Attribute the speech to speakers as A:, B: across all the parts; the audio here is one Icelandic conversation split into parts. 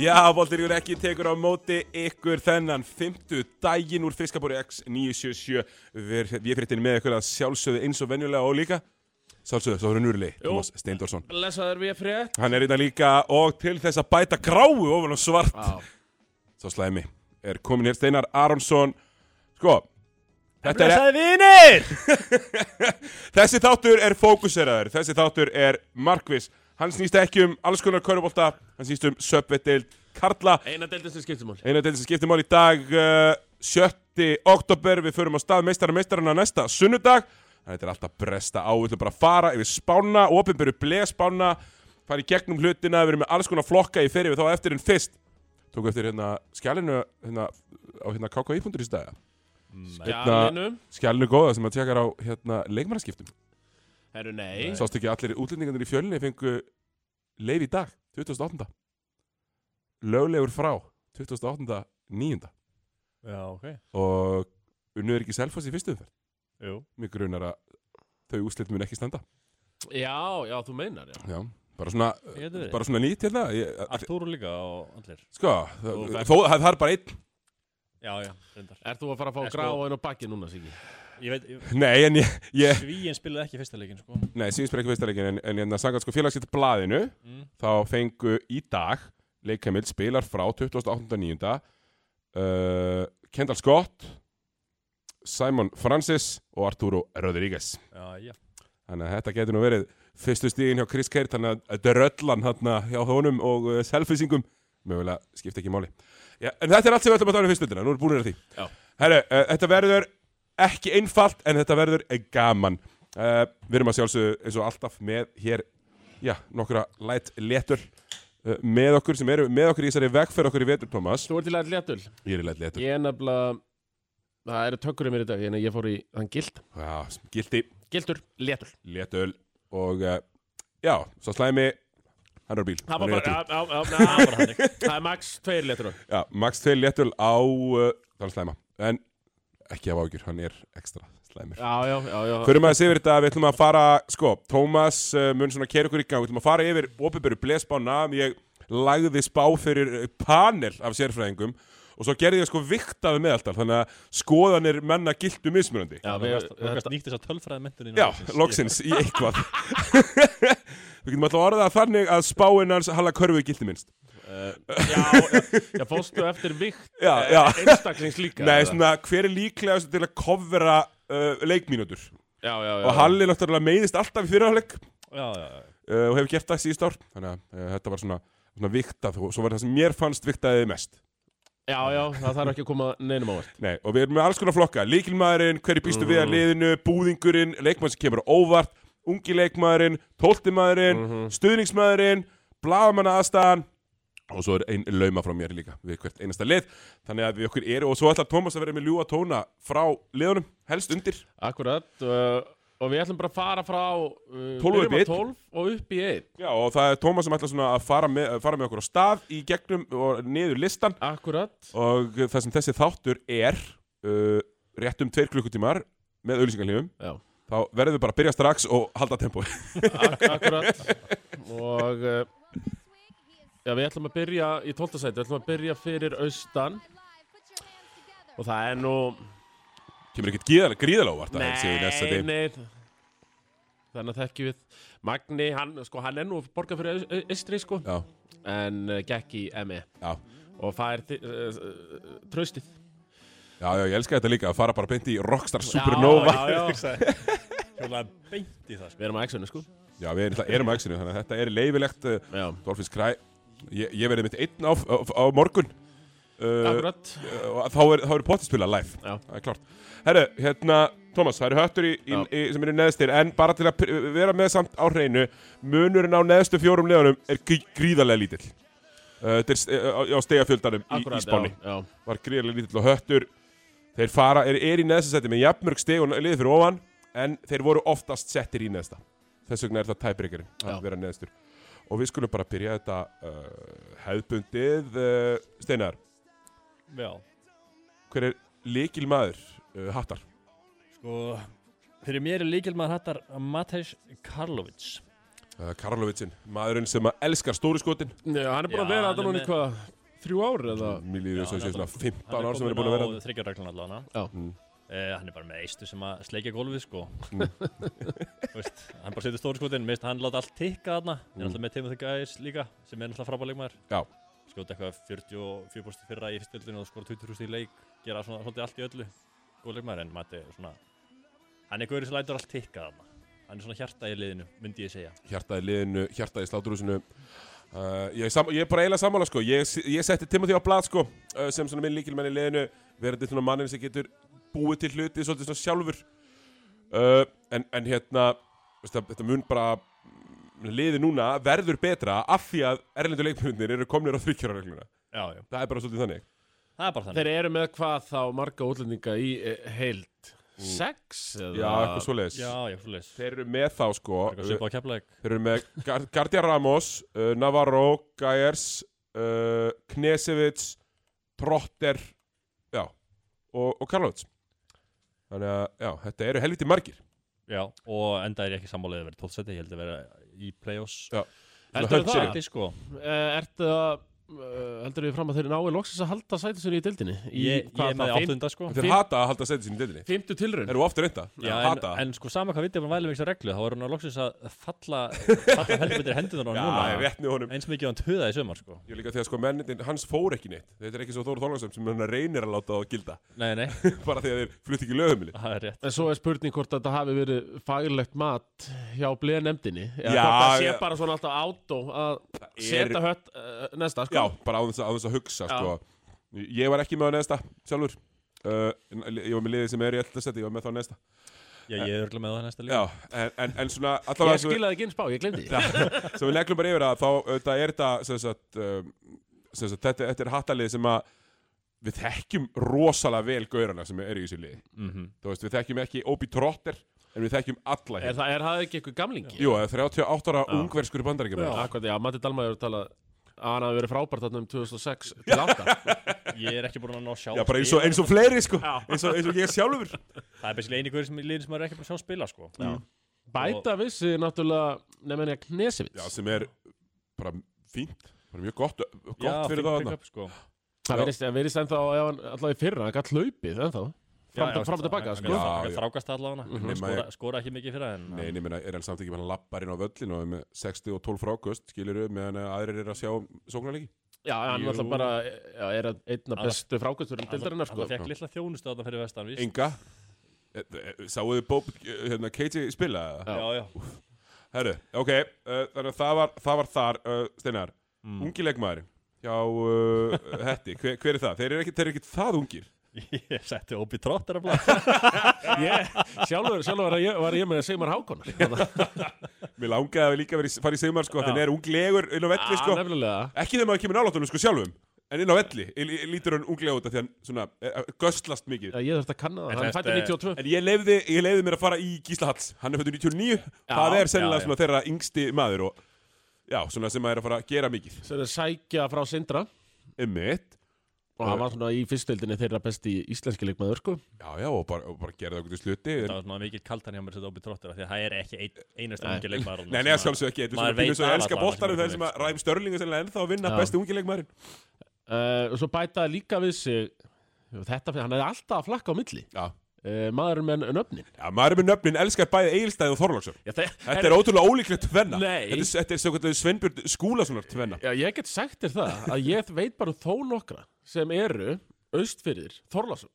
A: Já, Voltiríkur ekki tekur á móti ykkur þennan 50 daginn úr Fiskabóri X977 Við við fréttin með ykkur að sjálfsögðu eins og venjulega og líka Sjálfsögðu, svo verður núrli,
B: Jú.
A: Thomas Steindorsson
B: Lesaður við frétt
A: Hann er þetta líka og til þess að bæta gráu ofan á svart
B: Já.
A: Svo slæmi er komin hér Steinar Aronsson Sko, þetta er,
B: Lesaður vinir
A: þessi þáttur er fókuseraður, þessi þáttur er markvis Hann snýst ekki um alls konar körubólta, hann snýst um söpvetild Karla
B: Eina deildin sem skiptum hún
A: Einar deildin sem skiptir mál í dag uh, 7. oktober, við förum á stað meistara meistarana næsta sunnudag Þannig að þetta er alltaf bresta á, við ætlum bara að fara yfir spána, ofinbyrju blea spána fara í gegnum hlutina, við erum með alls konar flokka í fyrir við þá á eftir en fyrst Tóku eftir hérna skjælinu hérna, á hérna KKI.is daga Mm.
B: Skjálinu
A: Skjælinu góða sem að tjekkar á hérna leikmannaskiptum Hérna-
B: Herru nei
A: Sást ekki að allir útlendingarnir í fjölinni fengu leif í dag, 2008 Löglegur frá, 2008 9.
C: Já, ok.
A: og unnu er ekki Selfoss í fyrstu umferð
C: Jú.
A: mig grunar að þau úslit mun ekki standa
B: Já, já, þú meinar já
A: já bara svona,
C: Ég geti verið.
A: bara svona nýtt hérna ég,
C: Artúru líka og allir.
A: sko,
C: Þú
A: það-
C: fekk-
A: þó það það er bara einn
C: Já, já, reyndar.
B: Er þú að fara að
C: Er
B: fá
C: sko-
B: gráin og bakki núna, Siggi?
C: Ég veit, ég-
A: nei, en ég, ég
C: Svíinn spilaði ekki fyrsta leikin, sko.
A: nei, síðan ekki fyrsta leikin en, en hérna sangat sko félagsýtt blaðinu
C: Mm.
A: þá fengu í dag leikheimild spilar frá 28.9. Uh, Kendall Scott Simon Francis og Arturo Rodríguez
C: Já, já.
A: Þannig að þetta getur nú verið fyrstu stíðin hjá Chris Kerr, þannig að dröllan hérna hjá honum og uh, selfisingum mögulega skipta ekki máli. Já, en þetta er allt sem við ætlum að tala um fyrstöldina, nú erum búinir að því.
B: Já.
A: Herru, uh, þetta verður ekki einfalt en þetta verður eh, gaman. Uh, við erum að sjálfsögðu eins og alltaf með hér, já, nokkra læt letur uh, með okkur sem eru með okkur í þessari vegferð okkur í vetur, Thomas.
B: Þú ert í lært léttul
A: Ég er í læt letur.
B: Ég er nefnilega Það eru tökur í mér í dag En ég fór í hann gild
A: Já, gildi,
B: Gildur, léttul
A: letul og uh, já, svo slæmi, hann er á bíl.
B: Það
A: Hann er
B: var bara
A: léttur.
B: já, já, já, já, Það var hann Það er max tveir léttur
A: Já, Max Till léttul á uh, Það er slæma En ekki af ágjur, hann er ekstra slæmir
B: Já, já, já, já
A: Förum að yfir þetta, við ætlum að fara Sko, Tómas uh, mun svona kera okkur í gang Við ætlum að fara yfir opinberu blespána Ég lagði spá fyrir eh, panel af sérfræðingum Og svo gerði ég sko viktaði meðaltal Þannig að skoðanir menna giltu mismunandi
B: Já,
C: Þú
B: við
C: gast- þú gast
B: þetta-
C: nýtt þess að tölfræði mentunin.
A: Já, loksins, í eitthvað Við getum alltaf að orða það þannig að spáinn hans Halla körfu gilti minnst
B: Já, já, fórstu eftir vikt
A: Já,
B: eh,
A: já.
B: Einstaklings líka
A: Nei,
B: eða?
A: svona, hver er líklegast til að kofvera uh, leikmínútur?
B: Já, já, já
A: og Halli náttúrulega meiðist alltaf í fyrirháleik
C: Já, já, já.
A: uh, og hefur gert það síðust ár þannig að uh, þetta var svona, svona viktað og svo var það sem mér fannst viktaðið mest
B: Já, já, það þarf ekki að koma neinum á vart
A: Nei, og við erum með alls konar flokka leikilmaðurinn, hverju
B: Mhm.
A: býstu við að liðinu búðingurinn, leikmann sem kemur á óvart ungi leikmaðurinn, tóltimaðurinn
B: Mhm.
A: stuðningsmaðurinn, blagamanna aðstæðan og svo er ein lauma frá mér líka við hvert einasta lið þannig að við okkur eru og svo ætlar Tómas að vera með ljúa tóna frá liðunum, helst undir
B: Akkurat uh, Og við ætlum bara að fara frá uh,
A: 12 upp í
B: byrjum á
A: einn.
B: 12 og upp í 1
A: Já, og það er Tómas sem ætlar svona að fara með, fara með okkur á stað í gegnum og niður listan
B: Akkurat
A: og það sem þessi þáttur er uh, rétt um tveir klukkutímar með auðlýsingarlífum
B: Já,
A: þá verðum við bara að byrja strax og halda tempói
B: ak akkurat Og uh, Já, við ætlum að byrja í 12. sæti Við ætlum að byrja fyrir austan Og það er nú
A: kemur ekkert gíðalega, gríðalega óvart að þessi næsta
B: Nei,
A: degi
B: nei Þannig að þekkjum við Magni, hann, sko, hann er nú borgað fyrir au- au- austri, sko
A: Já,
B: En uh, gekk í ME
A: já,
B: Og fær uh, uh, tröstið
A: já, já, ég elska þetta líka að fara bara beint í Rockstar Supernova Já,
B: Já, já, já
C: Hjólaði beint í það, sko.
B: Við erum á X-unni sko
A: við erum, erum að exinu þannig að þetta er leifilegt uh,
B: Já,
A: Dolphins Cry Ég, ég verði mitt einn á, á, á morgun uh,
B: akkurat
A: og þá er, þá er pottispila live
B: Já.
A: það er klart herru, hérna Thomas, það eru höttur í, í,
B: Já.
A: í, sem eru neðstir en bara til að pr- vera með samt á hreinu munurinn á neðstu fjórum liðanum er grí- gríðarlega lítill uh, þetta er st- uh, á- á stegafjöldanum í, í
B: Akkurat,
A: spáni
B: já,
A: var gríðarlega lítill og höttur þeir fara, er, er í neðsta seti með jafnmörg steg og liðið fyrir ofan en þeir voru oftast settir í neðsta þess vegna er það tæbreykarinn
B: Já.
A: að vera neðstur og við skulum bara byrja þetta uh, hefðbundið uh, Steinar
C: Já.
A: hver er líkil maður uh, hattar
C: Sko, fyrir mér er líkilmaður hattar Matej Karlovic.
A: Uh, Karlovitsin, maðurinn sem að elskar stóri skotin
B: Nei, hann er búin að
C: Já,
B: vera
C: hann er
B: þetta núna
C: með-
B: í hvað, þrjú ár eða?
A: Mér líður þess að sé svona 15 ár sem er búin að vera Mm.
C: Hann er komin á þryggjarreglun allavega.
B: Já.
C: Uh, hann er bara með eistu sem að sleikja gólfið sko Þú veist, hann bara setur stóri skotin minnst hann láta allt tikka þarna mm. er alltaf með Timothy Guys líka sem er alltaf frábæleikmaður
A: Já,
C: skjóta eitthvað 44 búst fyrra í fyrstöldinu og skora 20 í leik gera svona svolítið allt í öllu góðleikmaður en Matti er svona hann er gaurið sem lætur allt tikka þarna hann er svona hjarta í liðinu myndi ég segja
A: hjartaði liðinu, hjartaði sláturhúsinu uh, ég, er sam, ég er bara eiginlega sammála sko Ég, ég setti Timothy á blad sko uh, sem svona minn líkilmenn í liðinu verandi svona mannin sem getur búið til hluti svolítið svona sjálfur uh, en, en hérna veist, það- þetta mun bara mm, liði núna verður betra af því að erlendu leikmyndinir eru komnir á þryggjararegluna
C: já, já.
A: það er bara svolítið þannig
C: það er bara þannig
B: Þeir eru með hvað þá marga útlendinga í e, heild? Sex eða?
A: já, eitthvað svoleiðis
C: já, já, svoleiðis
A: þeir eru með þá sko
C: eitthvað sem bara keflaðið
A: Þeir eru með Gar- Gardia Ramos, uh, Navarro, Gajers, uh, Knesevits, Trotter, já, og, og Karlovits. Þannig að, já, þetta eru helviti margir.
C: já og enda er ég ekki sammálaðið að vera 12 seti ég held að vera í play-offs
A: Já.
B: Heldurðu
A: Svona
B: það?
A: hundsýri.
C: Sæti, sko.
B: Eh, Ertu að, eh, heldur við fram að þeir nái loksins að halda sætið sinni í dildinni? Í,
C: ég, ég er
B: hvað
C: með
B: þá, fimm-
C: áttunda sko
A: Þeir hata að halda setið sín í deildinni.
B: Fimmtu tilraun?
A: Þeir eru ofta reynda.
C: Já, en,
A: hata.
C: en sko sama hvað vitið um vælivíksa reglu þá er hún að loksins að falla falla helbitir hendunar á
A: já,
C: núna
A: ég rétt með honum.
C: eins mikið á hann töða í sömar sko
A: Ég líka því að sko mennin, hans fór ekki neitt. Þetta er ekki svo Þóru Þólagsson sem hann reynir að láta það gilda.
C: Nei, nei,
A: Bara því að þeir flutti ekki lögumili.
C: það er rétt
B: En svo er spurning hvort þetta hafi verið fagilegt mat hjá bleið nefndinni Eða
A: Já,
B: hvort það sé
A: já.
B: bara svona alltaf átó að
A: er-
B: setja hött uh, næsta sko
A: Já, bara á þess að, á þess að hugsa
B: Já.
A: sko. Ég var ekki með á neðsta sjálfur uh, en Ég var með liðið sem er í alltaf seti Ég var með þá neðsta
C: Já, ég er örgulega með það næsta líka
A: Já, en, en, en svona
B: Ég
A: allavega sem við-
B: skilaði ekki eins bá, ég glemdi því
A: sem við leglum bara yfir að þá auðvitað er þetta sem sagt, um, sem sagt þetta, þetta er hattalið sem að við þekkjum rosalega vel gaurana sem eru í þessu liði
C: Mhm.
A: þú veist, við þekkjum ekki Obi Trotter en við þekkjum alla
B: Er
A: hér
B: það er það ekki eitthvað gamlingi?
A: Jú, það er 38 ára ungverskur bandaríkjum
B: Akkurat, já, Matti Dalma hefur talað að hann hafi verið frábært þarna um 2006 til 8
C: Ég er ekki búin að ná sjá
A: Já, bara eins og,
C: spila.
A: eins og fleiri sko eins og, eins og ég sjálfur
C: Það er basically eini guður sem líðin sem maður er ekki búin að sjá spila sko Já,
B: Bæta vissi náttúrulega nefnir ég Knesevits
A: Já, sem er bara fínt bara mjög gott, gott
C: Já,
A: fyrir
C: fínt
A: það þarna.
C: pick-up, sko.
A: Já.
B: Það verðist, verðist ennþá, já, hann- allavega í fyrra, hann gætt hlaupið ennþá
C: Já, já,
B: Fram, fram og tilbaka,
C: hann-
B: sko
A: Já,
C: Hann
A: já. Mhm.
C: hann þrákast allavega
A: Nema
C: Hann skora-
A: ég-
C: skora ekki mikið fyrir það en
A: Nei, en ég meina, er hann samt ekki bara lappar inn á völlin og er með 60 og 12 frákust, skilur við, meðan að aðrir eru að sjá sóknarleiki?
B: Já, hann
C: Jú.
B: alltaf bara já, er einna bestu frákvæmsturum dildarinnar, sko
C: Það fekk litla þjónustu á það fyrir vestan víst.
A: Enga Eh, eh, Sáuðu Bob, eh, hérna, KJ spila það?
B: Já.
C: Já, já
A: Herru, ok, uh, þannig að það var, það var þar, uh, Steinar
C: Mm.
A: Ungi leikmaðurinn hjá uh, Hetti, hver, hver er það? Þeir eru ekki, þeir eru ekki það ungir
C: Ég setti Obi Trotter að blá
B: Ég, sjálfur, sjálfur var ég, var ég með Seymar Hákon Já,
A: Mér langaði að líka verið farið í segumar, sko, þannig er ungilegur inn á velli, sko
B: nefnilega
A: Ekki þegar maður kemur náláttunum, sko, sjálfum En inn á velli, í- í- lítur hann unglega út af því hann, svona, eh, göslast mikið
B: Já, Ég þurfti að kanna það,
C: En
B: hann
C: þetta
B: fætti
C: er-
B: 92
A: En ég leiði, ég leiði mér að fara í Gísla Halls Hann er fættur 99, það er sennilega
C: já, já.
A: svona þeirra yngsti maður og já, svona sem maður er að fara að gera mikið
B: Sem er sækja frá Sindra
A: Emmitt,
B: Og hann var svona í fyrstöldinni þeirra besti íslenski leikmaður, sko
A: já já og bara, og bara gera það okkur til sluti
C: Það
A: en,
C: var svona mikið kaltan hjá mér að setja Obi Trotter af Því að það er ekki ein, einast ungi leikmaður þarna
A: Nei,
C: sem
A: nei,
C: að-
A: sjálfsög ekki, þetta er
C: maður
A: svona pínu
C: veit
A: svo
C: af
A: elska
C: allan
A: boltanum
C: sem
A: þegar
C: þú
A: sem að
C: veist.
A: Ræm Störling er sennilega ennþá að vinna
B: Já.
A: besti ungileikmaðurinn
B: uh, Og svo bætaði líka við sig Þetta, hann hefði alltaf að flakka á milli
A: Já,
B: uh, Maðurinn með nöfnin
A: já maður er með nöfnin, elskar bæði Egilstæði og Þorlóksson
B: Já, þe-
A: Þetta er ótrúlega ólíklegt tvenna
B: Nei.
A: Þetta er, þetta er svokallega Sveinbjörn Skúlasonar tvenna
B: Já, ég get sagt þér það að ég veit bara um þó nokkra sem eru austfyrir Þorlásson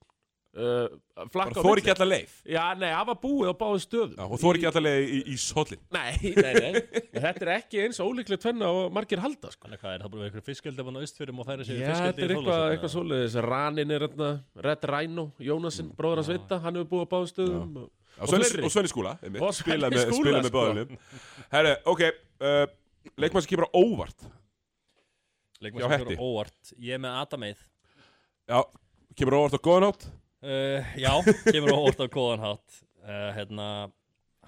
B: uh,
A: Bara
B: Flakka á
A: þor
B: milli
A: ekki alla leið
B: Já, nei, hafa búið á báðum stöðum
A: já, og þor ekki alla leið í, í sollin
B: Nei, nei, nei Og Þetta er ekki eins ólíklega tvenna og margir halda sko.
C: Þannig hvað er það búin að vera eitthvað fisköldi af hann á Ístfjörðum og færa
B: Já,
C: sér
B: þetta er eitthvað, eitthvað svoleiðis Ranin er hérna, Red Rhino, Jónasinn, bróður hans Vitta Hann hefur búið á báðum stöðum og,
A: Og Svenni,
B: fleiri.
A: og Svenni Skúla, einmitt,
B: Og Svenni
A: spila með,
B: Skúla,
A: spila með
B: sko.
A: báðunum Herru, ok, uh, leikmann sem kemur á óvart Já,
C: Leikmann sem
A: Hetti.
C: fyrir óvart Ég er með Adameið
A: Já, kemur á óvart á góðan átt
C: uh, Já, kemur óvart á góðan hátt uh, Hérna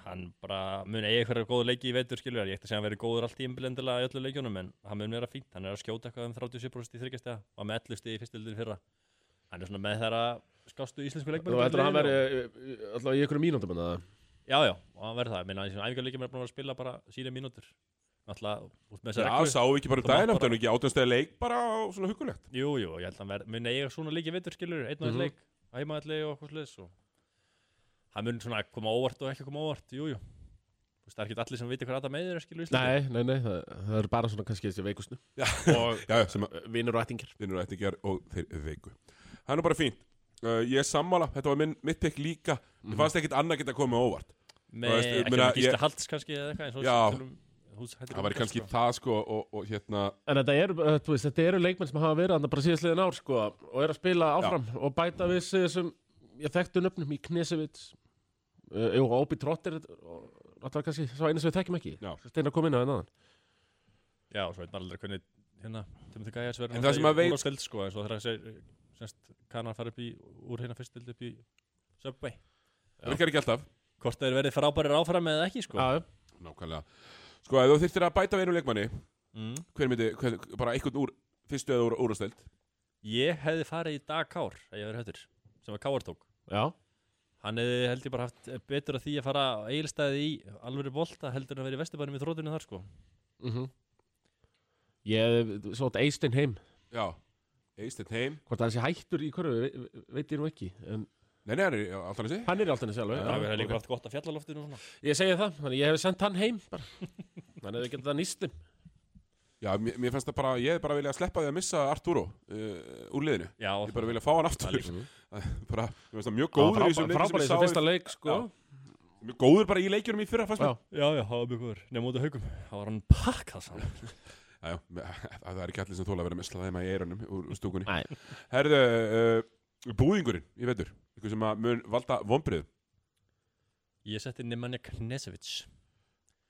C: Hann bara mun eigi eitthvað góða leiki í veitur skilur Ég ætti að segja að hann verið góður allt í innblendilega í öllu leikjunum En hann mun vera fínt Hann er að skjóta eitthvað um 37% í þryggjastega Og með 11 stig í fyrstildin fyrra Hann er svona með þeirra skástu íslensku leikmenn
B: Þú heldur að hann verði uh, alltaf í einhverjum mínúndum en það
C: Já, já, og hann verði það, minna, þessum æfingarleikjum er búin að vera að spila bara sína mínútur Náttúrulega, út með þessa
A: Já,
C: reglu
A: sá ekki bara um
C: Það
A: daginn
C: var
A: átti hann ekki átjánstæði leik bara á svona hugulegt
C: Jú, jú, og ég held að hann verði, mun eiga svona leikið vittur skilur, einn og einn
B: Mhm.
C: leik, æmaðalli og eitthvað sliðis og hann mun svona koma á óvart og ekki koma á óvart, jú, jú Þú veist, það er ekki allir sem viti hvað Adam Eyðir er skilur Íslandi
B: Nei, nei, nei, það, það er bara svona kannski þessi veikustu
A: Já.
B: Og
A: Já, sem að
B: uh, vinur og ættingir
A: vinnur að þetta ger og þeir veiku Það er nú bara fínt uh, Ég er sammála, þetta var minn, mitt pekk líka Mér fannst ekkit annað geta komið á óvart
C: Nei,
A: Þú veist, ég
C: ekki
A: meina,
C: með Gísli
A: ég-
C: Halds kannski eða eitthvað eins og
A: Já.
C: tölum- hús- hættir
A: Það væri
C: Rúnar,
A: kannski
C: sko.
A: það sko og, og hérna
B: En þetta eru, uh, þú veist, þetta eru leikmenn sem hafa verið andan bara síðastliðin ár sko og eru að spila áfram og bæta við sig þessum ég þekktu nöfnum í Knesevits uh, Jú, Óbi Trotter og þetta var kannski svo einu sem við þekkjum ekki
A: Já.
B: Steinar kom inn á hérna en aðan
C: Já, og svo veit maður aldrei hvernig hérna, Timothy Gajas verður
A: En það sem maður veit-
C: Úrvarsdeild, sko, eins og þegar þessi, semst, kannan fara upp í, úr hérna fyrst upp í Subway
A: Það virkar ekki alltaf
C: Hvort þeir verið frábærir áfram eða ekki, sko
B: Já, já.
A: Nákvæmlega Sko, ef þú þyrftir að bæta við einu leikmanni
C: mm.
A: Hver myndi, hver, bara einhvern úr fyrstu eða úr, úrasteld
C: Ég hefði farið í dag Kár, ef ég verið höttur sem að Kár tók
B: Já,
C: Hann hefði held ég bara haft eh, betur að því að fara á eigilstæði í alvöru bolta heldur en að vera í vesturbænum í þrótunni þar, sko
B: mhm Ég, svo þetta Eistein heim
A: Já Eisteinn heim
B: Hvort hann sé hættur í hverju, ve- ve- veit ég nú ekki En
A: Nei, nei, hann er alltaf hans
B: hann er í alltaf sjálf
A: Já,
C: Það hefði líka
B: okay.
C: haft gott að fjallaloftinu og svona
B: Ég segi það, þannig ég hef sendt hann heim bara Þannig að við getum það nýstum
A: Já, mér, mér fannst það bara, ég hef bara viljað sleppa því að missa Arturo uh, úr liðinu
C: Já,
A: Ég bara vilja fá hann aftur
C: Það líka.
A: bara, Ég finnst það mjög góður í þessum leikjum sem
B: Frábæri
A: ég
B: þessu
A: sá
B: fyrsta leik sko
A: Já. Mjög góður bara í leikjunum í fyrra fannst mér
B: Já,
C: já, já, það var mjög góður Nefn út af haugum, það var hann pakkað saman
A: Já, já, það er ekki allir sem þóla að vera með slaðima í eyrunum úr úr stúkunni
B: Nei.
A: Herðu, uh, búðingurinn, ég veitur Ykkur sem að mun valda vombrið
C: Ég setti Nemanja Knesevic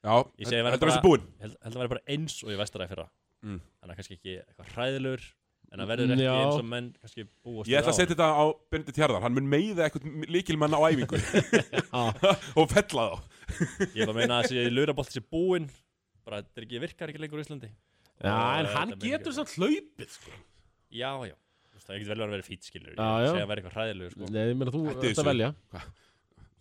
A: Já,
C: Ég segi verða
A: heldur
C: bara-
A: þessi búinn
C: Held held að það væri bara eins og ég vestar að fyrra
A: Mm.
C: Þannig að kannski ekki eitthvað hræðilegur En það verður ekki
B: Já.
C: eins og menn kannski búast
A: Ég ætla
C: við
A: að
C: á honum.
A: setja þetta á Benedikt Hjarðar Hann mun meiða eitthvað líkilmann á æfingu
B: Já.
A: og fella þá
C: Ég ætla að meina að þessi laurabolt sé búinn Bara þetta er ekki virkar ekki lengur í Íslandi
B: Já, en
C: Og
B: hann
C: þetta mun
B: getur
C: ekki-
B: samt hlaupið sko.
C: Já, já Þú veist, Það getur vel verið að vera fýt skilur
B: Já, já.
C: Ég segi að vera eitthvað hræðilegur sko
B: Nei, ég meina þú
A: Hætti
B: ert
A: þessu.
B: að velja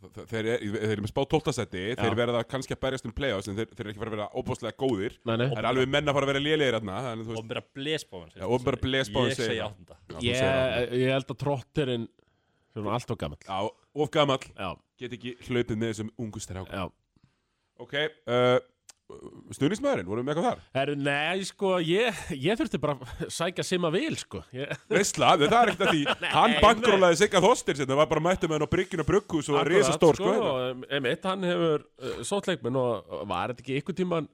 A: Þeir, þeir, eru- þeir eru með spá 12. seti Þeir
B: Já.
A: verða kannski að berjast um play-offs En þeir, þeir eru ekki fara að vera óbúslega góðir
B: Nei, nei
A: Það er alveg menn að fara að vera lélegir þarna Þannig að þú veist
C: Opinbera blesbáin
A: Já, opinbera blesbáin
C: Ég
A: segir
C: segi
A: það.
C: áttunda
A: Já, þú segir það.
B: Ég ég held að trotterinn Svo hann allt og gamall
A: Já, of gamall
B: Já,
A: Get ekki hlaupið með þessum ungu strákum
B: já
A: Ok, uh, stuðnismæðurinn, vorum við með eitthvað þar?
B: Herru, nei, sko, ég, ég þurfti bara að sækja Sima vil, sko ég,
A: Veistla, það er ekkert að því Hann bankrólaði Sigga Þostir sem það var bara mættu með hann á bryggjun og brugghús og
B: Akkurat,
A: risa stór sko,
B: og, um, Einmitt, hann hefur uh, sótt leikmenn og og var þetta ekki ykkur tíman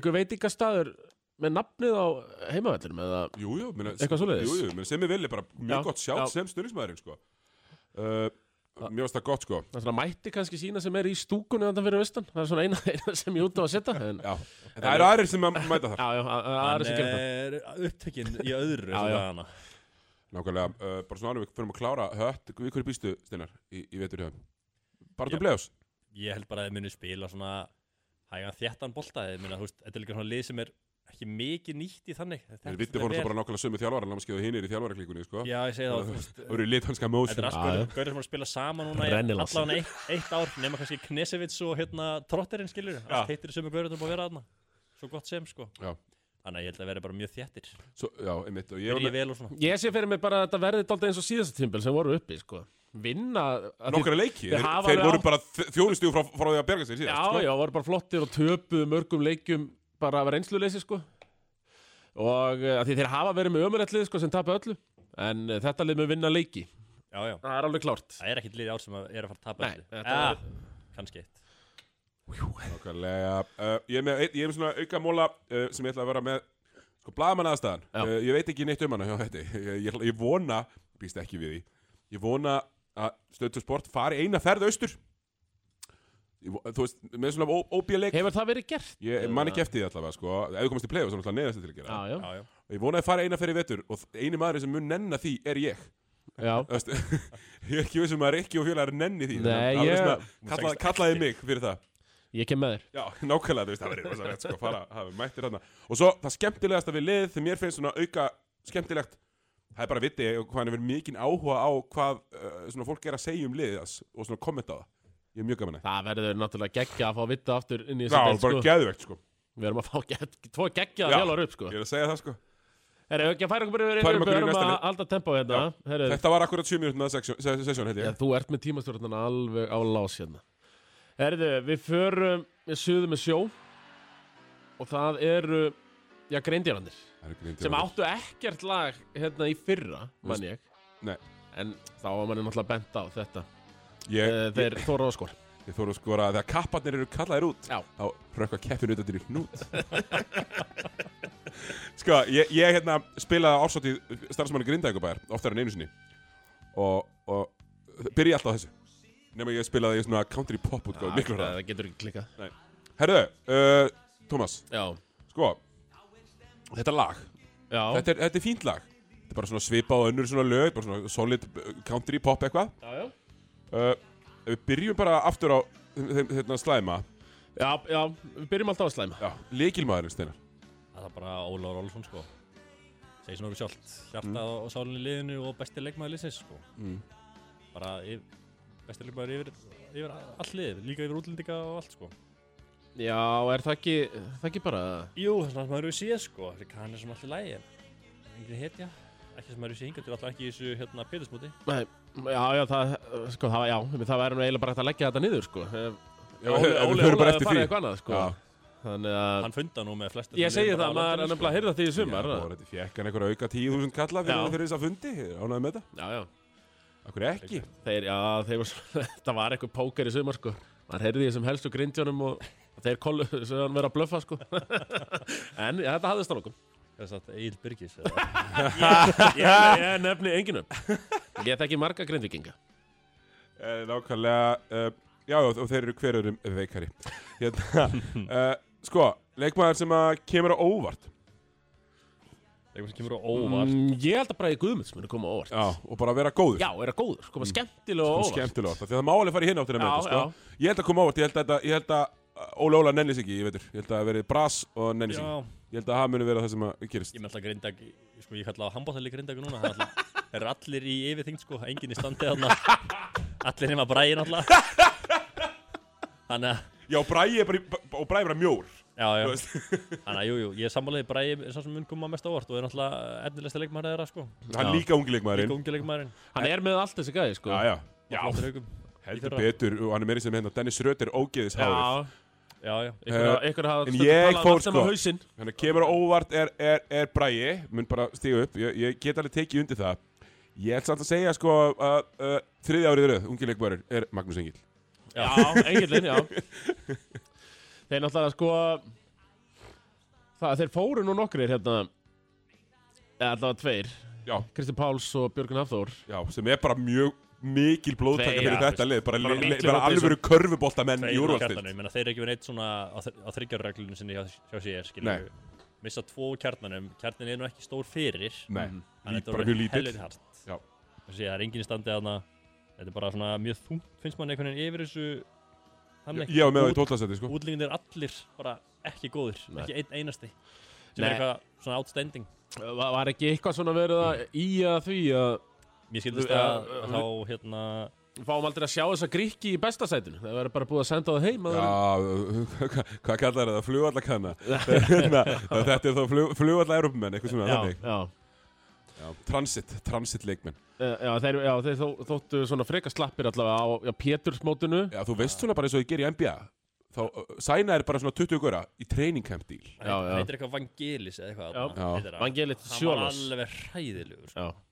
B: ykkur veitingastaður með nafnið á heimavellinum eða
A: Jú, jú, minna,
B: Eitthvað svoleiðis?
A: Jú, jú, minna, sem ég villi, bara mjög
B: Já,
A: gott sjátt
B: já.
A: sem stuðnismæðurinn sko. uh, Mér varst það gott sko
B: það svona mætti kannski sína sem er í stúkunni þannig fyrir austan, það er svona eina, eina sem ég út á að setja en,
A: Já, en það eru aðrir sem að mæta þar
B: Já, já, að- að- aðra sem gerir það
C: er upptökin í öðru
B: Já, já.
C: svona hana.
A: Nákvæmlega, uh, bara svona alveg, við fyrir að klára hött Við hverju býstu, Steinar, í, í vetur hjá þeim? Bara
C: Já.
A: þú bleðs
C: Ég held bara að þið muni spila svona Hægan þjættan bolta Þið muni að þú veist Þetta er líka svona lið sem er ekki mikið nýtt í þannig
A: Við vittum fórum svo bara nákvæmlega sömu þjálfara Lámskeiðu hinir í þjálfaraklíkunni sko.
C: Já, ég segi það þú veist,
A: Það eru litanska móðs
C: Þetta er allt
B: Já, já.
C: gaurir- gaurir sem eru að spila saman núna í
B: Brennilassi.
C: allan eitt, eitt ár nema kannski Knesevits og hérna Trotterinn skilur
A: Já.
C: allt heitir sem er gaurir sem búið að vera aðna svo gott sem sko
A: Já.
C: þannig að ég held að vera bara mjög þjættir
A: Svo, já, einmitt, og ég var
C: byrja
A: með
C: vel og svona
B: Ég sé fyrir mig bara að þetta verði dálta eins og síðasta tímbil sem voru uppi, sko Vinna að
A: nokkara leiki
B: Þeir
A: Þeir,
B: hafa
A: þeir
B: alveg
A: voru
B: átt-
A: bara þjónustjú frá, frá því að berga sér
B: Já,
A: síðast sko.
B: já, voru bara flottir og töpuðu mörgum leikjum bara af reynsluleysi, sko Og eh, af því þeir hafa verið með ömurættlið, sko, sem tapa öllu En eh, þetta lið með vinna leiki
C: já, já.
B: Það er alveg klárt
C: það er ekkit lið í ár sem að er að fara að tapa
B: Nei,
C: öllu.
B: þetta
C: ja, kannski eitt
A: Nákvæmlega uh, Ég er með, einn- ég er með svona auka móla uh, sem ég ætla að vera með sko blaðmann aðstæðan
B: Já.
A: uh, Ég veit ekki neitt um hana hjá þetta ég, ég, ég vona, býst ekki við því Ég vona að stöðtu sport fari eina ferð austur ég, vo- Þú veist, með svona óbíleik
B: Hefur það verið gert?
A: Ég man ekki eftir því allavega sko Ef þú komast í play-off, þannig að neðast til að gera
B: Já, já,
C: já, já.
A: Ég vona að fara eina ferð í vetur og þ- eini maður sem mun nenna því er ég
B: já
A: Þú veist, Ég er ekki vissum að Rikki og fjölar nenni því
B: Nei,
A: Það er
B: ég-
A: svona- kalla- Kallaði mig fyrir það
B: Ég kem með þér
A: Já, nákvæmlega, þú veist, það verður rosa rétt sko, fara, hafa mættir hérna. Og svo það skemmtilegasta við liðið þegar mér finnst svona auka skemmtilegt það er bara viti hvað hann hefur mikinn áhuga á hvað uh, svona fólk er að segja um liðið hans og svona kommenta á það ég er mjög gaman að
B: Það verður náttúrulega geggja að fá vita aftur inn í
A: Já,
B: þessu deild,
A: bara
B: sko.
A: geðvegt sko
B: Við erum að fá gegg, tvo geggja
A: Já.
B: að fjálar upp, sko.
A: Ég er að segja það sko
B: Herra, ef ekki að færa okkur yfir,
A: Færum
B: yfir,
A: okkur í
B: við erum
A: næsta
B: að
A: lið.
B: halda tempo hérna. Herra,
A: Þetta var akkurat 7 minútur með sessjón held
B: Já,
A: ég
B: þú ert með tímastjórnan alveg á lás hérna. Herðu, við förum við suðum með sjó og það eru, já, greindjarandir
A: Það er grín til
B: sem
A: að-
B: áttu ekkert lag hérna í fyrra, mann ég.
A: Nei.
B: En þá var manni náttúrulega bent á þetta.
A: Ég,
B: Eh,
A: ég,
B: Þeir þóra á skor.
A: ég þóru að skora að þegar kapparnir eru kallaðir út
B: Já.
A: þá rökka keppin utan til í hnút Sko, ég, ég hérna spilaði ársótið starfsmanni Grindækubæðar oftar en einu sinni og, og byrja alltaf á þessu nema ég spilaði í svona country pop útgáð Sko, miklu
B: það,
A: hraðar.
B: Ah, það getur ekki klikkað.
A: Herðu, uh, Thomas,
B: Já,
A: sko þetta lag,
B: já.
A: þetta er, þetta er fínt lag þetta er bara svona svipa og önnur svona lög bara svona solid uh, country pop eitthvað
B: Já, já.
A: uh, Við byrjum bara aftur á þeim, þeim, þeim slæma
B: Já, já, við byrjum alltaf að slæma.
A: Já, líkilmaðurinn Steinar
C: Það er bara Ólaur Olsson sko Segir svona okkur sjálft Hjartað og sálinn í liðinu og besti leikmaður liðsins sko Bara yf, besti leikmaður yfir, yfir allt lið Líka yfir útlendinga og allt sko
B: Já, er það ekki, það ekki bara...
C: Jú, þannig að maður hefur séð sko Þessi kanni sem alltaf lægi Engin hetja Ekki sem maður hefur séð hingað til alltaf ekki í þessu hérna pétusmóti
B: Nei, já, já, það, sko, það, já, það væri nú eiginlega bara hægt að leggja þetta niður, sko. Ef-
A: Já,
B: Óli,
A: við- við förum
B: Óli, Óli
A: bara
B: er
A: eftir
B: farið
A: því.
B: eitthvað annað, sko.
A: Já,
B: Þannig að...
C: Hann funda nú með flest
B: Ég segi það, maður er
C: sko.
B: nefnilega að heyrða því í sumar.
A: sko. Já, bara þetta fekk hann einhverja auka 10.000 kalla fyrir,
B: Já.
A: fyrir þess að fundi, ánægði með þetta
B: Já, já.
A: Akkur ekki,
B: Þeir, já, þeir var, það var eitthvað póker í sumar, sko. Maður heyrði því sem helstu grindjónum og þeir kollu, sem hann verið að blöffa, sko. en já, þetta hafðist á nokkum.
C: Þess að Egil Byrgis eða-
B: Ég, ég nefni enginum. Ég þekki marga grindvikinga.
A: Eh, nákvæmlega uh, Já, og og þeir eru hverjurum veikari Hérna, uh, sko Leikmaður sem að kemur á óvart
C: Leikmaður sem kemur á óvart
B: Mm, ég held að bara í Guðmunds muni koma á óvart.
A: Já, Mm. og bara vera góður
B: Já, er að sko, góður, koma skemmtilega og
A: og
B: óvart.
A: skemmtilega óvart, af því að það má alveg fara í hinn áttina með þetta,
B: Já,
A: sko. Ég held að koma á óvart, ég held að, þetta- ég held að uh, Óla Óla nennis ekki, ég veitur Ég held að það verið bras og nennis
C: Mm, Já,
A: ekki Ég held að það muni vera það sem að gerist
C: ég með alltaf grindag Sko, ég kalla á handbóttali grindag núna Það er alltaf- þeir eru allir í yfirþyngd sko Engin í standi þarna Allir nema bræðin alltaf Þannig að
A: Já, bræði er bara, í- og bræði er bara mjór
C: Já, já,
A: Þú veist.
C: þannig að jú, jú, ég er sammálaði Bræði er sá sem mun koma mest á óvart og er náttúrulega efnilegsta leikmaður þeirra, sko
A: Hann er
B: Já.
A: líka ungi leikmaðurinn
C: Líka ungi leikmaðurinn
B: Hann er með allt þessi gæði, sko.
A: Já, já,
C: Já,
A: já,
C: heldur
A: Heldur betur, og hann er meiri sem hérna Dennis Röder ógeðis háður
C: Já, já,
A: Eh,
B: ykkur hafa
A: en
B: stundum
A: ég
B: talað um
A: fór,
B: allt sem
A: sko.
B: á hausinn.
A: Þannig að kemur á óvart er, er, er bræi Mun bara stíga upp, ég, ég get alveg tekið undir það Ég ætla samt að segja sko að uh, þriðja árið röð, ungi leikmaður er Magnús Engil
C: Já.
B: Já, engillin, já Þeir náttúrulega sko Það þeir fóru nú nokkrir hérna Eða allavega tveir
A: Já,
B: Kristi Páls og Björgun Hafþór
A: já, sem er bara mjög mikil blóðtaka
B: Tveir,
A: fyrir
B: já,
A: þetta lið Bara,
B: bara
A: bara, li,
B: miklir
A: bara
B: hópur
A: alvöru körfuboltamenn í
C: Tveir á
A: úrvalstild
C: kjarnanum, hérna, ég meina þeir eru ekki verið neitt svona á, þr- á þryggjarreglunum sinni hjá, hjá sér,
A: Nei.
C: skiljum við Missa tvo úr kjarnanum, kjarnin er nú ekki stór fyrir
A: Nei, lít,
C: Þannig að þetta
A: bara mjög
C: verður
A: lítill
C: helviti hart
A: Já.
C: Þessi, það er engin í standi þarna Þetta er bara svona mjög þungt, finnst mann einhvern veginn yfir þessu
A: Ég ég var með það í tóltasæti sko
C: Útlingin er allir bara ekki góðir,
B: Nei.
C: ekki einn einasti Sem
B: Nei.
C: er eitthvað svona outstanding
B: Var var ekki eitthvað svona verið að í að því að
C: Mér skildist
B: Þú-
C: að
B: eh,
C: þá hérna
B: við fáum aldrei að sjá þessa gríkki í besta sætinu Það verður bara búið að senda það heim
A: Já,
B: að þeir-
A: hvað hvað kallar það? Flugvallakanna Hérna, Þetta er þá flug, flugvalla-európumenn, eitthvað svona
C: Já.
A: þannig.
B: Já,
A: Já, Transit, transit leikmenn
B: Eh, já, þeir, já, þeir þó, þóttu svona freka slappir allavega á já, Pétursmótinu
A: Já, þú veist svona bara eins og ég ger í NBA þá uh, sæna er bara svona 20 góra í training camp deal
B: Já, já.
C: Heitir eitthvað Vangelis eða eitthvað
B: Já.
A: Já.
C: þarna, heitir það.
B: Vangelit
C: Hann var
B: Sjólas
C: alveg hræðilegur sko.
B: Já,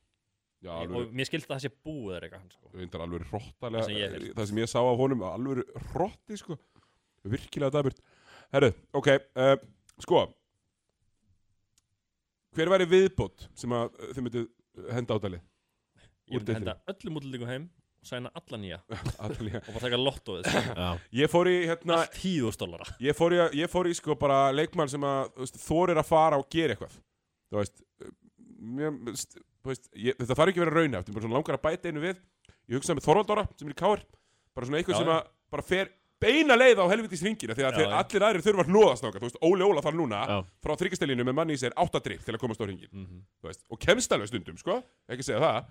A: Já, alveg,
C: Og mér skildi að það sé búið eða eitthvað sko.
A: reyndar alveg
C: Það sem ég
A: hróttalega
C: held.
A: það sem ég sá af honum, alveg hrótti sko, virkilega daburt Herru, ok, uh, sko Hver væri viðbót sem að uh, þið myndu henda ádalið?
C: Ég
A: Úr
C: myndi henda öllum útlendingum heim og sæna alla nýja og
A: deildinni?
C: bara taka lottóið sko.
B: já,
A: Ég fór í hérna,
C: Allt tíðustólara
A: ég fór í, ég fór í sko bara leikmann sem að þú veist, þorir að fara og gera eitthvað þú veist, uh, mér, st- þú veist ég, þetta þarf ekki að vera raunhæft ég bara svona langar að bæta einu við ég hugsaði með Þorvaldóra sem er í Káir bara svona eitthvað
C: Já,
A: sem
C: já.
A: að bara fer beina leið á helvitis ringina því að
C: Já,
A: þeir,
C: já.
A: allir aðrir þurfa að hnoðast náka, þú veist, Óli Óla þarf núna
B: Já.
A: frá þryggastelinu með manni í sér áttadrykk til að komast á ringin,
C: Mhm.
A: þú veist, og kemst alveg stundum, sko, ekki að segja það,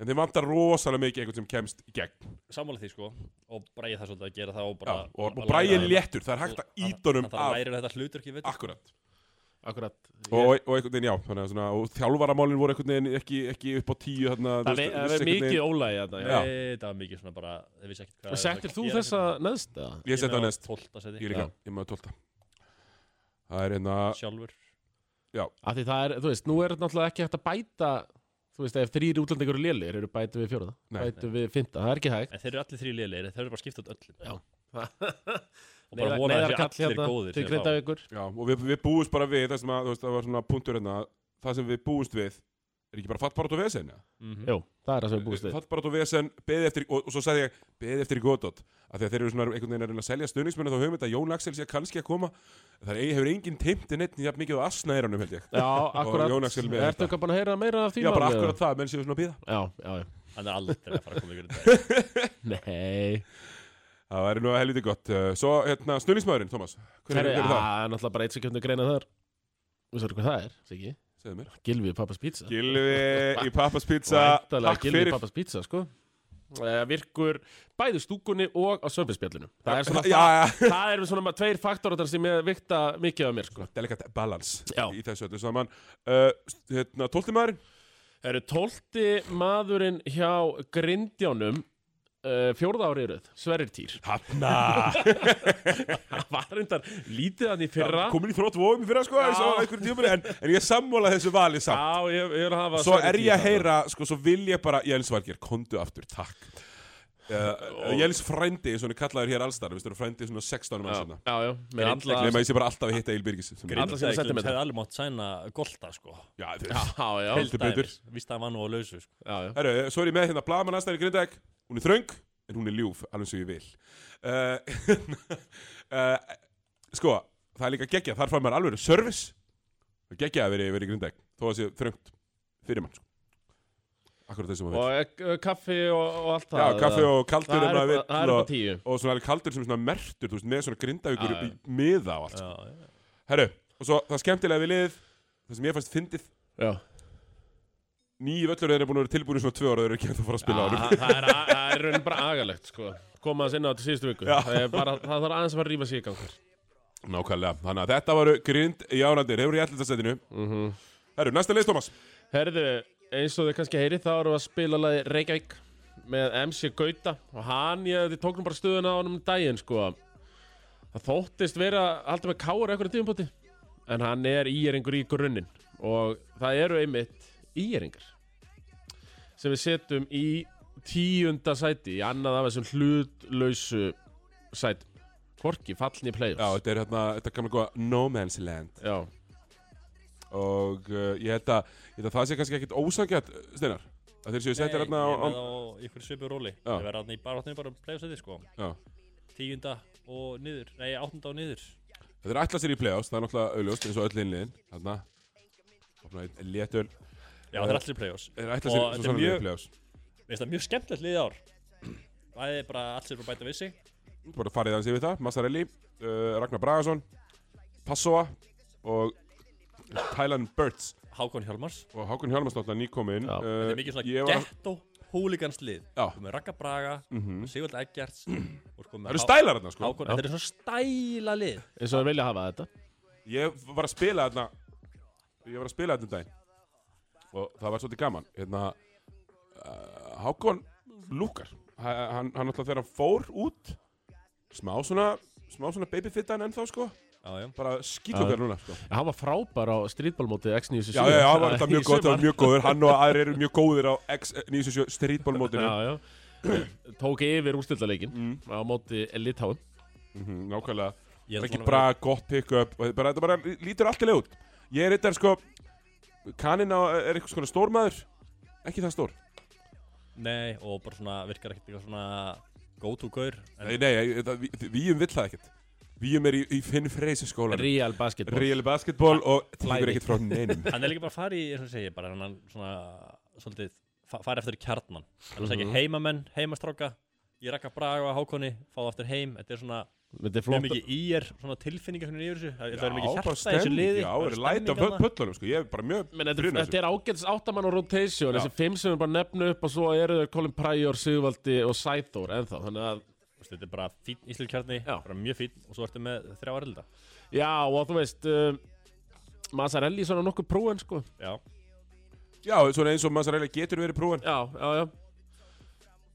A: en þeir vantar rosalega mikið einhvern sem kemst í gegn,
C: sammála því sko og bræði það svolítið að gera það og
A: já,
C: bara
A: og, og
C: að
A: bræðin
C: læra-
A: léttur, það er hægt að ítunum
C: það að
A: af,
C: læra þetta hlutur ekki veit
A: akkurat,
B: Akkurat
A: og, og einhvern veginn, já, þannig að svona, og þjálfaramálin voru einhvern veginn ekki, ekki upp á tíu, þarna, þú
B: Það
A: veist, vissi
B: er- það er
A: einhvern veginn-
B: mikið ólægi þarna já.
A: Já.
C: það var mikið svona bara þeir vissi ekkert hvað
B: Og settir þú þessa neðst eða?
A: Ég setja á næst,
C: 12 seti
A: ég líka,
B: Já.
A: ég maður tólta. Það er hérna, einna,
C: sjálfur
B: Af því það er, þú veist, nú er náttúrulega ekki hægt að bæta Þú veist, ef þrýri útlendingur eru lélir eru bætu við fjóraða,
A: Nei.
B: bætu við fymta Það er ekki hægt
C: en þeir eru allir þrý liðleir þeir eru bara skipt út öllum
B: Já.
C: og bara vona að þeir
B: Neyðarkall
C: séu allir
B: hérna
C: góðir
B: Til
C: sem
B: greita
C: þá.
B: ykkur
A: já, og við, við búumst bara við, það sem að, þú veist, það var svona punktur hérna, það sem við búumst við, er ekki bara fattbárat og vesen, ja?
C: Mhm.
B: Jú, það er það sem við búist við
A: Fattbárat og vesen, beðið eftir, og, og svo sagði ég, beðið eftir í góðdótt, af því að þeir eru svona einhvern veginn að reyna að selja stöðningsmennu, þá höfum við þetta Jón Axel sé kannski að koma, það er, hefur enginn teimt en einn jafn mikið á asnaðirunum, held ég.
B: Já, akkurat
A: Jón Axel með
B: Ertu
A: þetta.
B: eitthvað búin að heyra meira af því
A: Já, bara
B: máli, eða?
A: akkurat það, menn séu svona að býða.
B: Já, já, já
C: hann er aldrei að fara að koma ykkur í dag.
B: Nei
A: Það væri nú helviti gott. Uh, Svo, hérna, stöðningsmæðurinn, Thomas, hver er,
B: Herri,
A: hver er
B: já,
A: það?
B: Það er náttúrulega bara eitt sem kemur greina þar Þú veist hvað það er, Siggi?
A: Segðu mér.
B: Gilvi Pappas Pizza
A: Gylfi í Pappas Pizza,
B: Væntalega
A: takk
B: Gilvi
A: fyrir.
B: Pappas Pizza, sko Eh, Virkur bæði stúkunni og á sömbinspjallinu Það er svona
A: Já, já.
B: Það eru svona tveir faktorar sem ég vikta mikið af mér sko.
A: delikat balance
B: Já.
A: í þessu öllu saman uh, hérna, tólti maður
B: Það eru tólti maðurinn hjá grindjánum uh, fjórða ári eruð, Sverrir Týr
A: Hanna
B: Það var reyndar lítið hann í fyrra
A: komin í þrótt vóum í fyrra sko
B: Já.
A: eins og á einhverjum tímur, en, en ég sammála þessu vali samt
B: Já, ég, ég er að hafa
A: svo
B: Sverrir
A: er
B: Týr
A: ég að
B: þarna.
A: heyra sko, svo vil ég bara Jens Valgir, kondu aftur, takk uh, Jens frændi eins og hann er kallaður hér allstar við stöðum frændi svona 16 mann sinna
B: Já, já, með
C: Grindleik-
B: alla
A: nema ég sé bara alltaf að hitta Egil Birgis sem er-
B: Alla sína
C: Grindavík
B: sentimetra.
C: hefði alveg mátt sæna Golta sko
A: já, þú
B: Já,
A: veist
B: já,
A: Heldur
C: Til
A: betur.
C: dæmis. víst að hann var nú á lausu sko.
B: já, já.
A: Herru, svo er ég með hérna Blaman aðstæðan í Grindag Hún er þröng, en hún er ljúf, alveg sem ég vil uh, uh, Sko, það er líka geggja Þar fær maður alveg service Það er geggja að vera, vera í Grindag Þó að sé þröngt fyrir mann sko. Akkurat þessum að vil
B: Og eh, kaffi og, og allt
A: Já,
B: það
A: kaffi og kaldur
B: Það
A: ef
B: er
A: maður
B: upp- það er
A: vill
B: upp á
A: og,
B: tíu
A: og svona alveg kaldur sem er svona mertur þú veist, Með svona Grindavíkur
B: Já,
A: upp í miða og allt sko.
C: já, já.
A: Herru, og svo það skemmtilega við liðið Það sem ég fannst fyndið
B: Já.
A: Nýju völlur þeir eru búin að vera tilbúin í svona tvö ára Þeir eru ekki að fara að spila á honum
B: Já, það er, það er raunin bara agalegt sko. koma að sinna á til síðustu viku það, er bara, það þarf aðeins að fara að rífa sig í gangur
A: Nákvæmlega, þannig að þetta varu grind í árandir, hefur í ætlindarsætinu mm
C: Mhm.
A: -hmm. Herru, næsta list, Thomas
B: Herðu, eins og þau kannski heyri þá erum við að spila lagi Reykjavík með MC Gauta og hann, ég þið tóknum bara stöðuna á hann um daginn sko. það þóttist vera alltaf með káur ekkur tímpóti en hann er íjeringur í grunnin og það eru einmitt íjeringar sem við setjum í tíunda sæti í annað af þessum hlutlausu sætum Hvorki, fallin í play-offs
A: Já, þetta er hérna, þetta er gamla góða No Man's Land
B: Já,
A: Og uh, ég, held að, ég held að það sé kannski ekkit ósangjart, Steinar Að þeir séu settir hérna á,
C: ég
A: á
C: með á ykkur svipu róli
A: Já.
C: Ég verði hann í baróttinu bara að playa seti sko
A: já.
C: Tíunda og niður, nei áttunda og niður
A: Þetta er ætla sér í playoffs, það er náttúrulega auðljóst eins og öll innliðin Þarna, opna einn léttöl
C: Já það er allir play-offs
A: Þeir ætla
C: Og
A: sér svo
C: þetta er
A: svona
C: mjög-
A: í playoffs
C: Veist það mjög skemmtilegt liðið ár Það er bara allir bara að bæta við sig
A: Bara farið hans yfir það, Massarelli, uh, Ragnar Bragason Passoa og Tylan Burts
C: Hákon Hjálmars
A: og Hákun Hjálmars náttúrulega nýkominn
B: Já.
A: uh,
C: Þetta er mikið
A: ég
C: svona
A: var-
C: ghetto húligans lið
A: Já.
C: Sko, Með Raka Braga, Sigvald Eggerts og sko
A: Það eru
C: með Há-
A: stælar þarna sko
C: Hákon Þetta er svona stæla lið
B: eins og það vilja hafa þetta
A: Ég var að spila þarna Ég var að spila þarna um daginn Og það var svolítið gaman Hérna uh, Hákon lúkar Ha- Hann, hann alltaf þegar hann fór út Smá svona Smá svona babyfittan ennþá sko
C: Já, já
A: Bara skýtlúkar
B: Já.
A: núna sko
B: En Hann var frábær á streetballmótið X97
A: Já, já, já, hann var
B: Í
A: þetta mjög gott, það var
B: sumar.
A: mjög góður Hann og aðrir eru mjög góðir á X97 streetballmótinu
B: Já, já Tók yfir úrstildaleikin á móti Litáum
A: Mhm, Nákvæmlega
C: Ég held
A: Ekki
C: svona
A: bra, gott pick-up og bara, Þetta bara lítur alltilega út Ég er eitthvað sko Kanina er eitthvað svona stór maður Ekki það stór
C: Nei, og bara svona virkar ekkert eitthvað svona go-to-gaur en
A: Nei, nei, ég- það- við- Víum vill það ekkert Víum er í, í Finn Freysi skólan
B: Real basketball
A: Real basketball og
B: Flæði.
A: tekur ekkert frá neinum
C: hann er líka bara að fara í, eins og ég segi, bara hann svona, svolítið, fa- fara eftir kjarnan hann er að segja heimamenn, heimastráka ég rakka braga á hákonni, fá það aftur heim þetta er svona,
B: Þetta er
C: mjög
B: flott
C: mikið í er svona tilfinningar hvernig yfir þessu, það það er mikið
A: bara
C: hjarta í þessu
A: stemning,
C: liði
A: Já,
C: bara
A: er læt af
C: stemning þarna.
A: pöllunum sko, ég er bara mjög sko.
B: Men þetta,
A: hrifinn af
B: þetta er ágætis áttamann og rotation Þessi fimm sem við bara nefnum upp og svo eru þau Colin Pryor, Sigvaldi og Sæþór ennþá Þannig að,
C: Þú veist, þetta er bara fín íslurkjarni,
B: Já.
C: bara mjög fín og svo ertu með þrjá aðrilda
B: já og þú veist uh, Mazzarelli svona nokkuð próen sko
C: já,
A: Já, svona eins og Mazzarella getur verið prúin
B: Já, já, já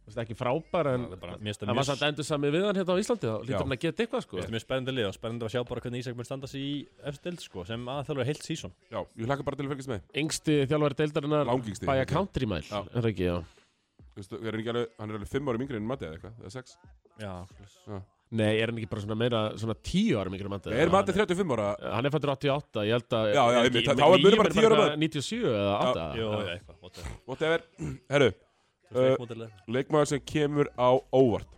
B: Þú veist ekki frábær en
C: það er bara, mér finnst
B: Það var samt
C: það mjög
B: endur sami við hann hérna á Íslandi þá
A: Já.
B: Lítur hann að geta eitthvað sko
C: Þetta er mjög spennandi lið og spennandi að sjá bara hvernig Ísak mun standa sig í efstild sko, sem aðþjálfur heilt sísón.
A: Já, ég hlakka bara til að fylgjast með
B: Yngsti þjálfari deildarinnar
A: Langyngsti,
B: Bæja
A: held ég.
B: country mile
A: Já.
B: Er það ekki, já
A: Vistu, er hann, ekki alveg, hann er alveg 5 árum yngri en Matti eða eitthvað, eða 6
C: Já, svoleiðis.
B: Nei, er hann ekki bara svona meira Svona tíu ára mikil mandi
A: Er Matti 35 ára?
B: Hann er fættur 88, ég held að
A: Já, já,
B: er
A: einmitt,
B: ekki-
A: þá er munur
B: Liam
A: bara 10 ára maður.
B: 97 eða 8
C: Jú, já, eitthvað, whatever.
A: Whatever Herru, Uh,
C: Þú veist, leikmódel eða eitthvað.
A: leikmaður sem kemur á óvart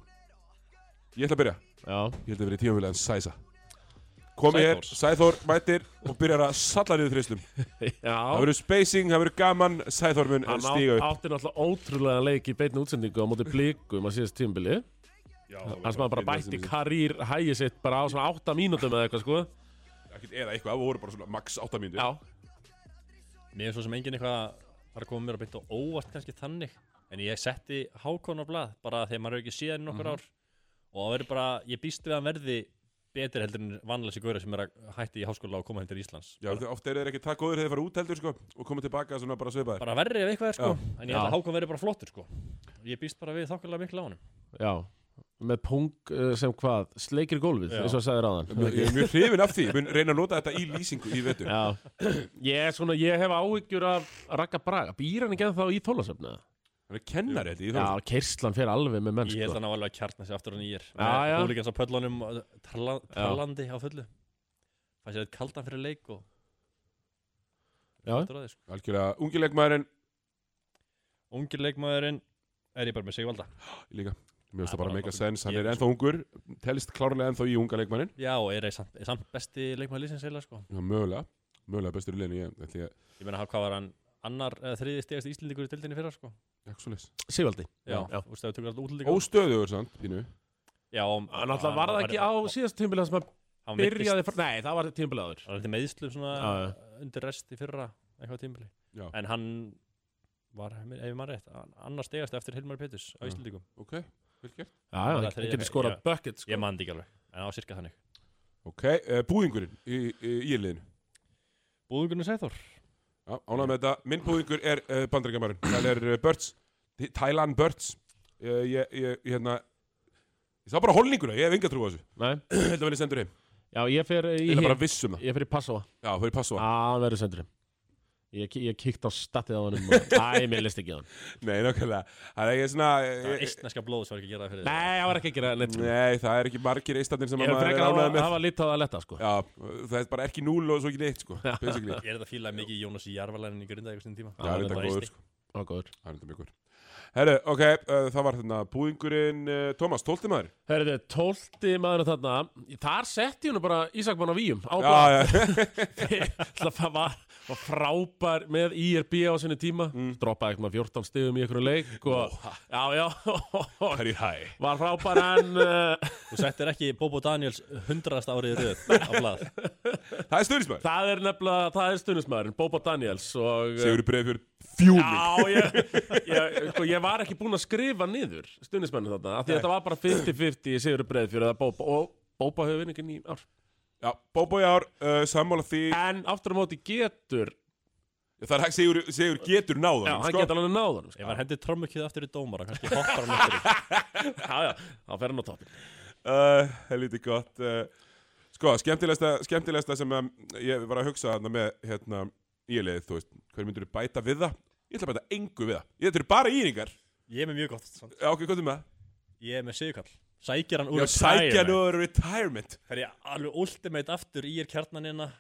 A: Ég ætla að byrja
B: já.
A: Ég held að vera í tíumfélagin Sæsa Komi hér,
C: Sæþórs.
A: Sæþór mætir og byrjar að salla niður þristum Það
B: Já,
A: verður spacing, það verður gaman Sæþór mun
B: hann á,
A: stíga upp
B: átti náttúrulega ótrúlega leik í beinni útsendingu á móti blikum á síðast tímbili Hann sem hann bara bætti karýr hægi sitt bara á svona 8 mínútum eða eitthvað sko
A: Ekkert Eða eitthvað, það voru bara svona max 8 mínútur
B: Já,
C: Mér er svo sem enginn eitthvað var að koma mér að byrja á óvart kannski þannig en ég setti Hákon á blað bara þegar maður hefur ekki síðan nokkur ár og það verður bara, ég býst við að hann verði betur heldur en vanlega sér góra sem er að hætti í háskóla og koma hendur í Íslands
A: Já, þau- oft eru þeir ekki það góður þegar þeir fara út heldur sko, og koma tilbaka svona bara svipaðir
C: bara verri ef eitthvað er sko, en ég held
B: Já.
C: að Hákon verði bara flottur sko ég býst bara við þokkarlega miklu á honum
B: já Með pung uh, sem hvað, sleikir gólfið
C: Já.
B: eins og að sagði ráðan
A: Ég er mjög hrifin af því, ég mun reyna að nota þetta í lýsingu í vetur
B: Já, ég, er svona, ég hef áhyggjur af Raka Braga, býr hann ekki ennþá í tólasöfna?
A: Hann er kennar þetta í
B: Já,
A: þólasöfn
B: kerslan fer alveg með menn
C: ég held
B: sko
C: að hann á alveg að kjartna sér aftur hann í ég
B: Já, já.
C: er húlíkans á pöllunum uh, tala- talandi á fullu fæ sér eitt kaldan fyrir leik og
B: Já.
C: Aftur að því, sko.
A: Algjörlega, ungi leikmaðurinn
C: Ungir leikmaðurinn er ég bara með Sigvalda
A: líka Mér finnst
C: Það
A: það bara
C: bara
A: meika
C: nokkuð-
A: sens, hann
C: ég-
A: er ennþá ungur Telist klárlega ennþá í unga leikmaðurinn
C: Já, og er samt, er samt besti leikmaður liðsins heila sko.
A: Já, mögulega, mögulega bestur í liðinu ég, ætli ég,
C: Ég meina, hvað var hann annar eða þriði stegast íslendingur í dildinni fyrra sko.
A: ekki svo leys
B: Sigvaldi
C: Já,
B: Já.
C: þú veist það tökur alltaf útlendingur
A: Óstöðugur, sant, pínu
C: Já, og-
B: Hann alltaf Ah, var það ekki á síðast tímbili sem að
C: hann
B: byrjaði fr- Nei, það var tímbili áður
C: Það var eitthvað meðslu svona
B: Já, já.
C: undir rest í fyrra eitthvað tímbili
A: Já,
C: En hann var, ef ég maður rétt, annar stegast eftir Hilmar Peturs á
A: Já.
C: íslendingum
A: ok, vel gert
B: Já, já,
C: Það
B: hann
C: er þriðja-
B: getur skorað
C: já.
B: bucket sko.
C: Ég man þetta ekki alveg, en það var cirka þannig
A: Ok, uh, búðingurinn í, í, í liðinu
C: Búðungurinn Sæþór
A: Já, ánægð með þetta, minn búðingur er uh, bandaríkjamaðurinn Það er uh, Börts, Thailand Börts uh, Ég, ég, hérna Ég sá bara holninguna, ég hef enga trú á þessu
B: Nei,
A: Ég held að verði sendur heim,
B: já, ég fer í Ah.
A: ég held
B: hin-
A: bara viss um það
B: Ég fyrir Passova
A: Já, það er passó
B: Já, hann verður sendur heim Ég, ki- ég kíkt á statið á hann Æ, mér leist ekki á hann
A: Nei, nákvæmlega Það er ekki svona
C: Það var
A: ég,
C: eistneska blóð sem var ekki að gera það fyrir þig.
B: Nei, hann var ekki að gera neitt sko.
A: Nei, það er ekki margir eistandir sem
B: Ég
A: maður
B: fyrir
A: er
B: ekki að
A: ánægð
B: hafa-
A: með
B: hafa lítið á það að letta sko.
A: Já, það er bara ekki núl og svo ekki neitt, sko basically.
C: Ég er þetta fílaði mikið í Jónas í Jarvalænin í Grindavík á sínum tíma
A: Já, það er
C: Hann
A: þetta
C: bara
A: góður,
C: eisti.
A: sko
B: Ó, góður
A: Það er þetta mjög góður Herru, ok, uh, það var þarna búðingurinn uh, Tómas, tólti maður
B: Herðu, tólti maður þarna Þar setti hún bara Ísak mann á víum Á
A: Já,
B: bara
A: já,
B: Það var, var frábær með IRB á sinni tíma
A: Mm.
B: Droppaði eitthvað 14 stigum í einhverju leik og, Já, já
A: það er í hæ
B: Var frábær en uh,
C: Þú settir ekki Bobo Daniels hundraðasta árið í röð á blað
A: Það er stöðnismæður
B: Það er nefnilega, það er stunismæðurinn, Boba Daniels og... eh,
A: Sigur Breiðfjörð fjúming
B: Já, ég, ég, sko, ég var ekki búinn að skrifa niður stunismæðurinn þarna, af því að þetta var bara 50-50 í Sigur Breiðfjörð eða Boba og Boba hefur vinnið ekki ný ár.
A: Já, Bóbó í ár, uh, sammála því
B: En aftur á móti getur,
A: Það er hægt Sigur, Sigur getur náðan
B: já, hann getur alveg náðan,
C: Ef
B: sko.
C: hann hendir trommukið aftur í dómara, kannski hoppar hann aftur í
B: Já, já, þá fer hann á toppin.
A: uh, Helviti gott uh, Sko, skemmtilegsta, skemmtilegsta sem um, ég var að hugsa þarna með hérna, íliðið, þú veist, hver myndur bæta við það? Ég ætla að bæta engu við það Ég ætla bara íringar
C: Ég er með mjög gott samt.
A: Já, ok, hvað er með það?
C: Ég er með Sigurkall Sækir hann úr
A: Já, sækja nú
C: retirement.
A: retirement
C: Fer ég alveg ultimate aftur í er kjarnanina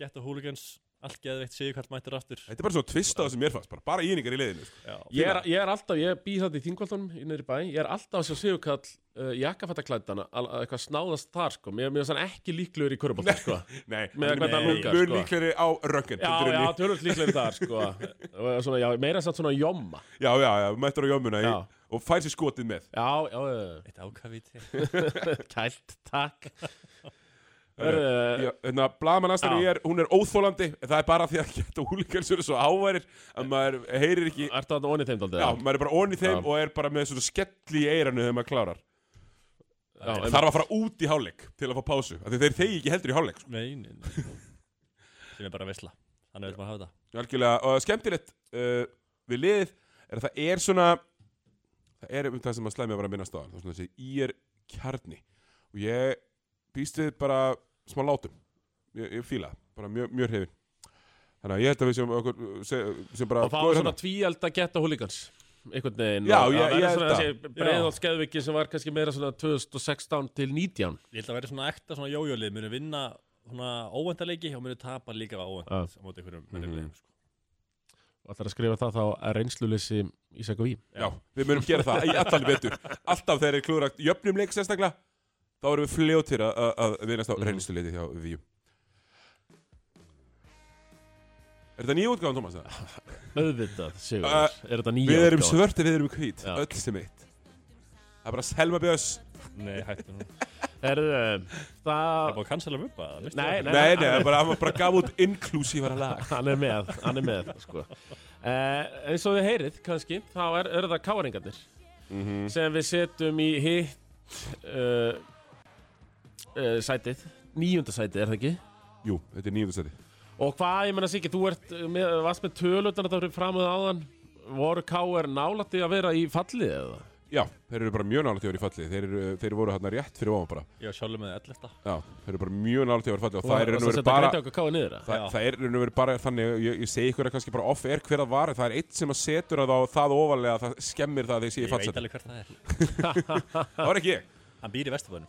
C: Getta hooligans Allt geðveitt Sigurkall mættur aftur
A: Þetta er bara svona tvist á það sem mér fannst, bara, bara íningar í leiðinu sko.
C: Já,
B: Ég er, ég er alltaf, ég býð þetta í þingvaldunum í neyri bæ, ég er alltaf að sjá Sigurkall uh, jakkafættaklædana, eitthvað snáðast þar, sko. Mér mér finnst hann ekki líklegur í körubólta, sko.
A: Nei,
B: Með
A: hann er
B: hvernig hann
A: mun-
B: lúkar,
A: mun
B: sko.
A: líklegri á röggin
B: Já, já, tölvöld líklegur þar, sko. Og Svona, já, meira satt svona jomma.
A: já, já, já, mættur á jommuna í,
B: Já.
A: og fær sér skotið með
B: Já, já, já,
C: Eitt ákavíti
B: já. kælt, takk
A: Herru,
B: Hörru,
A: Já, hérna, Blaman Astari
B: Eh. Já.
A: er, hún er óþólandi en það er bara því að geta húlíkans eru svo áværir að maður heyrir ekki
B: ertu þarna onni þeim daldið?
A: Já, maður er bara onni þeim
B: Já.
A: og er bara með svona skelli í eiranu þegar maður klárar
B: já einmitt.
A: Þarf að fara út í hálfleik til að fá pásu af því þeir þegi ekki heldur í hálfleik sko.
C: Nei, nei, nei Sem er bara veisla Þannig vil maður hafa þetta
A: Algjörlega, og skemmtilegt uh, við liðið er að það er svona það er um það sem að slæmi að vera að minna staðan, það er svona þessi í er kjarni og ég býst við bara smá látum ég, ég fíla, það, bara mjög, mjög hrifin þannig að ég held að við sem, okkur, sem, sem bara
B: Og það var
A: góðir
B: svona
A: hérna.
B: tvíeld að geta húlíkans Einhvern veginn
A: Já,
B: og
A: ég- ég
B: það verður
A: held
B: svona
A: það.
B: þessi breiðátt skeðviki sem var kannski meira svona 2016 til 19
C: Ég held að vera svona ekta svona jójólið Munu vinna svona óvendaleiki og munu tapa líka óvend
B: Já.
C: á móti einhverjum mm sko.
B: Og ætlar að skrifa það þá að reynsluleysi Ísak og Í
A: Já, við munum gera það í allan vetur alltaf þegar þeir klúra jöfnum leik sérstaklega þá erum við fljótir að- að að vinast á mm. reynsluleiti hjá VÍ Er þetta nýja útgáðan, Tómas? eða?
B: Auðvitað, Sigur,
A: Uh,
B: er þetta nýja
A: Við erum
B: útgáfan?
A: svörti, við erum hvít,
B: Já.
A: öll sem eitt Það er bara Selma Björns
C: Nei, hættu nú Það
B: Herðu,
C: er
B: uh, það
C: búið að cancela muppa það, veistu
B: Nei,
C: það?
A: Nei, nei, það er bara, hann var bara gaf út inklúsífara lag
B: hann er með, hann er með sko. eh, eins og þið heyrið kannski, þá er, eru það káringarnir
A: Mhm.
B: sem við setjum í hitt uh, uh, sætið, níunda sætið er það ekki
A: Jú, þetta er nýjöndu seti
B: og hvað, ég menna Siggi, þú ert með, varst með tölutan að það fyrir framuð áðan voru káir nálætti að vera í fallið eða?
A: Já, þeir eru bara mjög nálægt í að vera í falli Þeir, eru, þeir voru hérna rétt fyrir ofan bara
C: Ég var sjálfur með 11
A: Já, þeir eru bara mjög nálægt í að vera í falli Og það er
B: Varstu
A: raun og
B: að
A: verið
B: setja
A: bara
B: Grindavík og KR niður, eða?
A: Það,
C: Já.
A: það er raun og verið bara þannig Ég, ég segi ykkur að kannski bara off er hver að var en Það er eitt sem að setur það á það ofalega Það skemmir það að þeir séu í
C: Ég veit
A: fallseti
C: alveg hver það er
A: Það var ekki ég
C: Hann býr í Vesturbænum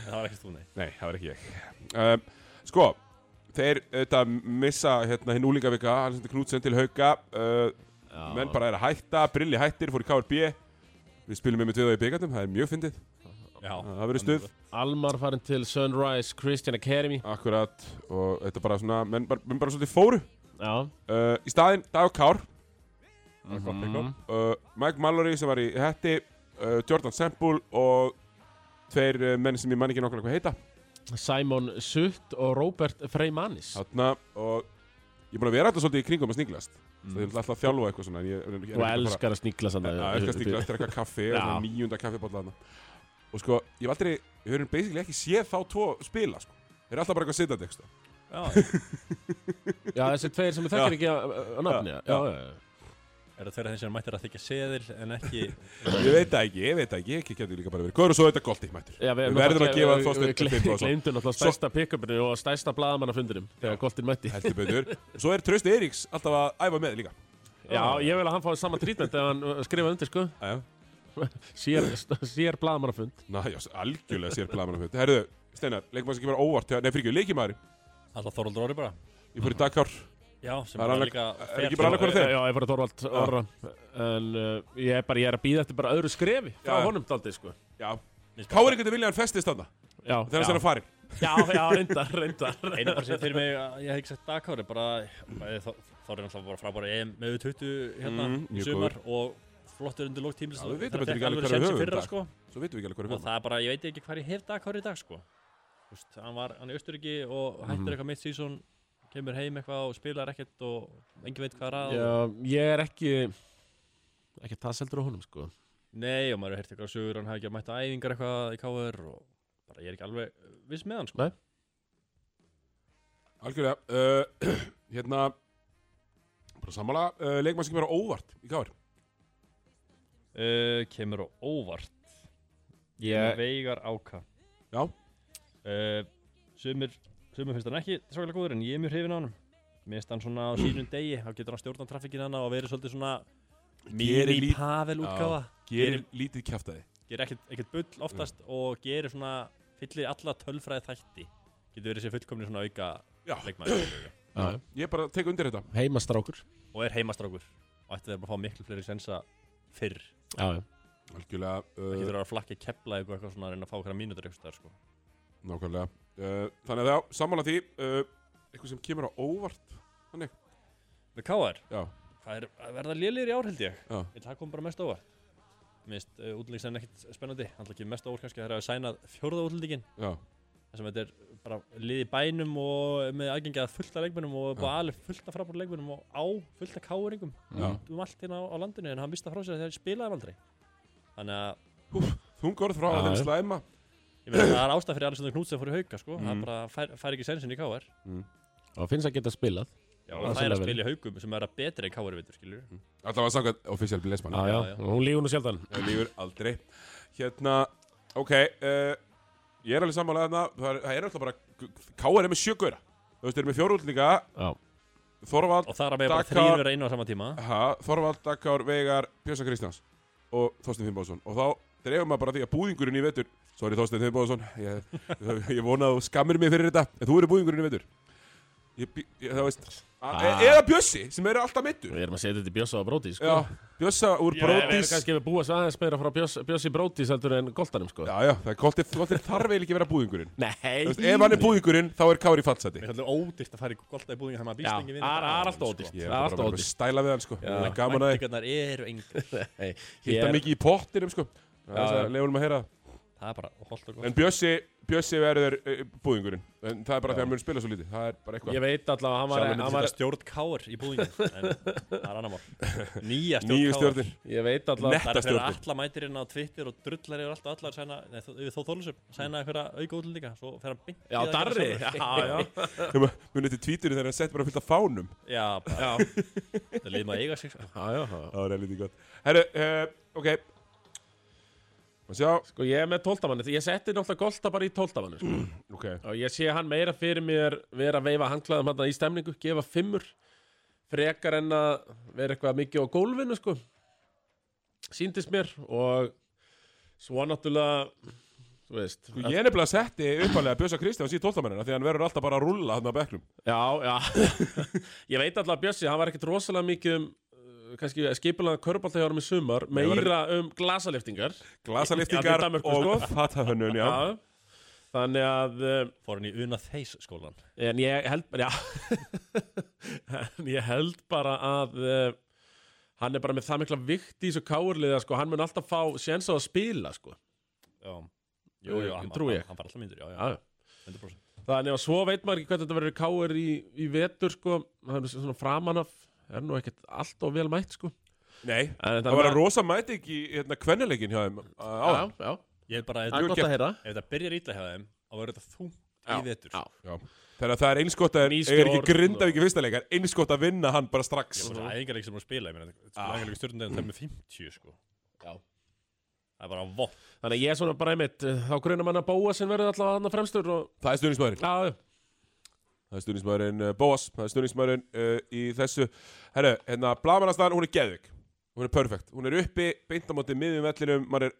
C: Það var ekki stúni
A: Nei, það var ekki ég. Um, sko, þeir auðvitað missa hérna hinn úlingavika, Alexander Knútsen til hauka, uh,
B: Já.
A: menn bara er að hætta, Brilli hættir, fór í KRB, við spilum með með tveið á í byggandum, það er mjög fyndið,
C: Já,
A: það verður stuð,
B: Almar farin til Sunrise Christian Academy
A: akkurat, og þetta bara svona, menn bara, menn bara svolítið fóru.
B: Já,
A: Uh, í staðinn, Dag Kár,
C: Það er gott pick-up.
A: uh, Mike Mallory sem var í hætti, uh, Jordan Semple og tveir uh, menn sem ég man ekki nokkulega hvað heita,
B: Simon Sutt og Robert Freymanis
A: þarna, og ég er búin að vera þetta svolítið í kringum að sniglast. Mm. Það er alltaf að þjálfa eitthvað svona en ég, en ég
B: Þú elskar að eh, sníkla sann
A: Já, ég skal stíkla eftir eitthvað kaffi
B: Já.
A: og nýjunda kaffibólla þarna og sko, ég hef aldrei, við höfum basically ekki séð þá tvo spila, sko þeir eru alltaf bara eitthvað sko. sittandi, ekki
C: Já,
B: Já, þessi tveir sem við þekkir ekki að- að að nafni já,
A: Já.
B: já, já.
C: er það þeirra þeim sem mættir að þykja seðil en ekki
A: ég veit það ekki, ég veit það ekki, ekki getur líka bara verið hvað eru svo þetta goldi, mættur
B: Já,
A: við verðum að gefa
B: við-
A: Þorsteinn til
B: Við gle-
A: Finnbóðsson
B: gleymdum náttúrulega
A: Svo-
B: stærsta pick-upinu og stærsta blaðamannafundurum þegar Goltin mætti
A: heldur betur, svo er Trausti Eiríks alltaf að æfa með líka
B: Já, ég vil að hann fái sama trítment ef hann uh, skrifaði undir, sko
A: Æja.
B: Sér, sér blaðamannafund
A: Ná, já, algjörlega sér plaman af þetta herruðu, Steinar, leikmaður sem kemur á óvart hjá- nei, fyrir ekki, leikimæður,
C: alltaf Þorvaldur Orri bara
A: ég
B: Mhm.
A: fór í dagkár
C: Já, sem
A: Það er
C: bara
A: annað-
C: líka
A: er
C: fer
A: ekki bara
C: til-
A: annað hvort- Hvor er þeir?
B: Já, ég var að Þorvald orra En uh, ég er bara, ég er að býða eftir bara öðru skrefi frá
A: Já.
B: honum daldið, sko
A: já,
C: Mér finnst bara-
A: Kári getur viljaðan festist þarna
B: Já,
A: þegar hann er
B: já,
A: farin
B: já, já, reyndar, reyndar
C: Einu bara sem fyrir mig, að ég hef ekki sett Dakar er bara, bæði Þor- Þorri er alltaf bara frábæra EM með 20 hérna
A: Mhm,
C: í
A: mjög
C: sumar og flottur undir lók tímils
A: Já, við vitum
C: Þegar
A: þetta ekki alveg
C: fekk alveg
A: hverju
C: séns í
A: höfum
C: fyrra,
A: Dag.
C: sko.
A: svo vitum við ekki alveg hvað er
C: og það er bara, ég veit ekki hvað ég hef Dakar í dag sko Úst, hann var hann í Östuríki og
A: Mhm.
C: hættir eitthvað mitt sísón kemur heim eitthvað og spilar ekkert og engin veit hvað er að
B: Já, ég er ekki ekki tasseldur á honum sko
C: Nei, og maður hefði eitthvað sögur, hann hefði ekki að mæta æfingar eitthvað í KR og bara ég er ekki alveg uh, viss með hann sko.
B: Nei.
A: Algjörlega, uh, hérna bara sammála, uh, leikmann sem kemur á óvart í káir.
C: Uh, kemur á óvart, yeah. veigar áka.
A: Já.
C: Uh, sumir, sumir finnst hann ekki svakalega góður en ég er mjög hrifin á hann. Mér finnst hann svona á sínum degi, þá getur hann stjórnað trafikkinn hann og verið svolítið svona
A: Gerir
C: mini
A: lít-
C: Pavel útgáfa.
A: Gerir lítið kjaftaði.
C: Gerir ekkert, ekkert
A: Mm.
C: bull oftast og gerir svona, fyllir alla tölfræði þætti. Getur verið sér fullkomni svona auka
A: Já.
C: leikmæður
B: Já.
A: Ég bara tek undir þetta.
B: Heimastrákur
C: og er heimastrákur og ætti þeir bara að fá miklu fleiri sensa fyrr.
B: Já, já
A: Algjörlega,
C: Það
A: uh,
C: getur að flakka kepla eitthvað, eitthvað svona að reyna að fá okkar mínútur eitthvað þar sko.
A: nákvæmlega. Uh, þannig að já, sammála því, uh, eitthvað sem kemur á óvart.
C: Með KR,
A: Já,
C: hvað er að verða lélir í ár held ég
A: Já.
C: Ég- það kom bara mest óvart minnst uh, útlýsinn ekkit spennandi hann ekki mest óvart kannski að það er að sænað fjórða útlýtingin
A: já,
C: þar sem þetta er bara lið í bænum og með aðgengi að fullta leikmennum og bara alveg fullta frábúr leikmennum og á fullta káuringum
A: já.
C: um allt hérna á, á landinu en hann mista frá sér þegar ég spilaði hann aldrei þannig að
A: Þungorð frá
B: Já,
A: að þeim
B: já.
A: slæma
C: Ég meina það er ástæð fyrir Alessandr Knútsen fór í hauka sko, hann
A: Mhm.
C: bara fær, fær ekki sensin í káar
B: og finnst að geta spilað
C: Já,
B: það
C: það er
B: sem
C: að
B: level.
C: spila í haukum sem er að betra í káar vitur, skilur
A: Alltaf að sanga official blessmann
B: já, já,
C: já.
B: og hún lígur nú sjaldan
A: Það lífur aldrei Hérna, ok uh, Ég er alveg sammála þarna Það er, það er alltaf bara Káar er með sjögura Þú veist, þeir eru með fjórúldninga
B: já,
A: Þorvald,
C: og það er að með bara
A: Dakar. Ah,
C: þrýr vera einu á sama tíma
A: ha, Þorvald, Dakar, Veigar, Björsa Kristjáns Og Þorstein Finnbóðsson Og þá dreifum maður bara því að búðingurinn í vetur Sorry Þorstein Finnbóðsson Ég, ég vona að þú skammir mig fyrir þetta En þú eru búðingurinn í vetur Ég, bý- ég, það veist ah.
B: Ah.
A: Eða Bjössi, sem eru alltaf mittur
B: við erum að setja þetta í Bjössa og Brótis sko.
A: Já, Bjössa úr
C: Já,
B: við erum
A: Brótis
B: kannski að búa svo aðeins meira frá Bjöss- Bjössi Brótis heldur en Goltanum sko.
A: Já, já, það er koltir, koltir þarf eiginlega ekki að vera búðingurinn
B: nei,
A: Þú veist, ef hann er búðingurinn, þá er Kári fallseti
C: Mér er alltaf ódýrt að fara í golda í búðinga þegar maður býst
B: Já,
C: engin
B: það er- það er allt ódýrt.
A: Ég er
B: Það er
A: bara
B: alltaf
A: bara
B: ódýrt.
A: að stæla við hann sko Það er gaman að
C: Mæntingarnar sko. eru engar
B: Nei,
A: hitta
B: ég er-
A: mikið í pottinum sko Það er
B: Já,
A: þess
B: já.
A: að leifunum að heyra
C: Það er bara holdt og
A: það.
C: gott
A: En Bjössi, Bjössi verður eh, búðingurinn En það er bara þegar hann mun spila svo lítið Það er bara eitthvað
B: ég veit alltaf að hann var,
C: Sjálfur
B: hann
C: myndi
B: var
C: setja stjórn káar í búðinga en það er annar mál Nýja stjórn
A: Nýju
C: káar
A: stjórnir
B: ég veit alltaf
A: Netta
C: Það er þegar
A: stjórnin.
C: alla mætir inn á Twitter og drullar yfir alltaf allar sæna, nei, þó, yfir þó þólusum, sæna einhverja auka útlendinga, svo fer hann beint í
B: já,
C: það að gera
B: Darri
C: sjálfur.
B: já, já,
A: Mun eftir tvíturinn þegar hann sett bara fullt af fánum
C: Já, bara,
B: já,
C: það leiði maður að eiga sig sko.
B: já, já, já.
A: Það er lítið gott Herru, eh, ok Má sjá
B: Sko ég er með tóltamanni, ég setti náttúrulega Golda bara í tóltamanni sko.
A: Ok
B: og ég sé hann meira fyrir mér vera að veifa hanglaðum hann í stemningu, gefa fimmur frekar en að vera eitthvað mikið á gólfinu sko síndist mér og svo náttúrulega þú veist
A: Sko, Ég nefnilega setti uppalega Bjössa Kristjáns í tóltamennina Því hann verður alltaf bara að rulla hann á bekknum
B: Já, já Ég veit alltaf að Bjössi, hann var ekkit rosalega mikið um uh, kannski skipulaðan körbálta hjá hann í sumar meira um glasaliftingar Já,
A: Glasaliftingar
B: til Danmörku,
A: og
B: sko.
A: fatahönnun, já
B: Þannig að uh,
C: Fór hann í Una Theis skólan
B: en ég held bara en ég held bara að uh, hann er bara með það mikla vikt í þessu káurliða sko, hann mun alltaf fá séns á að spila sko.
C: Já Jú, jú, hann,
B: Trúi ég.
C: hann, hann var alltaf myndur, já, já,
B: Já, já
C: 100%
B: Þannig að svo veit maður ekki hvað þetta verður káir í, í vetur sko, hann er svona framan af er nú ekkert allt og vel mætt sko
A: Nei,
B: En
A: það var að rosa mæti ekki hérna kvennileikin hjá þeim á
B: Já, já,
C: Ég er bara,
B: það er
C: ef,
A: Jú,
B: gott
A: gef-
B: að heyra
C: ef þetta byrjar ítla hjá þeim þá verður þetta þungt í
B: Já,
C: vetur
B: já.
A: Já. Þannig að það er einskott að
B: Ný
A: ég er ekki
B: stjórn
A: grinda
B: og-
A: ekki fyrsta leikar einskott að vinna hann bara strax
C: Ég var svo æðingarleik sem er sko að spila, ég meina
A: Ah.
C: Æðingarleik stjórnundeginn þeim með 50, sko
B: Já.
C: Það er bara vott
B: Þannig að ég er svona bara einmitt, uh, þá grunar mann að bóa sem verður alltaf annað fremstur og...
A: Það er stuðningsmæðurinn
B: Já,
A: Það er stuðningsmæðurinn uh, Bóas Það er stuðningsmæðurinn uh, í þessu Herru, hérna Blamanastan, hún er geðvik Hún er perfekt Hún er uppi, beint á móti miðjum vellinum Maður er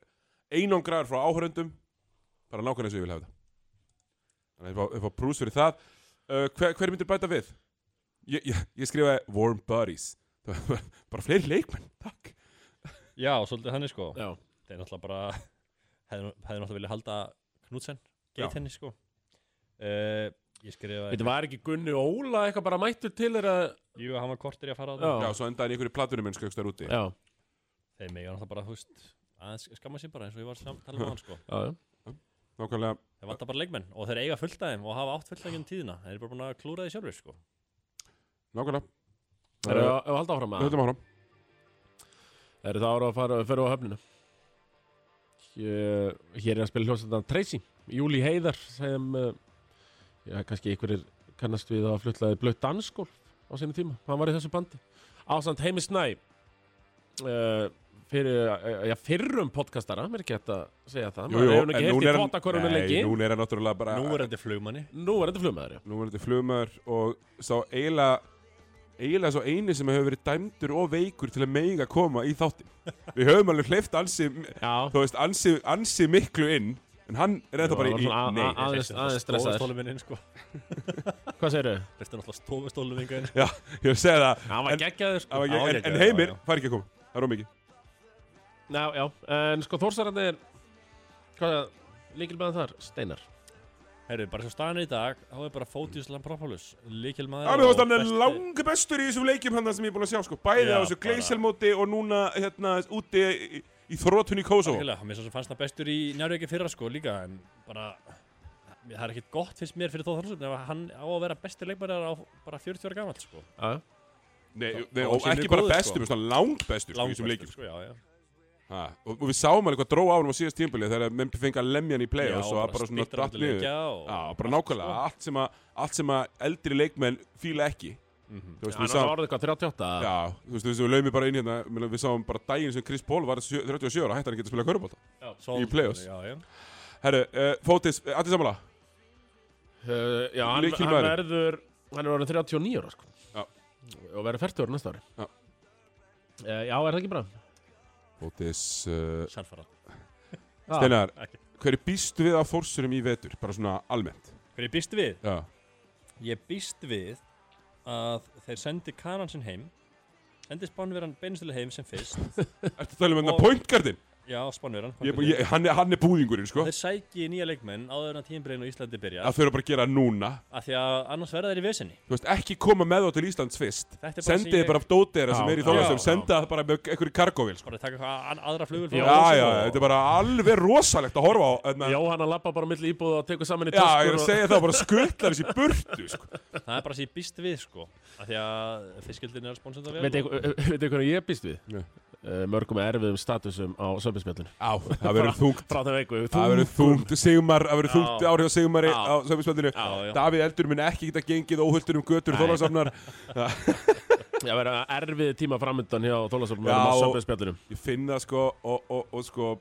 A: einangraður frá áhöröndum Bara nákvæmlega eins og ég vil hafa þetta Þannig að ég fá prús fyrir það uh, hver, hver myndir bæta við? Ég, ég, ég skrifaði Warm Buddies Bara fleiri leikmenn, takk
C: Já, svolítið þannig, sko
B: já,
C: Það er náttúrulega bara Hefði hefði náttúrulega vilja halda Knudsen Geit henni, sko uh, Ég skrifaði
B: Þetta var ekki Gunni Óla eitthvað bara mættur til þeirra
C: Jú, hann var kortir í að fara á
B: Já.
C: það
A: Já, svo endaði einhverju platunum minn skökstar úti
B: Já,
C: Þeir mega náttúrulega bara, þú veist aðeins skamma sér bara eins og ég var að tala um á hann, sko
B: já, já
A: Nákvæmlega
C: Þeir vantar bara leikmenn og þeir eiga fullt af þeim og hafa átt fullt af þeim um tíðina. Þeir eru bara búin að klúra því sjálfur, sko.
A: Nákvæmlega Eh,
B: Það eru að halda áfram að
A: Höldum áfram
B: Það eru það ára að fara, fyrir á höfnina Hér, hér er að spila hljóðstændan Tracy, Júli Heiðar sem, uh, já, kannski einhverjir kannast við að flutlaði blött dansgólf á sinni tíma, hann var í þessu bandi Ásand Heimi Snæ uh, fyrir, uh, já, fyrrum podcastara, mér er ekki hægt að segja
A: Jú,
B: það maður
A: jú,
B: hefur nú ekki heyrt í pottakorfinu lengi
A: Nei, nú er hann náttúrulega bara
C: Nú er þetta flugmanni.
B: Nú er þetta flugmaður, já.
A: Nú er þetta flugmaður og sá eiginlega eiginlega svo eini sem hefur verið dæmdur og veikur til að mega koma í þáttin Við höfum alveg hleyft ansi
B: Já,
A: þú veist, ansi, ansi miklu inn en hann er
B: Jú,
A: þetta bara
B: hann
A: í
B: var svona að-
A: nei
B: Aðeins- aðeins stressaður.
C: Stóluminn inn, sko.
B: hvað segirðu?
C: Þetta er náttúrulega stofustólum inn.
A: Já, ég hef segið það
B: Hann
A: En-
B: var geggjaður,
A: Það
B: sko.
A: var ekki-
C: Já,
A: en,
C: já,
A: en
C: já,
A: heimir
C: já.
A: fær ekki að koma, það er ómikið
B: Já, já, en sko Þórsarandi er, hvað er, líkil með þar? Steinar.
C: Herru, bara svo staðan er í dag, þá er bara Fótius Lampropoulos, líkilmaður
A: Mér
C: og
A: fannst hann
C: besti-
A: langbestur í þessum leikjum hann sem ég er búin að sjá sko Bæði
C: Já,
A: á þessu
C: bara-
A: gleiselmóti og núna hérna úti í, í þrótun í Kosovo
C: Algjörlega, mér svo sem fannst það bestur í njárveiki fyrra sko líka en bara það er ekkert gott finnst mér fyrir þó þarfsöfn ef hann á að vera bestur leikmæri á bara 40 ára gamall sko
B: Já,
A: Nei,
C: Þá-
A: nei
C: þá
A: og
C: var hann
A: ekki
C: sýnir
A: bara
C: góður,
A: bestur, sko. langbestur sko, í þessum leikjum
C: Langbestur, sko, já, já.
A: ha, og, og við sáum alveg hvað dró á hann á síðast tímpili þegar að menn fengi að lemja hann í play
C: Já,
A: og svo
C: bara
A: að bara svona
C: styttra á
A: datt
C: milli
A: niður
C: leikja
A: Já,
C: og- sko.
A: bara nákvæmlega, allt sem, að, allt sem að eldri leikmenn fíla ekki
C: Mhm.
A: Þú veist,
B: hann
A: við
B: var
A: sáum
B: orðið eitthvað 38
A: Já, þú veist, við laumum bara inn hérna ég meina, Við sáum bara daginn sem Chris Paul var 7- 37 ára hætti hann að geta að spila körubólta
C: Sol-
A: Í playoffs.
C: Já, já
A: Herru, uh, Fótis, uh, allir samanlega
B: Uh, já, hann, hann
A: Lykilmaðurinn.
B: verður hann er orðin 39 ára sko.
A: Já.
B: og verður 40 ára næsta ári
A: Já.
B: Eh, já, er það ekki bara?
A: Fótis, uh,
C: Sannfara
B: Já.
A: Steinar,
C: Ah, ekki.
A: hverju býstu við að forsurum í vetur? Bara svona almennt
C: Hver ég býst við?
A: Já,
C: Ég býst við að þeir sendi kanan sinn heim sendi spánverjan beinustilega heim sem fyrst
A: ertu að tala um hérna
C: Og-
A: pointgardin?
C: já, spánverjan
A: Ég, ég, hann, er- hann er búðingurinn, sko
C: þeir sæki nýja leikmenn áður en að tímbreinu á Íslandi byrja
A: Það þurfa bara að gera núna
C: af því að annars verða þeir í vesenni
A: Þú veist, ekki koma með þá til Íslands fyrst
C: Þetta er bara sem
A: Sendið
C: ég-
A: bara af dótera sem
B: Já,
A: er í
B: já,
A: þólastum
C: já.
A: Senda það bara með einhverju kargóvil, sko
C: bara taka eitthvað an- aðra flugul
A: Já,
B: Já,
A: já, já,
B: já.
A: þetta er bara alveg rosalegt að horfa á hérna.
B: Jóhanna lappa bara milli íbúða og tekur saman í
A: Já, ég er
B: töskur
A: að
B: og-
A: segja það bara skuttlar þessi burtu, sko
C: Það er bara sem ég býst við sko af Því að fiskildin er að sponsa þetta vel
B: Veit eitthvað hvernig ég býst við?
A: Nei.
B: Uh, mörgum erfiðum statusum á sömbispjallinu
A: Á, það verður þungt
B: Frá þeim veiku
A: Það verður þungt, Sigmar, það verður þungt
C: Já.
A: áhrif á Sigmari
B: Já.
A: á sömjusveldinu
C: Já, já.
A: Davíð Eldur mun ekki geta gengið óhulltur um götur
B: Nei.
A: þólasafnar
B: Já, verður erfið tíma framöndan hjá Þólasólum
A: Já,
B: á
A: og-
B: sömbispjallinu
A: Ég finn það sko og, og, og sko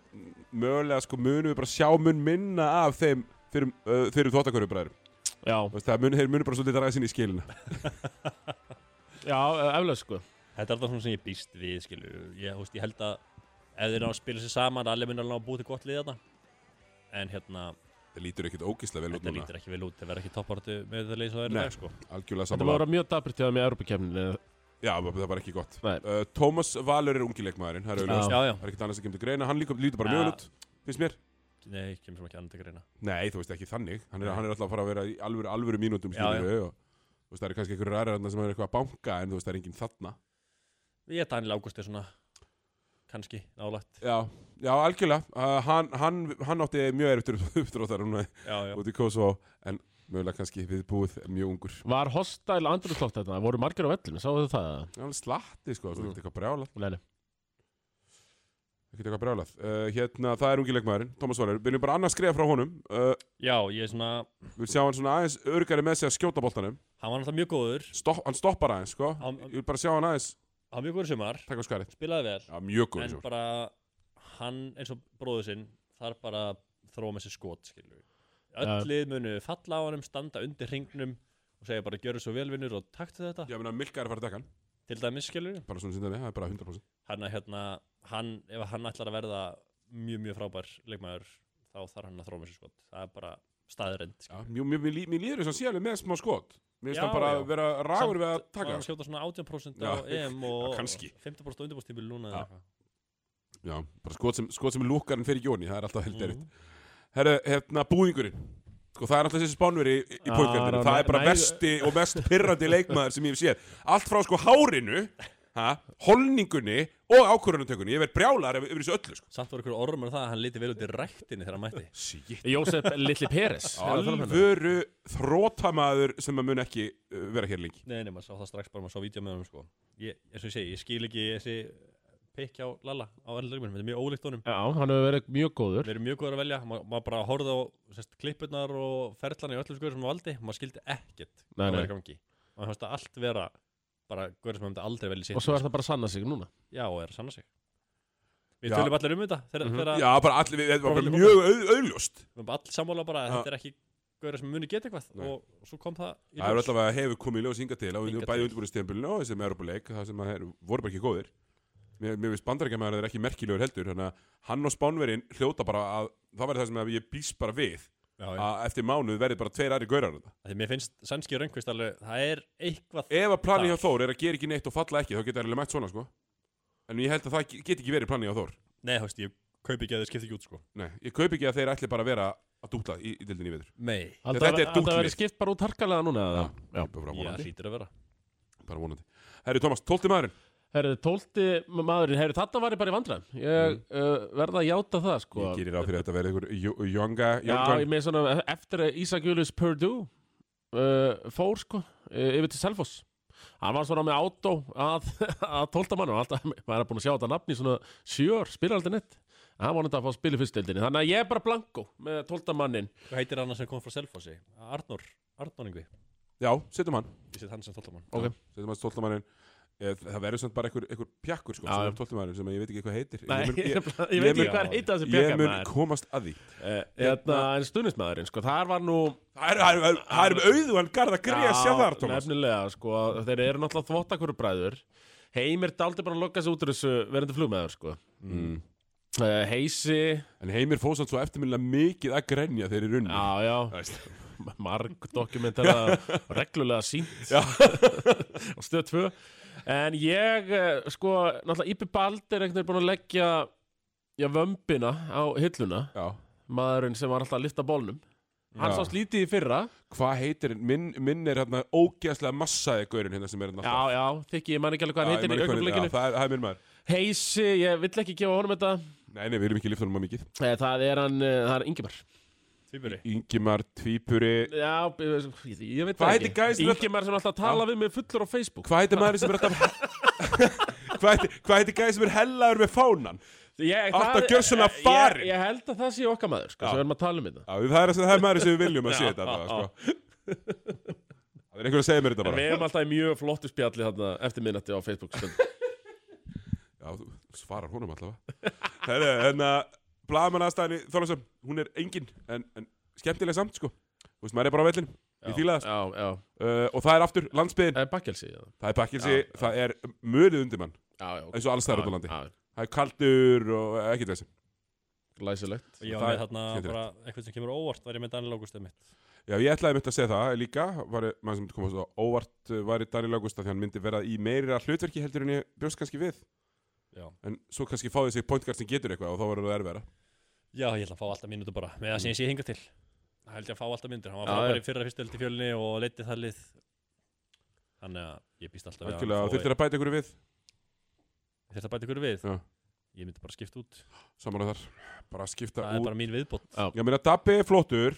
A: mögulega sko munum við bara sjá mun minna af þeim fyrir, uh, fyrir þvottakörfubræður
B: Já,
A: Það mun, þeir munum bara svolítið ræða sinni í skilina
B: já, eh, eflaust sko
C: Þetta er alltaf svona sem ég býst við skilu Ég, húst, ég held að ef þeir ná að spila sér saman allir minna alveg að búið til gott lið þetta En hérna,
A: Það lítur ekkit ógislega vel út
C: þetta
A: núna
C: lítur ekki vel út Það verður ekki toppartu með þetta leið sem það er í
A: Nei.
C: dag sko
A: Algjörlega
B: Þetta var
A: samanlega
B: að mjög dabritt hjá þeim í Europakefninu
A: Já, það var ekki gott
B: Nei.
A: uh, Tómas Valur er ungileikmaðurinn Það er auðvitað
C: Já, já,
A: Það er ekkit annað sem kemur til greina Hann líka lítur bara
C: Já.
A: mjög vel út Finnst mér
C: nei, kemur sem ekki annað til greina
A: Nei, þú veist ekki þannig Hann er,
C: Nei.
A: hann er alltaf að fara að vera í alvöru, alvöru mínútum
C: Já, já.
A: skilurðu, og, Þú veist, það er kannski einhverju ræðir þarna sem er eitthvað að banka En þú veist, það er enginn þarna
C: Ég er Daniel Ágúst er svona kannski nálægt
A: Já, já algjörlega uh, hann, hann, hann átti mjög erftur uppdróttar núna
C: Já, já,
A: út í Kosovo en mögulega kannski við búið mjög ungur
B: Var hostæl andrúrslótt þetta? Voru margir á vellinu, sáu þau það?
A: hann slatti sko, það er
B: Mm.
A: ekkert eitthvað brjálað
B: Nei, nei.
A: ekkert eitthvað brjálað uh, hérna, það er ungi leikmaðurinn, Tómas Valur viljum bara annars skrifa frá honum uh,
C: já, ég er svona
A: við sjá hann svona aðeins örgari með sig að skjóta boltanum
C: Hann var náttúrulega mjög góður
A: Stopp, hann stoppar aðeins sko
C: Hann-
A: ég vil bara sjá hann aðeins,
C: Hann var mjög góður í sumar,
A: takk á skarið
C: spilaði vel
A: já, mjög góð
C: en
A: svo
C: bara hann eins og bróður sinn þarf bara að þróa með sér skot skilur við
B: Já.
C: öll lið munu falla á hannum standa undir hringnum og segja bara gjörðu svo velvinnur og taktu þetta
A: ég meina, Milka er að fara að dekka hann
C: til dæmis skilur við
A: bara svona síndaði, það er bara 100%
C: hann að hérna hann ef hann ætlar að verða mjög mjög frábær leikmaður þá þarf hann að þróa með sér skot það er bara staðrend
A: já, mjög, mjög, mér, lí- mér líður þess að sé alveg með smá skot mér finnst
C: Já,
A: hann bara
C: já.
A: vera ragur við að taka
C: hann skjóta svona 18% á
A: Já,
C: EM og
A: kannski.
C: 15% á undirbúrstímil núna
A: Já.
C: eða eitthvað.
A: já, bara skot sem, skot sem lúkarinn fyrir Jóni það er alltaf held
C: Mhm.
A: Herru, hérna búðingurinn Sko það er alltaf þessi spánveri í, í
B: Ah,
A: pointgardinu
B: ná-
A: Það er bara
B: næ-
A: besti og mest pyrrandi leikmaður sem ég hef séð Allt frá sko hárinu ha, Holningunni og ákvörunatökunni Ég verð brjálar yfir yfir þessu öllu sko.
C: samt voru ykkur ormur um það að hann liti vel út í ræktinni þegar hann mætti
A: Shit.
B: Jósef Lilli Peres
A: um hérna? Alvöru þrótamaður sem að mun ekki uh, vera hér lengi
C: Nei, nei, maður sá það strax bara, maður sá vídeo með honum sko ég, eins og ég segi, ég skil ekki þessi pikk hjá Lalla á erlendarleikmennum, þetta er mjög ólíkt honum
B: Já, hann hefur verið mjög góður
C: Við erum mjög góður að velja, Ma, maður bara horfði á sest, klippurnar og ferðlana í öllum skoður sem maður valdi maður skildi ekkert
B: Nei,
C: hvað
B: nei.
C: var í gangi maður fannst að allt vera bara góður sem maður myndi aldrei velja sér
B: Og svo er það bara að sanna sig núna
C: Já, og er að sanna sig Við
A: Já.
C: tölum allir um þetta þegar,
B: Mhm.
C: þegar
A: Já, bara allir, við- þetta var bara
C: Profil-
A: mjög auð, auðljóst
C: við erum all sammála bara að
A: Já.
C: þetta er ekki góður sem muni geta eitthvað
A: Nei.
C: og, og svo kom það í
A: Það er
C: ljós.
A: alltaf að hefur komið í ljós hinga til á
C: Hingað
A: bæði
C: til.
A: undirbúinstempilinu og þessum Europuleik það sem að þeir voru bara ekki góðir Mér, mér finnst bandarækjamaður er ekki merkilegur heldur þannig að hann og Spánverin hljóta bara að það verður það sem að ég býst bara við
C: Já, já.
A: að eftir mánuð verði bara tveir aðri gaurar þarna.
C: Af Því mér finnst sænski röngvist alveg, það er eitthvað
A: Ef að planið
C: Þar.
A: hjá Þór er að gera ekki neitt og falla ekki þá geta það alveg mætt svona sko en ég held að það ge- geti ekki verið planið hjá Þór
C: Nei, þú veist, ég kaupi ekki að þeir skipti ekki út sko
A: Nei, ég kaup ekki að þeir ætli bara að vera að dútla í, í dildinni í viður.
C: Nei
B: Alltaf
A: Þetta er dútlið.
B: verið skipt bara út harkalega núna eða?
A: Já, bara
C: Já,
A: vonandi.
C: hlýtir að vera
A: Bara vonandi. Herri Tómas, tólti maðurinn.
B: Herðu, tólti maðurinn, herðu, þarna var ég bara í vandræðum. Ég uh, verða að játa það, sko.
A: Mm. Ég gerir á fyrir að þetta verði einhver Jónga,
B: Já, ég
A: Jóngan.
B: með svona, eftir að Ísak Július Purdue uh, fór, sko, uh, yfir til Selfoss. Hann var svona með átó að, að tólta mannum. Alltaf, maður er búin að sjá þetta nafn í svona sjör, spila aldrei neitt. En Hann var náttúrulega að fá að spila í fyrstildinni. Þannig að ég er bara blanko með tólta mannin.
C: Hvað heitir hann sem kom frá Selfossi? Arnór Arnór Ingvi
A: Já, setjum hann.
C: Ég set hann sem þóttamann
B: Ok.
A: Setjum hann tólti maðurinn. Eh, Það verður samt bara einhver, einhver pjakkur sko,
B: Já, já.
A: sem tólti maðurinn sem ég veit ekki hvað heitir.
B: Nei,
A: ég, mun,
B: ég,
A: ég,
B: ég veit ekki
A: mun-
B: hvað er heita þessi
A: ég
B: bjökk
A: mun komast að því.
B: Hérna, en stuðnismæðurinn, sko, þar var nú
A: Það er- það er- það er um auðu hann garð að greið að sjá þar, Tómas.
B: Nefnilega, sko, þeir eru náttúrulega þvottakvöru bræður Heimir daldi bara að lokka sig út úr þessu verandi flugmaður, sko
A: Mm.
B: uh, Heisi,
A: En Heimir Fósan svo eftirminnilega mikið að grenja þeir eru unni.
B: já, já, marg dokumentara reglulega sínt
A: Já.
B: og stöð tvö En ég, eh, sko, náttúrulega Ípi Baldur einhvern veginn búin að leggja já, vömbina á hilluna
A: Já.
B: maðurinn sem var alltaf að lifta bólnum Hann
A: Já.
B: sá slítið í fyrra
A: Hvað heitir, minn, minn er hérna ógeðslega massaði gaurinn hérna sem er hérna alltaf.
B: Já, já, þykki, ég man ekki alveg hvað
A: Já, ég
B: hann heitir
A: man
B: í
A: ekki hvað
B: augnablikinu
A: Já, það er- það er minn maður.
B: Heisi, ég vill ekki gefa honum þetta
A: Nei, nei, við viljum ekki lifta honum að mikið.
B: Eh, Það er hann, eh, það er Ingimar
C: Tvíburi
A: Ingimar, Tvípuri,
B: Já, eh, ég, ég veit
A: Hvað
B: það
A: heitir gæs-
B: ekki Ingimar sem alltaf tala við mig fullur á Facebook
A: Hvað heitir maður sem er alltaf Hvað heitir, hvað heitir gæði sem er hellaður með fánan?
B: ég,
A: Alltaf
B: það-
A: gjörsamlega
B: eh,
A: farinn.
B: ég, ég held að það sé okkar maður, sko,
A: Já.
B: sem við erum að tala um þetta
A: Já, það er, það er maður sem við viljum að sé þetta allavega, sko. Það er einhver að segja mér þetta
B: En
A: bara
B: við erum alltaf í mjög flottu spjalli þarna eftir minnati á Facebook sko. stund.
A: Já, þú svarar honum allavega hérna, Herru, en að Blaðamannastæðinni Þorlásson, hún er engin en, en skemmtileg samt, sko Þú veist, maður er bara á vellin Ég fíla það, sko.
B: Já, já, Eh,
A: uh, og það er aftur landsbyðin
B: það er bakkelsi já.
A: Það er bakkilsi,
B: Já, já.
A: það er mörið undir mann
B: Já, já, ok
A: eins og alls það er út á
B: Já,
A: landi
B: já,
A: Það er kaldur og ekkert þessi
B: Glæsilegt
C: Ég
A: Það
C: var
A: er
C: með þarna
A: skemmtilegt.
C: bara eitthvað sem kemur á óvart var ég með Daniel Augustið mitt
A: Já, ég ætlaði mitt að segja það líka, var, maður sem komast á óvart uh, var í Daniel Augusta því hann myndi vera í meira hlutverki heldur en ég bjóst kannski við
C: Já
A: en svo kannski fáði sig pointgard sem getur eitthvað og þá verður það erfiðara.
C: Já, ég ætla að fá alltaf mínútu bara með það sem ég sé hinga til Það held ég að fá alltaf mínútur Hann var
B: Já,
C: frábær
B: já.
C: í fyrra fyrstu held í fjölni og leiti það lið Þannig að ég býst alltaf við
A: Algjörlega,
C: hann fái-
A: þurftir að bæta ykkur við
C: Þyrfti að bæta ykkur við
A: Já.
C: Ég myndi bara skipta út
A: saman á þar, bara að skipta
C: Það er
A: út
C: bara mín viðbót
A: Já, minna Dabbi er flottur,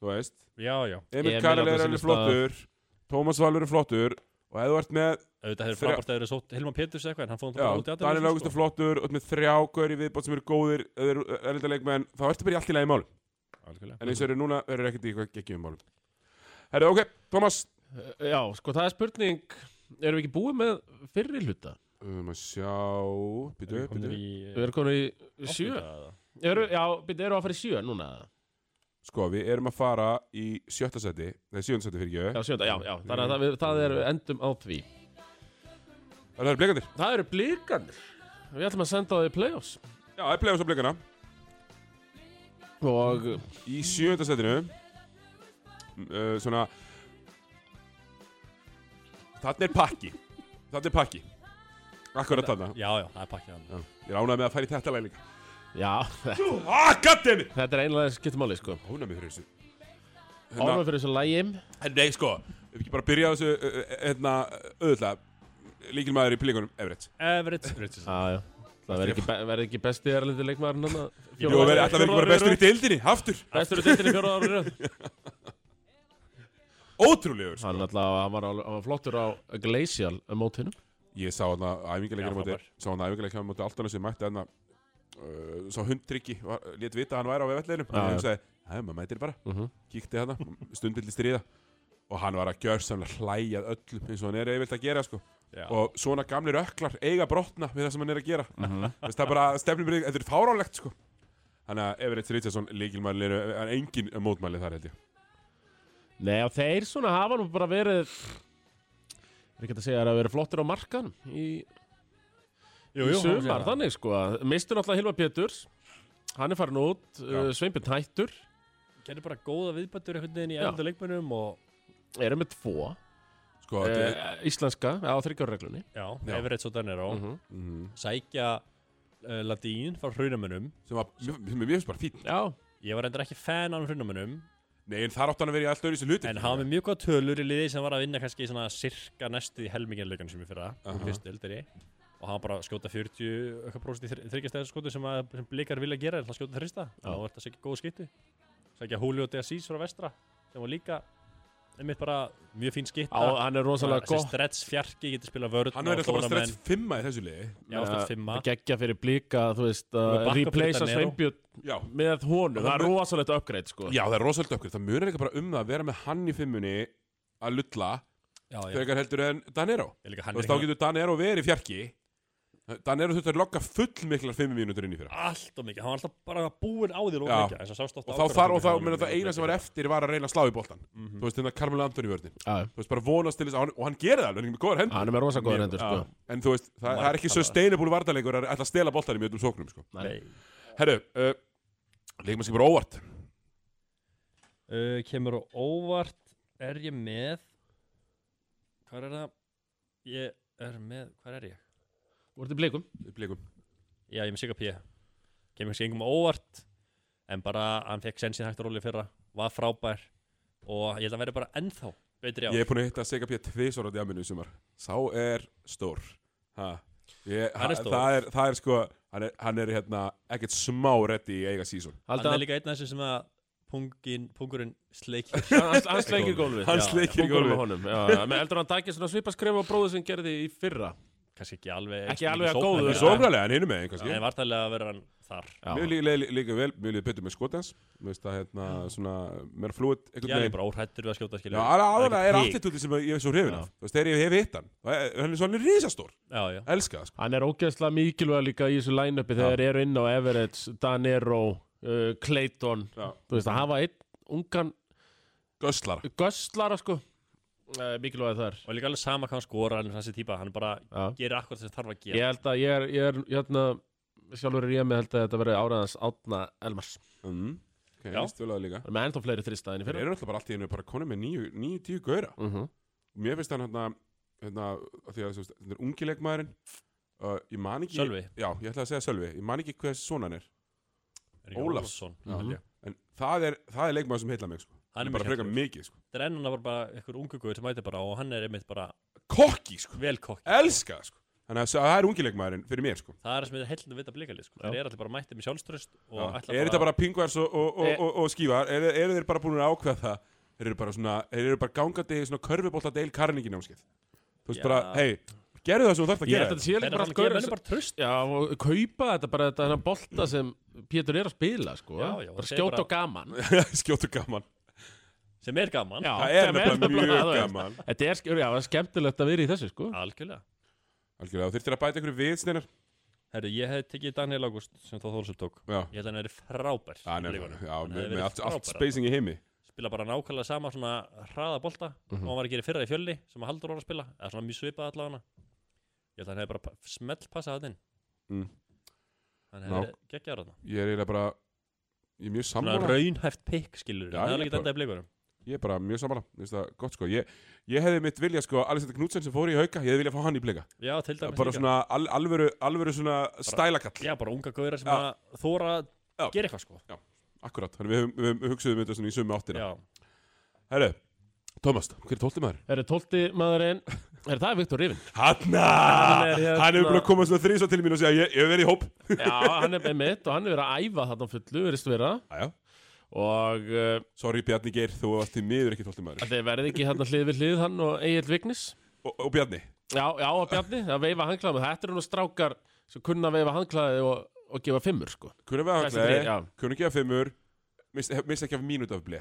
A: þú veist
C: Já, já
A: Emil
B: Emil
A: Karel
B: á
A: er
B: sínum
A: alveg flottur Tómas Valur er flottur og ef þú ert með,
C: Auðvitað
A: Þeirra-
C: hefur frábært að þeirra sótt Hilman Peturs eða eitthvað en hann fóðum
A: já,
C: bara út í atvinnuleysi,
A: Daniel Augusta
C: sko.
A: flottur og með þrjá gaur í viðbót sem eru góðir erlendaleikmenn, þá ertu bara í allt í lagi mál
C: Algjörlega.
A: en eins og eru núna, verður ekkert í eitthvað geggjum málum Herru, ok, Tómas
B: Eh, Já, sko, það er spurning Erum við ekki búið með fyrri hluta?
A: Um að sjá Býtu,
C: Erum
A: býtu
C: við komnir í,
B: Við erum komin í
C: eh,
B: sjö
C: áttunda eða?
B: Eru- Já, byrju, erum við að fara í sjö núna?
A: Sko, við erum að fara í sjötta seti Nei, sjötta seti fyrir
B: Já,
A: ekki
B: sjönda, já, já Þannig að það, við, það er endum á því
A: Það eru blikandir
B: Það eru blíkanir Við ætlum að senda á því play-offs
A: Já, það er play-offs á blikana
B: Og
A: Í sjötta setinu uh, Svona Þarna er pakki Þarna er pakki Akkurat þarna
C: Já, já, það er pakkið hann
A: Já, Ég ránaði með að fara í þetta læg líka
B: Já,
A: Ah, goddammit
B: þetta er einlega skiptumáli sko
A: Ránaði mig fyrir þessu
B: Ánum fyrir þessu lægi
A: En Nei, sko, ef ekki bara byrja á þessu uh, uh, Hérna, auðvitað Líkilmaður í plíkunum, Everett
C: Everett Richardson
B: Já, já Það verður ekki, be verður ekki besti erlindi leikmaðurinn hann
A: Jú, verður alltaf verður ekki bara bestur í deildinni, aftur
B: Bestur í dittinni fjóra ára í röð
A: Ótrúlegur sko.
B: Hann alltaf, hann var, alveg- hann var flottur á Glacial mótinu
A: Ég sá hann að æfingarleikir
C: Já,
A: á móti
C: frábær.
A: Sá hann að æfingarleikir á móti alltaf sem mætti hann að uh, Sá hundtryggi, lét vita að hann væri á vefellinu
B: Já,
A: Og
B: já.
A: hann sagði, hei, maður mætir bara
B: uh -huh.
A: Kíkti hann, stundill í stríða Og hann var að gjörsamlega hlæjað öllum eins og hann er eiginlega að gera sko.
C: Já.
A: Og svona gamlir öklar eiga brotna við það sem hann er að gera Þess, Það er bara stefnum byrja, þetta er fáránlegt sko. Þannig að Everett Richardson líkilmæli er engin mótmæli þar held ég
B: Nei, og þeir svona hafa nú bara verið Er ekki hægt að segja að það hafa verið flottur á markan Í,
C: Jú,
B: í
C: jú, hann
B: sumar,
C: var-
B: þannig sko Mistur náttúrulega Hilma Péturs Hann er farin út, uh, Sveinbjörn Hættur
C: Gerði bara góða viðbættur einhvern veginn í
B: Já.
C: enda leikmönnum og
B: Erum með tvo
A: sko, þetta er-
B: uh, Íslenska, á þryggjarreglunni
C: Já,
A: Já.
C: Eh. Everett svo Danero
B: Mhm.
A: Mhm.
C: Sækja uh, Ladín frá hraunamönnum
A: sem var, mér mér- mér finnst bara fín
B: Já,
C: Ég var endur ekki fan af hraunamönnum
A: Nei, en þar átti hann að vera í alltaf öðru sér hluti
C: En hann var með mjög góða tölur í liði sem var að vinna kannski í svona sirka næstu í helminginleikunum sem ég fyrra uh
A: Aha.
C: -huh. fyrst eldri og hann bara að skjóta 40 eitthvað prósent í þryggjastæðar skotu sem, að- sem blikar vilja gera en hann skjóta þrista og hann var þetta sækja góða skyttu sækja Julio de Assis frá vestra sem var líka einmitt bara mjög fín skytta
B: á, hann er rosalega
C: þessi
B: gott
C: stretch fjarki getur spilað vörð
A: Hann verður alltaf bara strætt fimma í þessu liði
C: já, alltaf fimma
B: uh, geggja fyrir blíka, þú veist,
C: Með
B: að
C: bakka
B: replacea
C: fyrir Danero.
B: Sveinbjörn
A: Já,
B: með honum, það er rosalegt upgrade sko
A: já það er rosalega okkur Það munir eitthvað bara um það að vera með hann í fimmunni að lulla
C: já, já.
A: þegar heldur en Danero
C: Ég líka,
A: Þú
C: hann er hérna
A: veist, þá
C: ekki
A: getur Danero verið í fjarki Danero þurftur að lokka full miklar fimmu mínútur inn í fyrra
C: alltaf mikið hann var alltaf bara búinn á því
A: Já.
C: lóðmikið
A: Og þá þar og þá, menn það eina sem var eftir var að reyna að slá í boltan
C: Mhm.
A: Þú veist, þetta Carmelo Anthony vörðin
B: Já,
A: Þú veist, bara vonast til þess að hann, og hann gerir það alveg hann er með góðar hendur
B: hann er með rosalega góður
C: Mjög-
B: hendur sko
A: En þú veist, það, það er ekki
C: Markkaða.
A: sustainable vartalengur að ætla að stela boltanum í öllum sóknum, sko
B: Nei.
A: Herru, uh, leikmann sem bara óvart
C: uh, kemur á óvart er ég með hvað er það ég er með, hvað er ég
B: Þú ert í blíkum
A: í blikum.
C: já ég er með Sigga P kemur kannski engum á óvart en bara hann fekk sensin hægt að róli fyrra var frábær og ég held að hann verði bara ennþá betri á
A: Ég er búin að hitta Sega P. tvisvar á djáminu í sumar Sá er stór ha. Ég,
C: Hann er stór.
A: Það er, það er sko, hann er, hann er hérna ekkert smá reddi í eiga sísón
C: hann er
B: Hann
C: líka einn af þessu sem að pungin, pungurinn sleikir
B: sleikir gólfið
A: Hann
B: já.
A: sleikir gólfið.
B: Kóngurinn með honum, já, já, Með heldur hann takir svona svipa skrifa og bróðu sem hann gerði í fyrra
C: kannski ekki alveg
B: Ekki alveg að góðu, sko.
A: Það er
B: Já.
A: svo umræðlega, hann hinum með einhvers
C: en vartalega verður hann þar
A: Mér líka, líka, líka vel, mér líka betur með skotans Mér veist að hérna, svona, mér er flúið
C: ég er bara óhrættur við að skjóta
A: Já,
C: skilja
A: aðra er attitúti sem ég er svo hrifin af Þú veist, þegar ég hef hitt hann þá er- Hann er svo hann er risastór,
C: já, já.
A: elska það, sko
B: Hann er ógeðslega mikilvæg líka í þessu line-upi þegar eru inn á Everett, Danero, uh, Clayton
A: Já.
B: Þú veist að hafa einn ungan
A: Göslar
B: göstlara sko uh, Mikilvæg þar
C: og líka alveg sama hvað hann skora hann er þessi típa, hann bara
B: Já.
C: gerir akkurat sem þarf að gera
B: Ég held að ég er, ég er hérna, sjálfur er ég með held að þetta verði áraðans átna Elmars
A: mm. Ok,
C: Já.
A: stjólaðu líka
B: Það er með ennþá fleiri þrista enn í
A: Þeir
B: fyrra
A: eru alltaf bara allt í einu bara konum með níu, níu tíu gauðra
B: uh
A: Mér finnst hann hérna, hérna af Því að þú veist, þetta er ungi leikmaðurinn uh, Ég man ekki
C: Sölvi.
A: Já, ég ætla að segja Sölvi Ég man ekki hvers son hann er
C: Ríkar
A: Ólafsson.
C: Ólafsson, held ég.
A: En það er, það er leikmaður sem heilla mig sko.
C: Mhm. Hann
A: bara
C: er mjög
A: frekar
C: skemmtilegur.
A: mikið sko.
C: Þetta er enn hann var bara einhver ungu guður sem mæti bara og hann er einmitt bara
A: Kokki, sko
C: vel kokk
A: Elska, það, sko Þannig að það er ungi leikmaðurinn fyrir mér sko
C: Það er það sem þetta heldum við að blika lið sko. Þeir eru allir bara mættið með sjálfströst og Eh.
A: Já.
C: ætla
A: Er þetta bara pingvers og, og, og,
B: Er-
A: og, og skífar? Eru er þeir bara búin að ákveða það? Þeir eru bara svona, þeir eru bara gangandi í svona körfubólta deil karningi námskeið Þú veist
C: Já.
A: bara, hei, gerðu það sem þú þarft að
B: Ég
A: gera
B: held að þetta sé
C: Þeir
B: líka bara allt
C: eru bara að gefa
B: gaurar
C: henni bara tröst
B: Já, og kaupa þetta bara þetta hennar bolta sem Pétur er að spila, sko.
C: Já, já, og
B: bara
C: segja
B: skjóta
C: bara-
B: og gaman.
A: Skjótu gaman
C: sem er gaman
B: Já,
A: Það er
B: sem
A: nefnilega
B: nefnilega-
A: mjög
B: þú veist,
A: gaman.
B: Þetta er, sk- já, það er skemmtilegt að vera í þessu, sko.
C: Algjörlega
A: Algjörlega, þú þurftir að bæta einhverju við, Steinar
C: Herru, ég hef tekið Daniel August sem þá þóðsum tók
A: Já,
C: Ég held að hann er frábær
A: Já, hann
C: í
A: er-
C: leikunum.
A: já
C: Hann
A: með, með
C: hefði verið
A: allt, allt
C: frábær.
A: spacing í heimi
C: Spila bara nákvæmlega sama svona hraða bolta
A: Mhm.
C: og hann var að gera í fyrra í fjölli sem að Haldur var að spila eða svona mjög svipað allavega Ég held að hann hefði bara smelt passað hann inn
A: Mm.
C: Hann
A: Ná.
C: hefði geggjaður þarna
A: Ég er eiginlega bara, ég er mjög
C: Svona
A: sammála
C: raunhæft pikk skilur
A: Já,
C: Það
A: ég
C: er ekki
A: bara-
C: þetta í blikunum
A: Ég er bara mjög sammála, Mér finnst það gott sko Ég, ég hefði mitt vilja sko, Alexander Knudsen sem fór í hauka Ég hefði viljað fá hann í blika
C: Já, til dæmis
A: Bara
C: líka.
A: svona al, alvöru, alvöru svona stælakall
C: Já, bara unga gauðra sem
A: Já.
C: að þóra að
A: Já.
C: gera eitthvað sko
A: Akkurat, þannig við, höfum- við, höfum- við hugsuðum þetta svona í sömu áttina
C: Já,
A: Herru, Thomas, hver er tólti maður?
B: Það er tólti maðurinn, er það er Viktor Rivin.
A: Hanna!
B: Hann
A: Hann,
B: er hérna-
A: hefur búin að koma svona þrísa til mín og segja Ég, ég hef verið í hóp
B: Já, hann er með mitt og hann er verið að æfa þarna á fullu, verðist vera.
A: Æja,
B: Og uh,
A: sorry Bjarni Geir, þú varst til miður ekki tólti maður
B: þeir verði ekki hérna hlið við hlið hann og Egil Vignis.
A: og, og Bjarni,
B: Já, já, og Bjarni, það veifa handklaðum. Þetta eru nú strákar sem kunna að veifa handklaði og, og gefa fimmur, sko.
A: kunum við að
B: Þessi þrír, já.
A: hanglaði Kunum ekki að fimmur Mist hef- missa ekki af mínútu af blei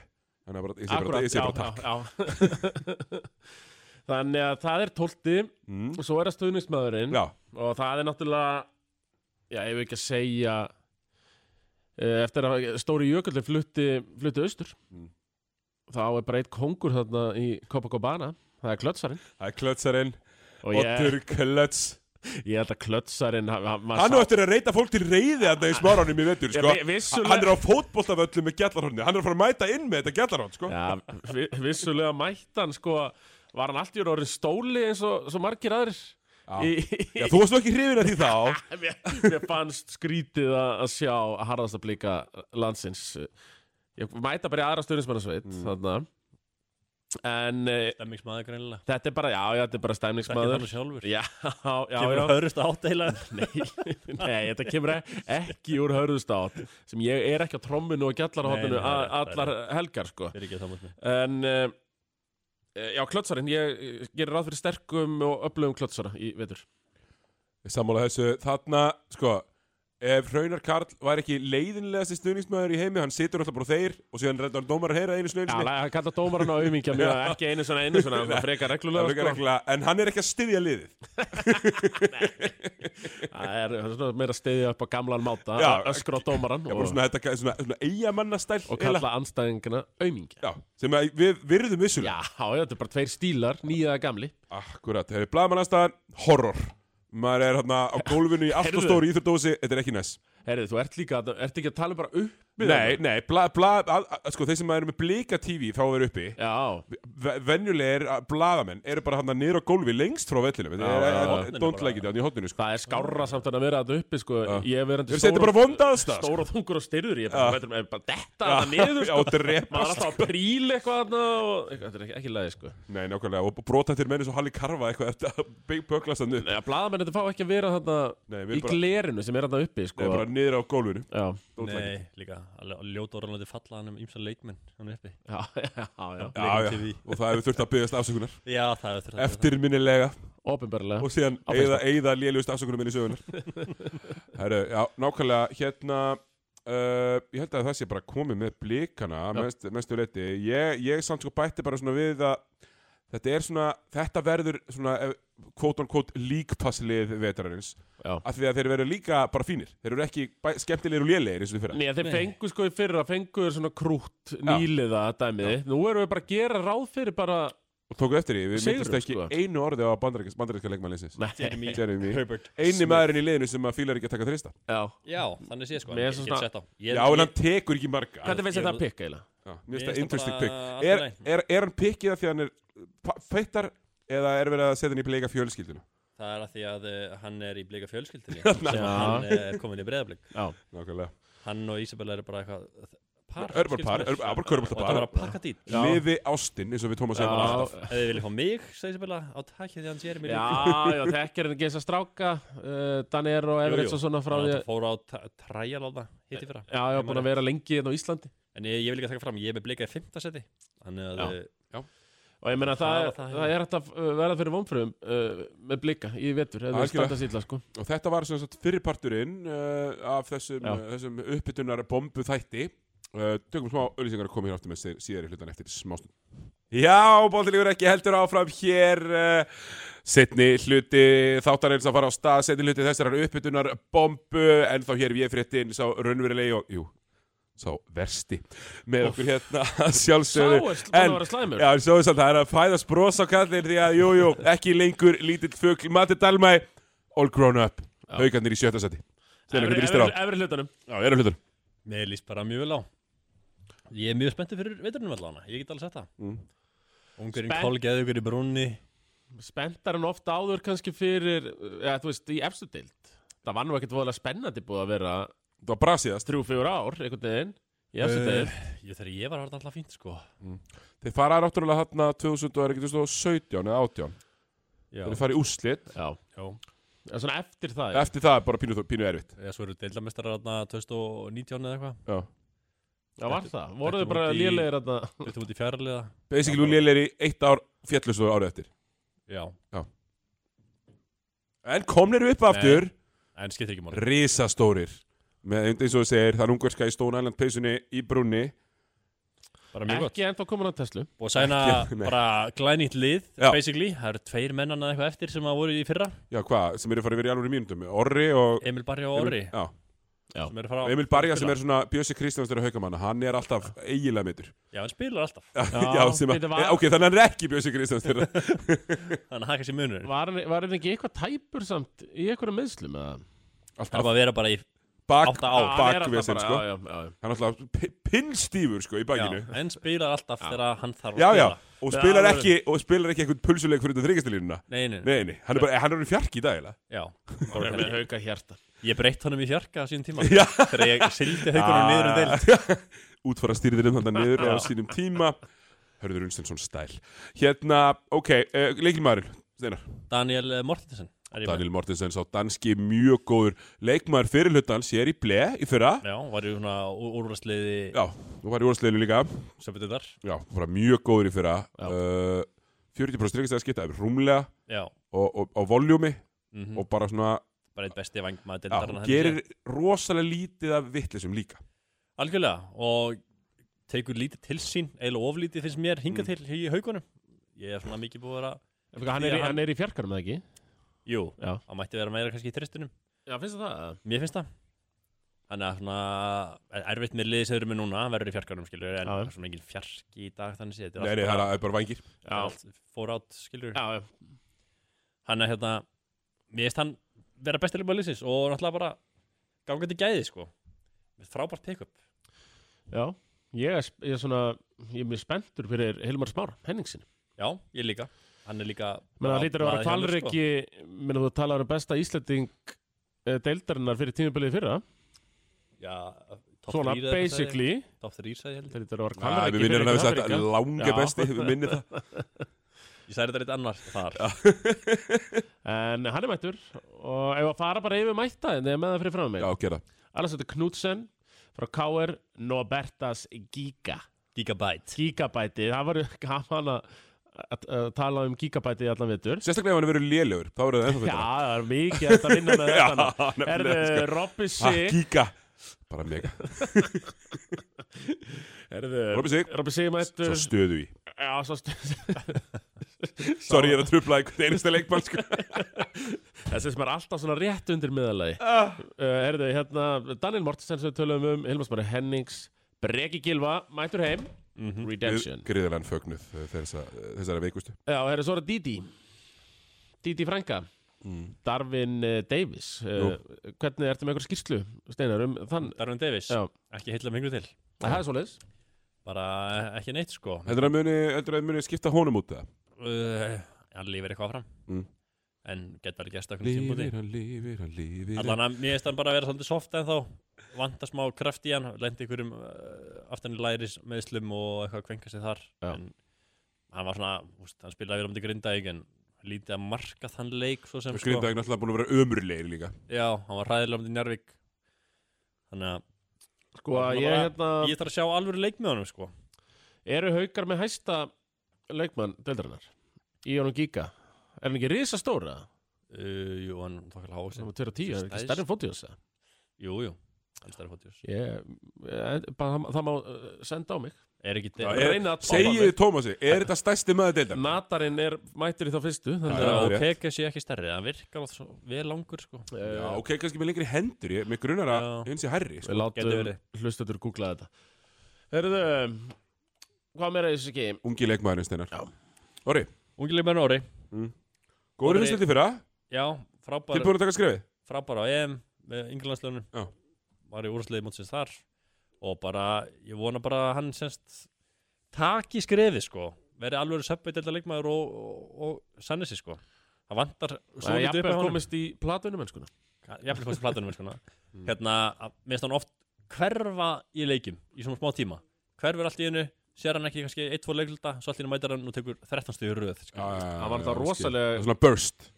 A: Þannig að bara, ég segi bara,
B: Akkurat,
A: ég segi
B: já,
A: bara takk
B: já, já. Þannig að það er tólti
A: Mm,
B: og svo er það stuðningsmaðurinn
A: Já,
B: og það er náttúrulega, já, ef ekki að segja, eh, eftir að Stóri Jökull er flutti, flutti austur,
A: Mm.
B: þá er bara eitt kongur þarna í Copacabana, það er klötsarinn.
A: það er klötsarinn
B: Og ég,
A: Otur Klöts
B: ég held að klötsarinn, hann, hann, maður
A: Hann
B: sá-
A: á eftir að reyta fólk til reyði Þannig í smáránum í vetur,
B: Ég
A: sko
B: vi- vissulega-
A: Hann er á fótboltavöllu með gjallarhorni Hann er að fara að mæta inn með þetta gjallarhorn, sko
B: Já, vi- vissulega mætti hann sko Var hann allt í raun orðin stóli eins og svo margir aðrir
A: Já.
B: Í-
A: Já, þú varst nú ekki hrifin að því þá
B: En mér, mér fannst skrítið að að sjá að harðast að blika landsins ég mæta bara í aðra stöðnismannasveit mm. þarna en e,
C: Stemmingsmaður greinilega
B: þetta er bara, já, já, þetta er bara
C: Þekkir
B: stæmningsmaður
C: þannig sjálfur
B: já, já,
C: Kemur
B: já
C: að höðrust átt eiginlega
B: Nei, nei, þetta kemur e- ekki úr hörðustátt sem ég er ekki á tromminu og
C: Nei,
B: gjallarhóttinu
C: nei, það er-
B: allar helgar sko
C: Þeir ekki að samast með
B: en uh, já, klötsarinn ég eh, gerir ráð fyrir sterkum og öflugum klötsara í vetur
A: Ég Sammála þessu, þarna, sko Ef Raunar Karl væri ekki leiðinlegasti stuðningsmæður í heimi, hann situr alltaf bara og þeir og síðan reddar hann dómar að heyra einu
B: Já,
A: snöðinni
B: hann kallar dómaran á auðmingja mjög ekki einu svona einu svona, svona frekar reglulega sko.
A: en hann er ekki að styðja liðið
B: Það er svona meira stiðja upp á gamlan máta
A: Já,
B: að öskra á dómaran
A: Já, bara
B: og,
A: svona, þetta, svona, svona eigamannastæl
B: og kalla anstæðingina auðmingja
A: Já, sem að við virðum vissulega
B: Já, já, þetta er bara tveir stílar, nýja eða gamli
A: Akkurat, þegar við blaðum hann aðstæðan, horror Maður er hérna á gólfinu í allt og
B: Heyrðu.
A: stóri íþjóðdósi, þetta er ekki næs
B: Herrið, þú ert líka, ert ekki að tala um bara upp
A: Nei, nei, bla, bla, að, að, sko, þeir sem eru með blika TV þá verður uppi
B: Já,
A: ve- venjulegir að- blaðamenn eru bara hann niður á gólfi lengst frá vellinum Þetta
B: Já, já,
A: er-
B: já.
A: er- er- don't like it, hann í hotninu sko.
B: það er skárra samt en að vera þetta uppi sko. Ég verandi
A: Þeir setja bara vond aðstæð sko.
B: stóra þungur og styrður Ég er bara, veitum, er bara detta þetta
A: Já,
B: niður sko.
A: og drepa
B: Maður er alltaf að príl eitthvað þarna og, Þetta er ekki, ekki lægi sko
A: Nei, nákvæmlega, og brotantir menn eins og Halli Karfa eitthvað eftir að big böglast hann upp
B: Nei, Blaðamenn þetta fá ekki að vera þarna
A: Nei, við
B: í
A: bara-
B: glerinu sem er þarna uppi
A: Nei,
B: sko.
A: bara niður á gólfinu
B: Já,
A: Don't like it.
C: Nei, líka alveg- Ljóta orðanlega falla hann um ímsa leikmenn Hann er uppi
B: já, já, já.
A: Já, já,
C: Leikmenn TV.
A: og það hefur þurft að byggast afsökunar
C: Já, það er þetta
A: Eftir minnilega
B: Ópenbarlega
A: og síðan
B: Á
A: eigða, eigða lélugust afsökunum minni sögunar Herru, já, nákvæmlega hérna uh, ég held að það sé bara komið með blikana mest, mestu leiti ég, ég samt sko bætti bara svona við að þetta er svona, þetta verður svona eh, quote on quote líkpasslið vetararins,
B: Já.
A: af því að þeir verður líka bara fínir, þeir eru ekki bæ- skemmtilegir og lélegir eins og þeir fyrra
B: Nei, þeir fengu sko í fyrra, fengu þeir svona krútt nýliða dæmiði. Nú erum við bara að gera ráð fyrir bara...
A: og tóku eftir því, við
B: Sigurður,
A: myndist ekki
B: sko.
A: einu orði á bandaríkans, bandaríkska leikmannleysins
B: Nei,
C: Jeremy
A: Jeremy.
C: Herbert
A: eini maðurinn í liðinu sem að fílar ekki að taka þrista
B: já.
C: Já, þannig sé sko
B: Mér er
C: Mér er
B: svo
C: svona
B: svona-
C: Já,
A: já, en hann tekur ekki marga
B: Hvernig finnst
C: Ég-
B: þetta að pikka eiginlega?
A: Já, mér finnst
C: Mér
A: það
C: finnst það
A: interesting
C: bara
A: pick
C: allt í
A: er,
C: lagi.
A: er, er hann pickið af því að hann er pa- feittar eða er verið að setja hann í bleika fjölskylduna
C: Það er að því að eh, hann er í blika fjölskyldinni sem að hann er komin í breðablík
B: Já.
A: Nákvæmlega
C: Hann og Ísabella eru bara eitthvað par
A: Eru bara par,
C: skilst mér.
A: eru bara- bara
C: Og
A: körfuboltapar.
C: þetta er bara að pakka dýt
B: Já.
A: Lifi ástinn eins og við Tómas
B: Já.
A: hefum alltaf
C: Ef þið viljið fá mig, segir Ísabella á takkið því hann sér mér
B: Já, já, þekkir henni geins að stráka, uh, Danir og Everett og svona frá
C: Hann
B: því að...
C: átti að fóra á tra- trial á það hitt í fyrra
B: Já, já, búin að vera lengi hérna á Íslandi.
C: En ég, ég vil líka taka fram, ég er með blikað í fymta seti Þannig
B: Já.
C: að eh,
B: Og ég meina það,
C: Það var
B: það, það,
C: það, já.
B: er hægt að eh, verða fyrir vonfröðum uh, með blika í vetur, eða
A: Algjörlega.
B: við standa sýtla sko.
A: Og þetta var sem sagt fyrirparturinn uh, af þessum,
B: Já.
A: uh, þessum uppbytunar bombu þætti uh, Tökum smá auðlýsingar að koma hér aftur með sér- síðari hlutan eftir smástund Já, bóltilíkur ekki heldur áfram hér uh, Setni hluti þáttarins að fara á stað Setni hluti þessarar uppbytunar bombu En þá hér við fréttin sá raunverulegi og Jú, sá versti Með okkur hérna að
B: Sá er
A: sjálfsögðu
B: búin að vera slæmur.
A: Já, sjáðu samt, það er að fæðast bros á kallin því að, jú, jú, ekki lengur lítill fugl, Matti Dalmæ, all grown up, haugarnir í sjötta seti. Steinar, hvernig líst þér á?
B: Efri hlutanum.
A: Já, erum hlutur.
C: mér líst bara mjög vel á Ég er mjög spenntið fyrir veturinn allan Ég get alveg sett það
A: Mm.
C: Ungurinn
B: Spennt.
C: kolgeðu ykkur í brúnni
B: spenntar en ofta áður kannski fyrir, ja, þú veist, í efstu dild. Það var nú ekkert voðalega spennandi búið að vera
A: Það var brasiðast.
B: þrjú, fjör ár, einhvern veginn, í efstu
C: Eh,
B: dild.
C: Ég þegar ég var að vera alltaf fínt sko
A: Þeir fara náttúrulega hérna 2017 eða 18.
C: Já,
A: Þeir fara í úslit.
B: Já,
C: já
B: en svona eftir það,
A: Eftir það er bara pínu, pínu erfitt.
C: Já, svo eru deildamestrar aðna 2019 eða eitthvað
A: Já.
B: það var það. Voru
C: Þetta
B: þau bara
C: út í-
B: lélegir að það,
C: Þetta út í fjárliða
A: Basically, hún lélir í eitt ár fjallustu árið eftir.
C: Já,
A: En komnir upp aftur,
C: en skiptir ekki máli
A: risastórir. Með eins og þú segir, það er ungverska í Stone Island peysunni í brunni.
C: Bara mjög gott
B: ekki ennþá komin að Tesla.
C: Og sæna
A: Ekki, nei.
C: bara glænýtt lið
A: Já.
C: Basically, það eru tveir mennana eitthvað eftir sem að voru í fyrra
A: Já, hvað, sem eru farið verið í alveg mínundum. Orri og...
C: Emil Barri og Orri
A: Já.
C: sem eru að fara á-
A: Og Emil Barja sem
C: spila.
A: er svona Bjössi Kristjánsdóri haukamanna, hann er alltaf eiginlega mittur.
C: Já, hann spilar alltaf
A: Já, sem að,
B: bíddu, var-
A: eh, ok, þannig að hann er ekki Bjössi Kristjánsdóri.
C: Þannig að haka sér munur
B: Var hann var hann ekki eitthvað tæpur samt í eitthvað meðslum? eða?
A: alltaf,
C: Það er bara að vera bara í
A: bak,
C: Átta á.
B: Hann er
A: bak
B: alltaf
A: við sinn,
B: bara-
A: sko
B: já, já, já, já.
A: Hann er alltaf pinnstífur, sko, í bakinu
C: Já, en spilar alltaf þegar hann þarf
A: Já,
C: að
A: já,
C: spila
A: og
C: Það
A: spilar
C: er alveg-
A: ekki og spilar ekki eitthvað pulsuleik fyrir þetta þryggastilínuna
C: Nei, nei, nei,
A: Nei, nei, hann er bara, hann er orðinn fjarki í dag eiginlega.
C: já
B: Bara með hauka hjarta
C: Ég breytt honum í fjarka á sín tíma
A: Já.
C: Þegar ég sildi haugunum niður um deild
A: Ah. Útfara stýrðirinn þannig niður á sínum tíma Hörður Unstensson stæl Hérna, ok, uh, leikilmaðurinn Steinar,
C: Daniel eh, Mortensen er ég með.
A: Daniel Mortensen sá danski mjög góður leikmaður fyrirlutans Ég er í ble í fyrra
C: Já, var ég svona úrvarsliði
A: Já, þú var í orðsleginu líka
C: Söpudundar
A: Já, bara mjög góður í fyrra
B: Já.
A: uh, 40% styrkastæða skipta er rúmlega
C: Já,
A: og, og, og voljúmi
C: mm
A: og bara svona
C: bara einn besti vangmaður
A: já,
C: deildar
A: hún gerir rosalega lítið af vittlisum líka
C: Algjörlega og tekur lítið til sín eiginlega oflítið finnst mér
A: Mm.
C: hingað til í haugunum Ég er svona mikið búið að vera
B: Hann er,
C: Já,
B: í-
C: hann-
B: hann er í fjarkanum eða ekki?
C: Jú,
B: Já.
C: hann mætti vera meira kannski í tristunum
B: Já, finnst það?
C: Mér finnst það Þannig að svona er- erfitt með liðið sem eru með núna hann verður í fjarkanum skilur
B: Já,
C: en
B: já.
C: það er svona engin fjarki í dag þannig séð
A: Nei, nei, það er bara vangir
C: Það er
B: Já,
C: allt fór átt skilur
B: já, já.
C: Hann er hérna Mér finnst hann vera besti leikmaður liðsins og náttúrulega bara ganga til gæði sko Með frábært pick-up
B: já. Ég er, sp- ég er svona, ég er mjög spenntur fyrir Hilmar Smára, henningsin.
C: Já, ég líka Hann er líka
B: Menn það lítur að vera
C: maður hjá mér, sko.
B: kvalriki, menn þú talar um besta Íslanding deildarinnar fyrir tímubilið fyrra.
C: sko. Já, top
B: Svona,
C: three eða eitthvað sagði ég.
B: basically,
C: Top 3 sagði ég held
B: það lítur að vera
A: Ja,
B: kvalriki
A: við minnir hann að við sagt
B: Afríka.
A: að langi
B: Já.
A: besti, við minnir það
C: Ég sagði þetta eitthvað annars þar
B: En hann er mættur og ef að fara bara yfir mætta en þegar með það fyrir fram
A: Já,
B: mig.
A: gera
B: Alveg þetta Knudsen frá KR Norbertas Giga.
C: Gigabyte
B: Gigabæti, það var gaman að, að, að tala um gigabæti í allan vetur.
A: Sérstaklega ef hann verður lélegur, þá verður það ennþá fyrir
B: Já, það er mikið hægt að vinna með
A: Já,
B: þetta. Er
A: nefnilega,
B: þau
A: sko.
B: Robby
A: Ah,
B: Sig?
A: kíka Bara mega
B: Er
A: Robby Sig.
B: Robby Sig mættur.
A: Svo stöðu í
B: Já, svo st-
A: Sorry, ég er að trubla einhvern einasta leikmann sko.
B: Þessi sem er alltaf svona rétt undir miðalagi.
C: Ah.
B: Uh, er þau hérna Daniel Mortensen sem við töluðum um, Hilmas Mari Hennings, Breki Gilva, mættur heim,
C: Mhm.
B: Redemption.
A: Griðalann fögnuð eh, þessa- þessara veikustu
B: Já, það er svo að Didi Didi Franka
C: Mm.
B: Darvin eh, Davis uh, Hvernig ertu með einhver skýrslu, Steinar, um þann
C: Darwin Davis
B: Já,
C: Ekki heilla mingur til
B: það er svoleiðis
C: Bara eh, ekki neitt sko uh,
A: Heldur að muni, heldur að muni skipta honum út það
C: Hann lífir Uh, eitthvað áfram
A: Mm.
C: En gett verið gæst okkur tímpúti
A: hann, lifir hann, lifir
C: Allan að mér finnst hann bara að vera svolítið soft en þá Vanda smá kraft í hann Lendi ykkurum uh, aftan í læris meðslum Og eitthvað kvenka sig þar
B: Já.
C: En hann var svona úst, Hann spilaði vel um til Grindavík En lítið að marka þann leik Svo sem sko
A: Grindavík náttúrulega búin að vera ömurlegir líka
C: Já, hann var hræðilega um til Njárvík Þannig að
B: Sko,
C: Bara-
B: ég hérna
C: ég þarf að sjá alveg leik með honum sko
B: Eru haukar með hæsta leikmann deildarinnar í honum Giga Er hann ekki risastóra?
C: Uh, jú, hann þokkar háa
B: Sem
C: sig.
B: var 2 og 10, er ekki
C: Stærst.
B: stærri fótjósa?
C: Jú, jú, hann stærði fótjus.
B: Ég, ég, bara, það, það má eh, senda á mig
C: Er ekki
A: Já,
C: deil.
A: er-
B: Reyna að tóma
A: Segiði
B: mig
A: Tómasi, er þetta stærsti maður deildar?
B: Natarinn er mættur í þá fyrstu
C: Það
B: Þannig
C: er
A: Já,
B: að
C: að
A: rétt.
C: peka sé ekki stærri, hann virkar oft svo vel langur sko.
B: eh,
A: Já, ok, kannski með lengri hendur Ég, með grunar að
C: Já.
A: hins í herri sko.
B: Við
C: gæti
B: látum
C: verið.
B: hlustendur googla þetta Herðu, hvað meira þessu ekki?
A: Ungi leikmaðurinn steinar
B: Já.
A: Orri,
C: Ungileg menn Óri,
A: góður
C: Orri-
A: fyrst eftir fyrra
C: já, frábæra,
A: Tilbúin að taka skrefið
C: frábæra á EM með Englandslöfnum.
A: Já.
C: Var í úrsliði mótsins þar og bara, ég vona bara að hann semst taki skrefið sko. Veri alveg söpveit eða leikmaður og, og, og sanni sig sko. Það vantar
B: Það er
C: svolítið upp á
B: jafnveg
C: honum.
B: komist í platunum ennskuna
C: jafnvel komst í platunum sko.
A: Mm.
C: hérna, að- mér finnst hann oft hverfa í leikjum í svona smá tíma hverfur allt í hennu, sér hann ekki kannski 1-2 leikluta, svo allt í hennu mætar hann og tekur 13 stugur röð sko. já.
A: Það
B: var þetta rosalega-
A: Svona burst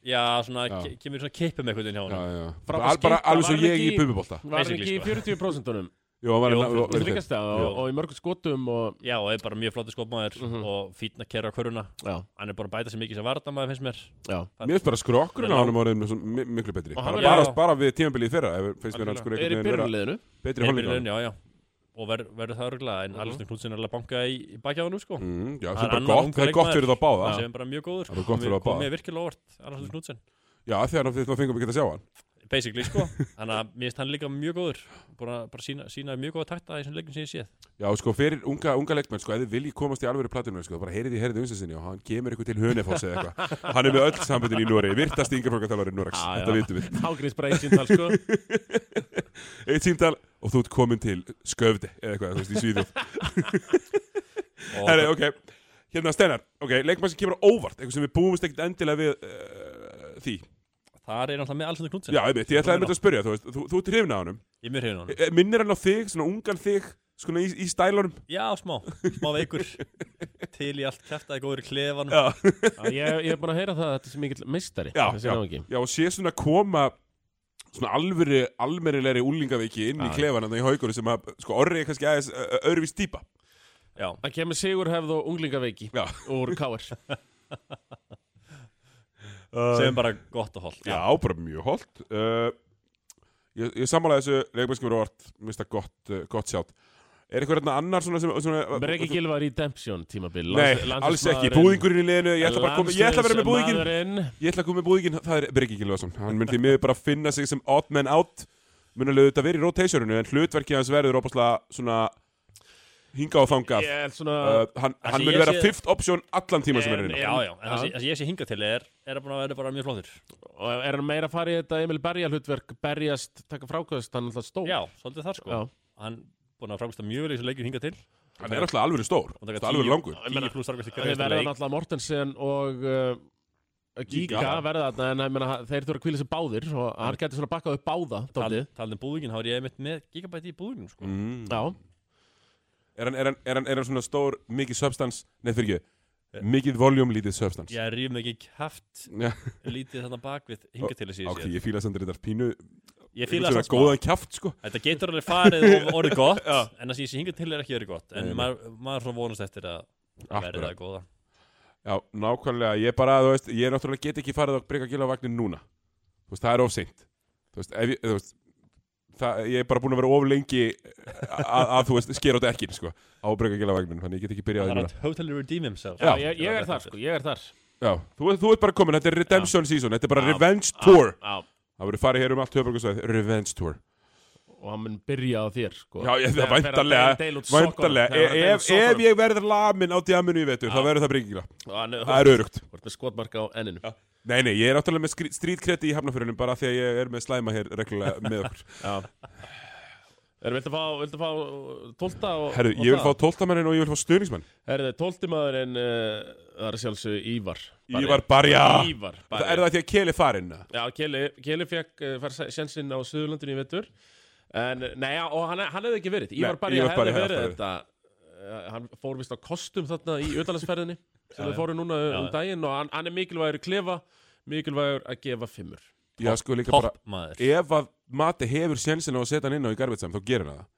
C: svona,
A: Já.
C: ke kemur svona kippum eitthvað inn hjá
A: já,
C: hann
A: já.
B: Frábært
A: Bara, bara
B: skipta,
A: alveg svo
B: var
A: ég
B: ekki-
A: í bububolta
B: Var hann ekki
C: Basically,
B: í 40%unum
A: Jú, hann var
C: Jú,
A: hann-
C: fyrir-
A: var-
B: Það
A: var-
B: þryggjast það
A: sko. Já.
B: og, og í mörgum skotum og
C: já, og er bara mjög flottu skopmaður
B: Mhm.
C: og fítna kerra hverjuna
B: Já,
C: hann er bara að bæta sér mikið sem vardamaður finnst mér
B: já
A: Mér finnst bara skrokkurinn á
C: Já.
A: honum orðin svo mi- miklu betri
B: Og hann
A: bara,
B: er-
A: bara,
C: Já.
A: bara við tímabilið í fyrra ef- finnst mér hann
C: Algjörlega.
A: sko
B: Er í
A: einhvern veginn vera
B: byrjunliðinu
C: Er
A: betri
C: í
A: hálfleik á honum.
C: byrjun, já, já. og ver, verður það örgulega
B: Mhm.
C: en mm -hmm. Alisson Knudsen er alveg að banka í, í bakið á hann sko.
A: Mm, Já,
C: Hann
A: sem
C: er
A: bara
C: annar
A: gott,
C: ungur
A: það er gott fyrir það báða
C: sem er bara mjög góður
A: Það er gott fyrir þá báða.
C: komið virkilega óvart, Alisson Knudsen
A: Já, þegar hann fyrir það fengum við geta að sjá hann
C: basically sko þannig að mér finnst hann líka mjög góður bara, bara sína, sína mjög góða takta í þessum leikum sem ég séð
A: Já, sko, fyrir unga, unga leikmenn, sko, ef þið viljið komast í alvöru platinu, sko, bara heyrið í herrið unsinsinni og hann kemur eitthvað til Hönefoss eða eitthvað. Hann er með öll sambundin í Noregi, virtast yngarflokkatalari Noregs,
B: Já, já.
A: þetta vitum við.
B: Hágrís bara eitt síndal sko
A: Eitt símtal og þú ert komin til Skövde eða eitthvað, þú veist, í Svíðjóð.
C: og
A: Herri, ok, hérna Steinar, ok, leikmann sem kemur á óvart, eitthvað sem við búumst ekkert endilega við uh, því.
C: þar er náttúrulega með alls þetta knútsen
A: Já, einmitt, ég ætlaði einmitt að spyrja, þú veist, þú, þú ert hrifin að honum.
C: ég er mjög hrifin á hann
A: Eh, Minnir hann á þig, svona ungan þig, svona í, í stælunum?
C: já smá smá veikur til í allt kæftaði góður í klefan
A: Já.
B: Já, ég, ég er búin að heyra það að þetta er mikill meistari
A: já,
B: þessi
A: já,
B: náungi.
A: já, og sé svona koma svona alvöru, almennilegri úlingaveiki inn í
C: Já.
A: klefan þannig í haugur sem að, sko, orri er kannski aðeins ö- ö- öðruvís típa.
C: já
B: Það kemur sigur hefð og unglingaveiki
A: Já.
B: úr Káar
C: sem bara gott og holt
A: Já, bara mjög holt. Uh, ég, ég sammála þessu leikmennskjumur orð, minnst það gott, uh, gott sjátt. Er eitthvað hérna annar svona sem... Svona,
B: Breki Gil var í Dempsjón tímabil
A: Nei, alls ekki, búðingurinn í liðinu, ég ætla bara að koma, ég ætla að vera með búðinginn,
B: búðingin
A: ég ætla að koma með búðinginn, það er Breki Gilvason, hann myndi miður bara finna sig sem odd man out, mun alveg auðvitað verið í rotationinu, en hlutverkið hans verður opaslega svona hinga og þangað.
B: Ég er svona
A: uh, hann, hann
C: ég
A: mun vera
C: sé-
A: fifth option allan tíma sem er
B: En-
A: hérna
C: já, já. en
B: Já.
C: það sem- það sem ég sé hinga til er er að búin að vera bara mjög flottur
B: Og er hann meira að fara í þetta Emil Berja hlutverk Berjast, taka frákvæðast, hann er alltaf stór
C: já svolítið þar sko
B: Já.
C: hann búin að framkvæmsta mjög vel í þessu leikjum hinga til
A: hann er alltaf alveg stór,
C: Hann taka
A: Þetta er alveg
C: tíu-
A: langur
B: Ég meina,
C: tíu pluss framkvæmsta í
B: Þeir
C: hverjum
B: verða
C: leik
B: náttúrulega Mortensen og uh, Giga,
A: Giga.
B: verða þarna En ég meina, þeir þurfa að kvíla sig báðir Og hann getur svona bakkað upp báða
C: Tal-
B: dálítið.
C: talandi um búðingin þá er ég einmitt með gigabæti í búðingin sko
A: mm.
B: Já,
A: er, hann, er, hann, er hann er hann svona stór mikið substance, nei fyrir ekki mikið voljum lítið substance
C: ég rýf mig ekki kæft
A: Já,
C: lítið þarna bak við hinga til þessi
A: ok, ég fíla samt þetta pínu pínu
C: ég fíla
A: svona
C: það smá
A: góðan kjaft sko
C: þetta getur alveg farið og orðið gott en það sem ég sé hinga til er ekki orðið gott en
A: Nei, nei.
C: maður, maður svona vonast eftir að það verði
A: Akkurat.
C: það góða
A: já, nákvæmlega, ég bara, þú veist, ég náttúrulega get ekki farið að breyka gila vagnin núna þú veist, það er of seint þú veist, ef ég, þú veist Það, ég er bara búin að vera of lengi að, að, að þú veist, skera út ekkin, sko, á breykagilavagnin, þannig ég get ekki byrjað
C: það
A: að
C: er að totally redeem himself
A: Já.
B: ég, ég er þar sko, ég er þar
A: Já, þú, þú ert bara komin, þetta er Redemption Season, þetta er bara
B: Já.
A: Revenge Tour
B: Já, já.
A: Það voru farið hér um allt höfbrukusvæð, Revenge Tour
B: Og hann mun byrja á þér sko
A: Já, ég, það
B: Þegar- þegar hann deil- deil
A: væntalega,
B: út sokkunum,
A: væntalega
B: þegar hann deil út
A: ef, ef
B: sokkunum.
A: ég verður lamin á djaminu í vetur,
B: Já.
A: þá verður það breykingilega
B: Og hann-
A: Það er örugt
B: Þú ert með skotmarka á enninu Já,
A: Nei, nei, ég er náttúrulega með skrí- strítkreddi í hafnafyrunum bara því að ég er með slæma hér reglulega með okkur
B: Erum, viltu fá, viltu fá uh, tólta og,
A: Herru,
B: og
A: ég vil fá tóltamennin og ég vil fá stuðningsmenn
B: Herðu, tóltimaðurinn, uh, það er sjálfsög Ívar Barri.
A: Ívar Barja
B: Ívar
A: Það
B: Barja
A: er það því að keli farin
B: Já, Keli, Keli fekk uh, fær sjansinn á Suðurlandinu í vetur En, nei, já, og hann, hann hefði ekki verið Ívar
A: Nei,
B: Barja
A: Ívar Barri
B: hefði
A: hefði
B: verið
A: farið.
B: þetta uh, Hann fór vist á kostum þarna í utalansferðinni sem við fórum núna um
C: já.
B: daginn og hann, hann er mikilvægur í klefa mikilvægur að gefa fimmur
A: Já, sko líka bara
C: topp maður
A: Ef að Mati hefur sjensin á að setja hann inn á í Garvitsam, þá gerir hann það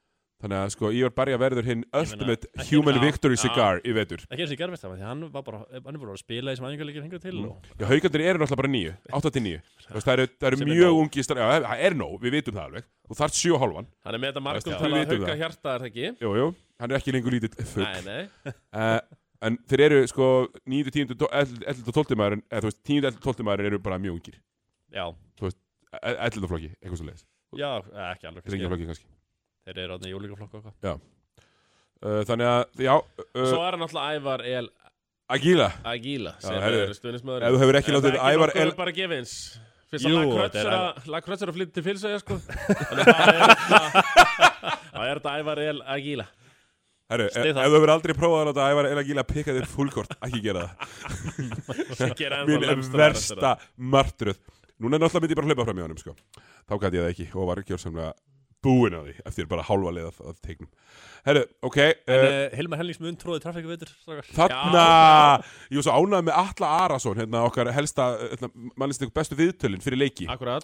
A: Þannig að sko, Ívar Barja verður hinn
C: meina,
A: ultimate
C: ekki-
A: human
C: já,
A: victory
C: já.
A: cigar í vetur
C: ekki eins og ég gerði þetta því hann var bara hann er bara að spila í þessum æfingarleikir hinga til og
A: Já, haugandir eru náttúrulega bara nýju, 8-9 Þú veist, Það eru, það eru
C: Sem er
A: mjög
C: nóg.
A: ungi star... Já, það- það er nóg, við vitum það alveg Þú þarft 7 hálfan
B: Hann er með þetta margum
A: Já,
B: til
A: við
B: að
A: vitum
B: hauka
A: það.
B: hjarta, er það ekki?
A: Jú, jú, hann er ekki lengur lítill
B: Nei,
A: fugg
B: nei
A: uh, En þeir eru sko 9, 10, 11 og 12 maðurinn eða þú veist, 10, 11 og 12 maðurinn eru bara mjög ungir
C: já
A: 11 flokki, eitthvað svo leiðis
C: já eh, ekki alveg
A: Þeir
C: kannski.
A: flokki kannski
C: þeir eru átni í jólíkaflokk og eitthvað
A: uh, Þannig að, já,
B: Svo
A: uh,
B: er hann náttúrulega Ævar El
A: Agila
B: Agila sem
A: Já,
B: er
A: heyrðu,
B: stuðnismöður
A: ef þú hefur ekki látið Ævar
B: El
A: El-
B: bara gefið eins Fyrst
C: Jú, þetta er
B: að Lakrötsur að flytta til fylsæja sko Þannig að það er hérna- þetta- það er þetta Ævar El Agila
A: Herru, ef
C: Styð
A: ef
C: það.
A: þú hefur aldrei prófað að láta Ævar El Agila pikka þér fullkort, ekki gera það
B: sem gera ennþá
A: mín
B: lemstraðar eftir
A: versta
B: það.
A: martröð Núna er náttúrulega myndi ég bara hlaupa fram í honum sko. Þá gæti ég það ekki og var gjörsamlega búin á því eftir bara hálfa leið að, að teiknum Herru, ok
C: en
A: uh,
C: eh, Hilmar Hellings mun tróði trafíku veitur strákar
A: Þarna, ég var svo ánægð með Alla Arason hérna okkar helsta, hérna, mannist ykkur bestu viðtölin fyrir leiki
B: Akkurat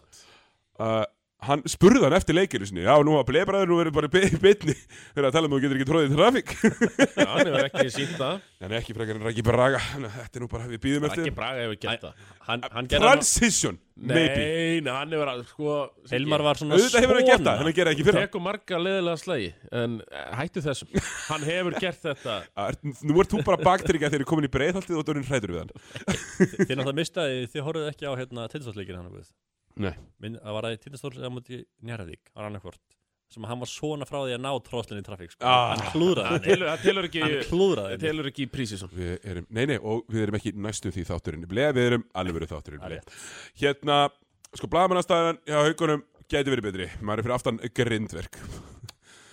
A: uh, Hann spurði hann eftir leikinu sinni Já, nú var blebræður, nú verður bara í bitni Fyrir að tala um að þú getur ekki tróðið trafík
B: Já, hann hefur ekki sínt það
A: En ekki frekar en Raki Braga Þannig að Þetta er nú bara, við býðum eftir
B: Raggi Braga hefur gert það
C: hann, hann gerði hann
A: Transition, maybe
B: Nei, nei, hann hefur að sko
C: Hilmar var svona
A: Auðvitað hefur hann gert það,
C: svona-
A: hann gerði það ekki fyrir
B: Tekur marga leðilega slagi En eh, hættu þessum Hann hefur gert þetta
A: Er, nú Ah, ert þú bara baktrykja þegar þú komin í breiðhaltið og dörrin hrætur við hann.
C: Þið náttúrulega mistaði, þið horfðu ekki á hérna, tildasleikir hann og guð.
A: Nei.
C: Minn, það var það í tindastóls eða múti Njarðvík var annarkvort sem að hann var svona frá því að ná tróðslinni í trafík sko.
A: Ah.
C: hann klúðraði henni
B: Telur- Það telur ekki
C: hann klúðraði
B: Það
C: henni
B: telur ekki í prísi svona
A: Við erum, nei, nei, og við erum ekki næstu því þátturinn Blei, við erum alvöru þátturinn
C: Það er
A: blei. Hérna, sko, blagamannastæðan hjá haugunum gæti verið betri Maður er fyrir aftan grindverk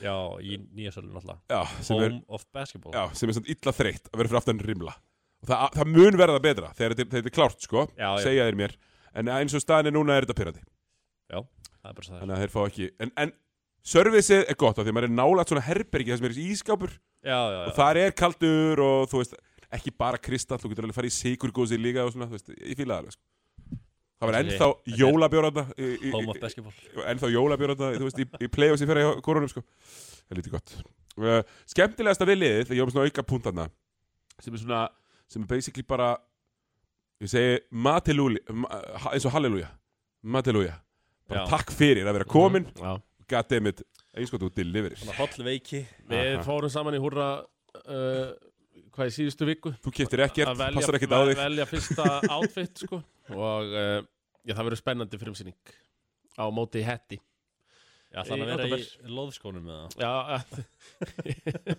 C: já í nýja sölun alltaf
A: Já, sem er,
C: home of basketball
A: já, sem er samt illa þreytt að vera fyrir aftan rimla Og það, það mun verða betra þegar þetta þegar þetta er klárt, sko
C: Já, já.
A: Segja þeir mér En eins og staðan er núna er þetta pyrrandi
C: það er bara svo það
A: Þannig að þeir fá ekki En, en servicið er gott af því að maður er nálægt svona herbergi Það sem er ískápur
C: já já já
A: og þar er kaldur og þú veist ekki bara kristall, þú getur alveg farið í sigurgósi líka og svona, þú veist, ég fíla það alveg sko. það var
C: Þetta er-
A: ennþá
C: þetta er-
A: jólabjóranda
C: home of basketball
A: ennþá jólabjóranda, þú veist, í, í play-offs í fyrra hjá korunum, sko, það er lítið gott uh, skemmtilegasta við liðið, þegar ég var með svona auka punktana, sem er svona sem er basically bara ég segi, matilúli eins og halleluja, matilúja bara
C: Já. Mhm.
A: takk fyrir að vera komin mm
B: Já.
A: -hmm. goddammit, eins og þú deliverir
C: svona holl veiki
B: Við
A: Aha.
B: fórum saman í húrra uh, Hvað í síðustu viku
A: þú keftir ekkert,
B: Að velja-
A: passar ekkert á
B: vel-
A: þig
B: Velja fyrsta outfit sko Og uh, já, það verður spennandi frumsýning Á móti hetti
C: já þannig að
B: Í
C: vera í loðskónum með það
B: Já eh,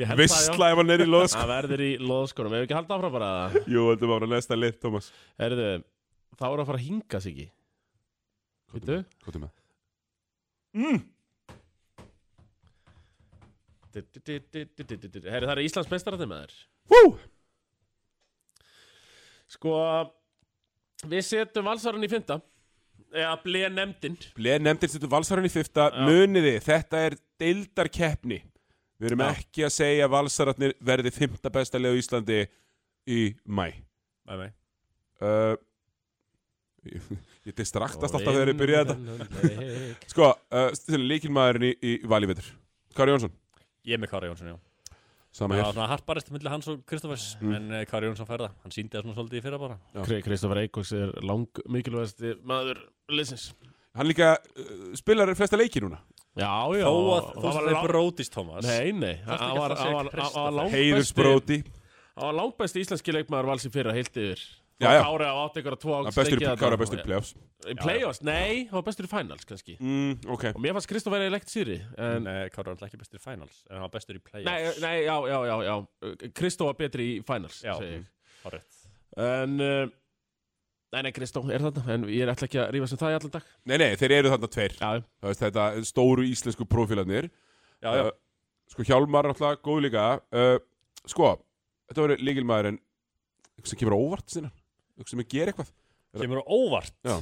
B: Ég held það já
A: Vistla ef hann er í loðsk
B: Það verður í loðskonum Ef ekki halda áfram bara það
A: Jú, heldum ára næsta lið, Tómas
B: Herðu, þá er að fara að hinga sig ekki Veitu?
A: Kvotum með mm.
B: Herðu, það er Íslands mestarandi með þér
A: Hú
B: Sko, við setjum valsarinn í fynda Eða bleið nefndin
A: Bleð nefndir stundum valsarinn í fyrta
B: Já.
A: Muniði, þetta er deildarkeppni Við erum
B: Já.
A: ekki að segja að valsararnir verði fymta besta lið á Íslandi í mæ
C: með mig
A: uh, Ég, ég distraktast alltaf þegar ég byrja þetta
B: þetta
A: Sko, uh, líkilmaðurinn í, í Valivetur Kari Jónsson
C: ég er með Kári Jónsson já
A: Sama
C: það
A: hér
C: var svona harparist millir hans og Kristoffers en eh, Kári Jónsson færða hann síndi það svona svolítið í fyrra bara
B: Kristoffer Eikos er lang mikilvægasti maður liðsins
A: Hann líka uh, spilar flesta leiki núna
B: Já, já
C: þó að þú
B: það var
C: sem þeir
B: lang-
C: brótist Thomas
B: Nei, nei,
C: Þarftu ekki
B: hann
C: að
B: var,
C: það sé
B: hann var, hann var
C: Kristoffer.
B: langbesti
A: Heiðursbróti
B: Hann var langbesti íslenski leikmaður valsi fyrra heilt yfir
A: Já, já.
B: Já, já Kári á átt ykkur að tvo
A: Hann bestur í Kára bestur í playoffs
B: Í play-offs? Nei, hann var bestur í finals kannski
A: mm, Ok
B: Og mér fannst Kristoff verið leikt sýri en...
C: en eh, Kári var alltaf ekki bestur í finals en hann var bestur í
B: Nei,
C: playoffs
B: nei, já, já, já, já Kristoff var betri í finals,
C: Já.
B: segi ég
C: Hárrétt.
B: En uh, Nei, nei, Kristoff er þarna En ég er ætla ekki að rífa sem það í allan dag
A: Nei, nei, þeir eru þarna tveir
B: Já,
A: Það veist, þetta stóru íslensku prófílarnir
C: já já
A: Uh, Sko Hjálmar náttúrulega góð líka uh, Sko, þetta voru líkilmaðurinn Eitthvað sem kemur á óvart sinna Eitthvað sem ger eitthvað
C: kemur á óvart
A: Já.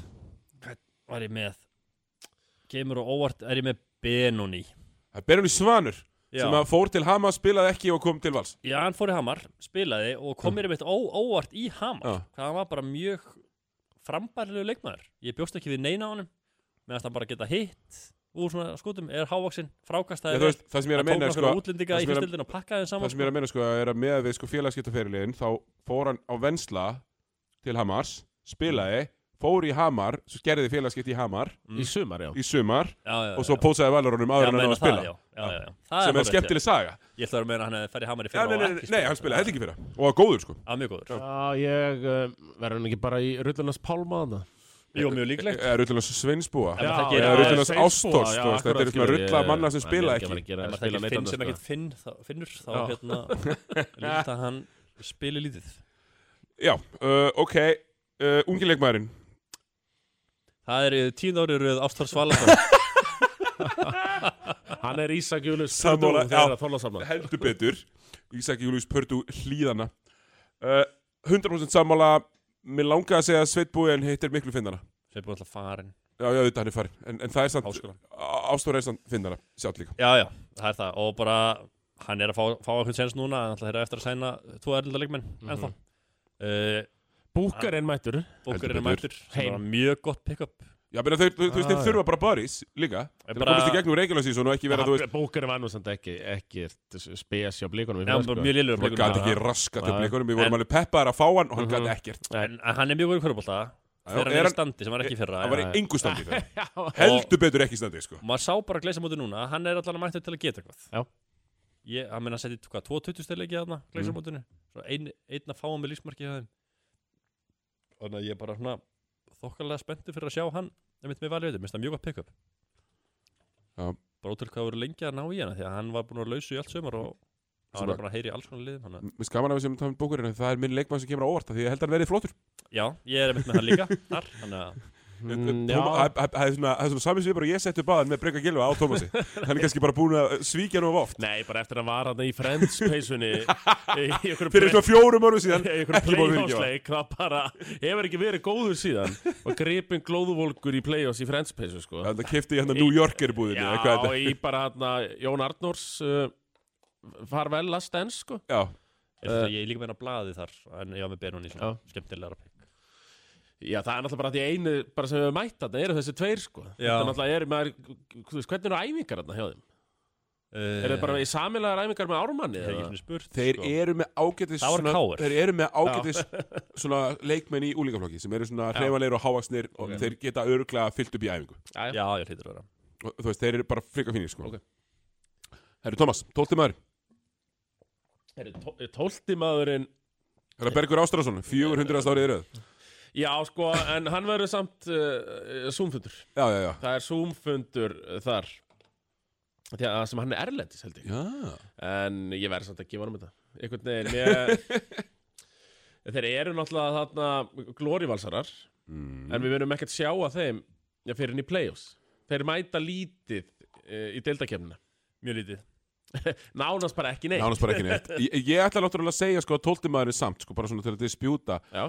C: hvern var ég með kemur á óvart er ég með Benoni
A: Það er Benjamin Svanur
C: já,
A: sem að fór til Hama, spilaði ekki og kom til vals
C: já hann fór í Hamar spilaði og kom mér einmitt ó, óvart í Hamar
A: Já.
C: hvað hann var bara mjög frambærilegu leikmaður ég bjóst ekki við neina á honum meðan hann bara geta hitt úr svona skotum er hávaksinn frákast
A: Ég,
C: það
A: þú veist, Það sem ég er að
C: hann
A: meina
C: tók
A: sko,
C: nokkra útlendinga
A: það
C: í
A: sem er að-
C: fyrstildin og pakkaði þeim
A: Það
C: saman
A: sem ég er að meina sko, er að með við sko, félagskiptaferilin þá fór hann á Vensla til Hamars, spilaði fór í Hamar, svo gerði félagskipt í Hamar
B: í sumar, já
A: í sumar
C: já, já, já,
A: og svo
C: já.
A: pósaði valurunum
C: Já,
A: áður en hann
C: meina
A: á að spila
C: það, já, já, já, já.
A: sem
C: Það
A: er
C: hárrétt,
A: skemmtileg saga
C: já. ég ætla að vera að meina að hann hefði ferði hamar í
A: Já,
C: fyrra
A: nei, nei,
C: og
A: nei,
C: ekki
A: nei, hann spilaði heldur ekki fyrir Og var góður sko
C: að mjög góður
B: Já, ég uh, verður hann ekki bara í Rullarnas Pálmaðana
C: jú mjög líklegt
A: Eða Rullinans Sveinsbúa
C: Já,
A: Eða
C: já,
A: Rullinans Ástors þú veist, Þetta eru svona rulla manna sem spila ekki
B: Ef
C: ef maður þekkir Finn sem ekkert finn, þá, finnur þá
B: Já.
C: hérna lítið að hann spili lítið
A: Já, uh, ok uh, Ungileikmaðurinn
C: það er tíund árið röð Ástór Svalason
B: Hann er Ísak Július
A: Sammála,
B: Þeir eru
A: já.
B: að þóla saman
A: Heldur betur Ísak Július Pördu hlýðana uh, 100% sammála Mér langaði að segja að Sveitbúi en hittir miklu finnana
C: sem er búin alltaf farin
A: Já, já, þetta hann er farin En, en það er samt
C: háskóla
A: Ástór er samt finnana Sjátt líka
C: já já það er það og bara hann er að fá, fá einhvern sens núna hann ætlar eftir að sæna tvo erlenda leikmenn ennþá uh,
B: Búkarinn mættur
C: bókur er
A: Heldur
C: mættur sem
B: Heim.
C: var mjög gott pick-up
A: Já, menn þau, þau, þú veist,
B: Ah,
A: þeir þurfa bara Boris líka
C: Ég
A: Þeir
C: bara-
A: komast í gegnum Reykjavík og ekki vera, þú veist
B: Búkarinn var nú samt ekki ekkert spes hjá blíkunum
C: en hann var mjög liðlegur
A: Bara
C: blikur
A: gæti
C: núna.
A: sko. ekki raskat hjá
B: Nei.
A: blikunum Við vorum
C: En-
A: alveg peppaðar að fá hann og hann
B: Mhm.
A: gæti ekkert
C: en en hann er mjög góður í körubólta
A: Já,
C: þegar
A: er
C: hann er í
A: hann-
C: standi sem hann er ekki í fyrra
A: Hann var í
B: já.
A: engu standi fyrir
B: liðlegur
A: Heldur betur ekki standi, sko
C: og maður sá bara gleysa móti núna hann er allan að mættu til að geta eitthvað
B: Já. Mhm.
C: ég, hann meina að setja hvað, 22 stelegi að hann gleysa mótinu svo ein, einn að fá hann með lífsmarki hjá þeim þannig að ég bara svona þokkalega spenntu fyrir að sjá hann einmitt með valið, minnst það mjög að pick up
A: Já.
C: bara út til hvað voru lengi að ná í hana því að hann var búin að vera lausu í allt sömur og hann
A: Svona-
C: var bara að heyri alls konar liðum hann
A: Mér skaman að við sem tafum bókurinn Það er minn leikmann sem kemur á óvart af Því ég held að hann verið flottur
C: já, ég er einmitt með hann líka þar, þannig að
A: Tóma-
B: Mm, já.
A: Það það- það er svona- það er svona sami svipur og ég setti upp aðan með Brynga Gilva á Tómasi Hann er kannski bara búin að svíkja nú of oft
B: Nei, bara eftir að hann var hann í Friends-peysunni í einhverju
A: Fyrir svona fjórum árum síðan
B: í einhverju
A: Ekki búin að fyrirgefa
B: playoffsleik það bara hefur ekki verið góður síðan og gripin glóðuvolkur í playoffs í Friends-peysu sko.
A: Þannig að kefti ég hann að New Yorker búðinni eða hvað
B: Já,
A: þetta-
B: í bara hérna Jón Arnórs uh, farvel að stens sko.
A: Já,
B: Eh.
C: er þetta ég er líka með hann að blaði þar en ég var með Benoni svona skemmtilegra pick
B: Já, það er náttúrulega bara því einu bara sem við mætt þarna eru þessi tveir sko.
C: Já.
B: Þetta náttúrulega er, maður, þú veist, hvernig eru æfingar þarna hjá þeim?
C: uh,
B: Eru þið bara í samilegar æfingar með ármanni?
C: ég hef ekki
B: eða?
C: svona spurt
A: þeir
C: sko.
A: eru með ágætis
C: Það voru
A: svona-
C: KR.
A: Þeir eru með ágætis svona leikmenn í úlingaflokki sem eru svona hreifanleir og hávaksnir og þeir geta öruglega fyllt upp í æfingu
B: Jæja.
C: já, ég hlýtur að vera
A: og, Þú veist, þeir eru bara frika fínir sko
B: Ok.
A: Herru Tómas, tólti maður
B: Eru tó- Tólti maðurinn
A: Herra Bergur Ástrásson, 400. árið í röð
B: Já, sko, en hann verður samt uh, Zoom-fundur.
A: Já, já, já
B: Það er Zoom-fundur uh, þar. Því að sem hann er erlendis, held ég.
A: Já,
B: En ég verður samt að gefa hann um þetta. Einhvern veginn, ég... Þeir eru náttúrulega þarna glórivalsarar,
A: Mm.
B: en við verðum ekkert sjá að þeim já, fyrir henni í play-offs. Þeir mæta lítið uh, í deildakefnina.
C: mjög lítið
B: Nánast bara ekki neitt.
A: nánast bara ekki neitt Ég, ég ætla náttúrulega að segja sko að tólti maðurinn samt sko bara svona til að dispjúta
B: Já,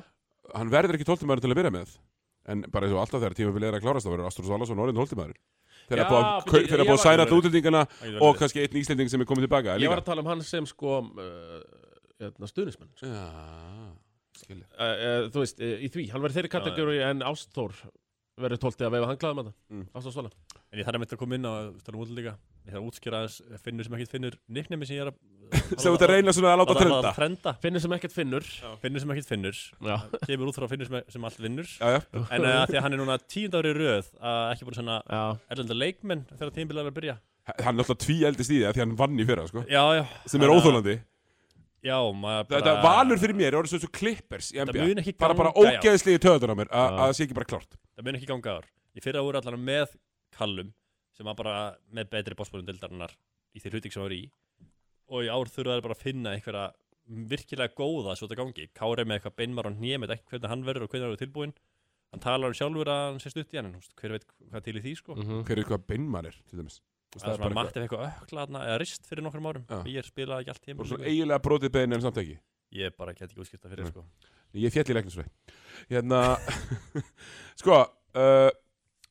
A: Hann verður ekki tólti maðurinn til að byrja með En bara eins og alltaf þegar tímabilið er að klárast þá verður Ástrós Allarsson orðin tólti maður Þeir
B: Já,
A: eru búið að-
B: bíddu,
A: kau- þeir eru búið
B: ég var
A: að sæna
B: alveg
A: alltaf útlendingana
C: Það getur
A: og
C: verið.
A: kannski einn íslending sem er komið tilbaka
B: ég
A: líka
B: var að tala um hann sem sko uh, hérna, stuðnismenn. Sko.
A: Já, skilja
B: Uh, uh, þú veist, uh, í því, hann verður þeirri kategóri en Ástþór verður tóltið að veifa hanglaðum að það.
A: Mm.
B: Ástþór Svala.
C: en ég þarf einmitt að koma inn á tala um útlíka ég þarf að útskýra aðeins finnur sem ekkert finnur nicknemi sem ég er að
A: Sem þú ert að reyna svona að láta
C: að- að-
A: trenda
C: að trenda
B: Finnur sem ekkert finnur.
C: finnur sem ekkert finnur
B: Já.
C: kemur út frá finnur sem, e- sem allt vinnur
A: Já, já,
C: en uh, því að hann er núna tíund ári röð að ekki búin svona
B: Já.
C: erlenda leikmenn þegar tímbilið er að byrja
A: hann er alltaf tví eldist í því af Því hann vann í fyrra, sko
C: já, já
A: Sem er óþólandi
C: já, maður bara
A: Þetta valur fyrir mér er orðið svo- svo klippers í
C: Það
A: NBA
C: mun ekki
A: Bara bara
C: ganga, já.
A: ógeðsligi töðunar á mér að
B: Já.
A: að það sé ekki bara klárt
C: það mun ekki ganga ár ég fyrir að voru allan með Kallum sem var bara með betri bósbólum dildarinnar í þeir hluting sem var í og í ár þurfa þær bara að finna einhverja virkilega góða svo þetta gangi Kári með eitthvað beinmar og nýjum ekki hvernig hann verður og hvernig hann verður tilbúin hann talar um sjálfur að hann sé stutt í hann en þú veist, hver veit hvað til í því sko
A: Hver er eitthvað beinmann er, til dæmis Þú Mm, veist,
C: það er svona
A: bara eitthvað-
C: Matti fekk eitthvað ökla þarna, eða rist fyrir nokkrum árum
A: Já.
C: og ég spilaði ekki allt
A: bara svona
C: tíma
A: eiginlega brotið bein en samt ekki
C: ég bara get ekki útskipta fyrir
A: Nei.
C: sko
A: Ég fjall í læknisfræ Hérna Sko uh,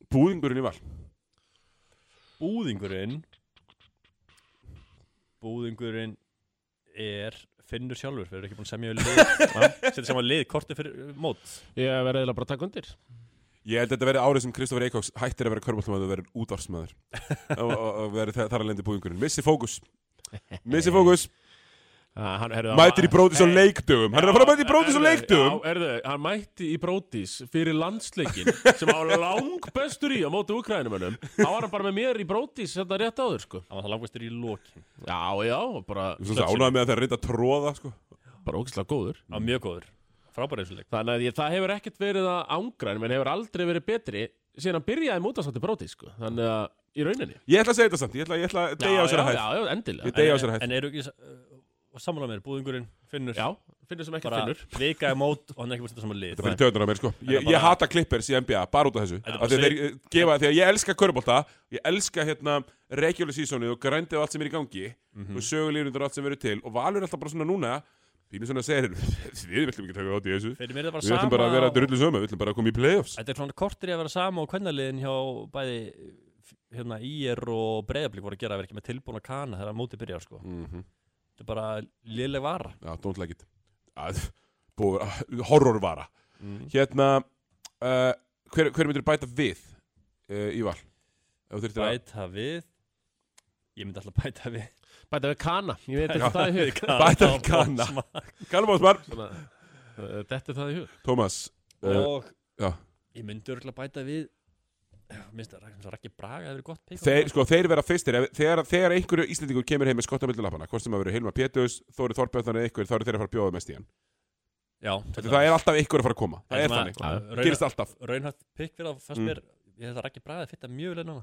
A: Búðingurinn í val
C: búðingurinn búðingurinn er finnur sjálfur, við erum ekki búin að semja við lið setja saman lið, korti fyrir mót
B: Ég verður eiginlega bara að taka undir.
A: Ég held að þetta verið árið sem Kristoffer Eikóks hættir að vera körbóltamaður og verið útvarsmaður og, og, og verið þar þar að lendi búðingurinn Missi fókus Missi fókus
B: Ah, hann, herðu,
A: Mætir í brótis á leikdögum Hann er að fara að mæta í brótis á leikdögum
B: Já, herðu, hann mætti í brótis fyrir landsleikin sem hann var lang bestur í á móti Ukrænumönnum. Þá var hann bara með mér í brótis þetta rétt áður, sko.
C: hann var það langvæstur í lokin,
B: Já, já, bara,
A: Svo ánægði með að það er reynda að tróða sko.
B: bara ógislega góður.
C: það var mjög góður frábæri eins og leik,
B: Þannig að ég, það hefur ekkert verið að ángra en menn hefur aldrei verið betri síðan hann byrjaði mútasátti brótis, sko. Þannig að í rauninni.
A: Ég ætla að segja þetta samt Ég ætla, ég ætla að deyja á
B: já,
A: sér að
B: já,
A: hæð
B: já, endilega.
A: Ég deyja á sér að
C: en,
A: hæð
C: en eru ekki uh, sammála mér, búðingurinn finnur
B: Já, finnur sem ekkert
C: bara
B: finnur.
C: vika í mót og hann er ekki búin að setja saman lið
A: Þetta verið töðunar á mér sko Ég,
C: bara-
A: ég hata klippers í NBA bara út af þessu
C: Þetta er
A: Af því að
C: bara
A: þeir eh, gefa Þegar ég elska körbólta Ég elska hérna regular seasonið og grændið og allt sem er í gangi
C: Mm. mhm.
A: og sögulíðundur og allt sem verið til og valur er alltaf bara svona núna Pínu svona segir Við villum ekki taka átt í þessu
C: fyrir mér er það bara
A: Við ætlum
C: sama
A: bara að vera
C: og-
A: drullu sömu Við ætlum bara að koma í playoffs
C: þetta er svona kortir í að vera sama og kvennaliðin hjá bæði f- hérna IR og Breiðablík voru að gera að vera ekki með tilbúna kana þegar móti byrjar sko þetta er bara liðleg vara
A: Mhm. Já, don't like it að, búið, að, Horrorvara Hérna uh, Hver, hver myndir bæta við uh, í val? Ef þú þurftir að
C: bæta við ég myndi alltaf bæta við
B: Bæta við kana, ég veit ekki það í hug
A: Bæta við
C: og
A: Kana.
C: Botsman.
A: Kalmásmar
B: Svona, uh, Þetta er það í hug
A: Tómas uh,
C: og
A: já.
C: ég myndi örgulega bæta við minnst það sem svo Raggi Braga hefur verið gott pick
A: þeir, sko, þeir vera fyrstir ef, þegar, þegar einhverju Íslendingur kemur heim með skottamöldu lappana Hvort sem að vera Hilma Pétus, Þóri Þorbjörn Þannig einhver, þá eru þeir að fara að bjóða mest í hann
C: Já,
A: Þetta það er alltaf ykkur að fara að koma Það er
C: svona-
A: þannig,
C: Já.
A: það Mm. gerist alltaf
C: raunhægt pikk fyrir að fannst mér ég held að Raggi Braga fitta mjög vel enná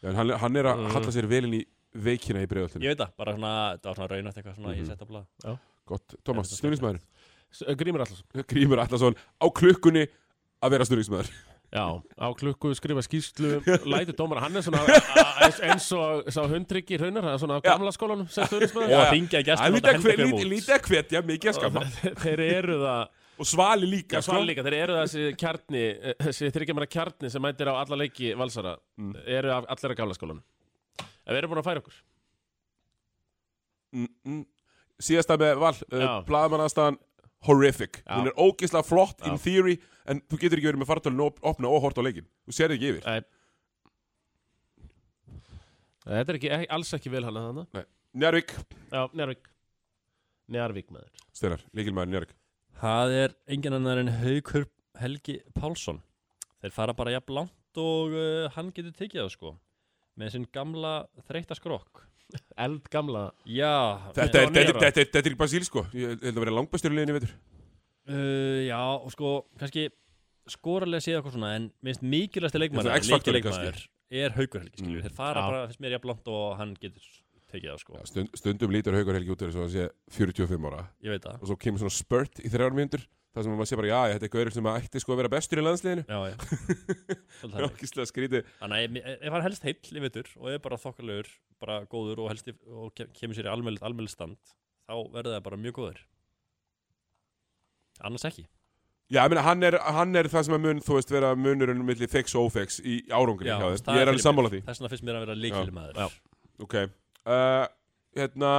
A: Já, en hann, hann er að halla sér velin í veikina í bregðallinu
C: ég veit það, bara svona, það var svona raunhægt eitthvað svona
A: Mhm.
C: ég sett á blað
A: Gott, Thomas, stuðningsmaður
B: S- eh, Grímur Allarsson
A: Grímur Allarsson á klukkunni að vera stuðningsmaður
B: Já, á klukku skrifa skýrslu Lætu dómara, hann er svona a- a- eins og sá hundryggi í raunar Það er svona á
A: Já.
B: gamla skólanum sem
A: Já,
B: stöðnismöður
C: og
A: já.
C: að hringja í
A: Það er
C: gestur
A: lítið að hve- lítið- lítið að hvetja, mikið að skapa
B: Þeir eru það,
A: Og Svali líka,
B: já
A: sko
B: svona líka Þeir eru þessi kjarni, eh, þessi þryggjumara kjarni sem mætir á alla leiki valsara
A: Mm.
B: Eru af allir á gamla skólanum En við erum búin að færa okkur
A: Mm, mm. Síðasta með Val, uh,
B: Já.
A: blaðamannastæðan Horrific,
B: Já.
A: hún er ógeðslega flott in
B: Já.
A: theory, en þú getur ekki verið með fartölun op opna og hort á leikin, þú sér ekki yfir
B: Nei. Þetta er ekki, ekki, alls ekki vel hann að hana
A: Njárvík,
B: Já, Njárvík Njárvík maður
A: Steinar, líkilmaður Njárvík
C: það er engin annar en Haukur Helgi Pálsson þeir fara bara jafn langt og uh, hann getur tekið það sko með sinn gamla þreytta skrokk
B: Eld gamla
C: já
A: Þetta er,
B: var
A: þetta, er,
B: Nero.
A: þetta, er, þetta er ekki Basíl sko Ég held að vera langbæstur í liðinni veitur
C: Uh, já, og sko, kannski skoralega séð eitthvað svona, en minnst mikilvægsti leikmaður,
A: Þetta er X-faktorinn
C: er Haukur Helgi, skilju,
A: Mm.
C: þeir fara
B: Já.
C: bara, finnst mér jafn langt og hann getur tekið það, sko,
A: Já, stund, Stundum lítur Haukur Helgi út þess að sé 45 ára
C: ég veit það
A: og svo kemur svona spurt í þrjár mínútur þar sem maður sé bara, já, þetta er gaurið sem að ætti sko að vera bestur í landsliðinu
C: Já, já, svolítið
A: Já,
C: þannig
A: ógeðslega skrítið
C: Þannig, að ef- ef hann helst heill, ég veitur, og er bara þokkalögur, bara góður og helst í, og ke- kemur sér í almennilegt, almennilegt stand þá verður það bara mjög góður Annars ekki
A: Já, ég meina, hann er, hann er það sem að mun, þú veist, vera munurinn milli fix og ófix í árangri
C: Já,
A: hjá þér.
C: það
A: Ég er
C: fyrir
A: alveg
C: mér.
A: sammála því
C: Þess vegna finnst mér að vera
B: Já.
C: leikilmaður
A: Ok uh, Hérna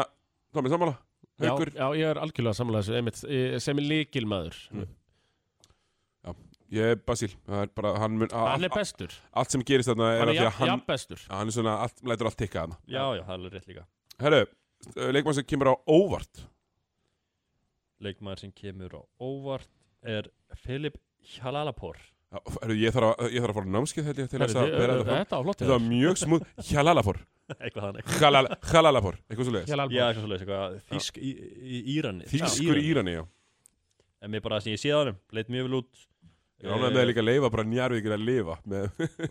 A: Tómi, sammála? Haukur?
B: já, já, ég er algjörlega samlega þessu einmitt, eh, sem er líkil maður
A: Mm. Ég er Basíl Það er bara Hann, mun,
B: Hann er
A: all,
B: bestur,
A: allt sem gerist þarna er
B: hann
A: að
B: er
A: því að
B: jafn,
A: hann
B: jafn bestur
A: Hann er svona allt, Lætur allt tikka þarna
C: Já, já, það er alveg rétt líka
A: Herru Leikmann sem kemur á óvart
C: leikmaður sem kemur á óvart er Filip Hjalalapor
A: Já, Herru, ég þarf að Ég þarf að fara á námskeið held ég til þess að
B: Herru,
A: bera
B: þið-
A: þetta fram.
B: Þetta á flott
A: Þetta var mjög smúð Hjalalafor
C: eitthvað þannig
A: Halala- Halalafor Eitthvað svo leiðis
C: Já, eitthvað svoleiðis, eitthvað þýsk í, í Írani
A: Þýskur Írani, já
C: En mér bara það sem ég séð á hann, leit mjög vel út Eh,
A: Ég ránaði með að líka leifa bara njarvíkir að lifa með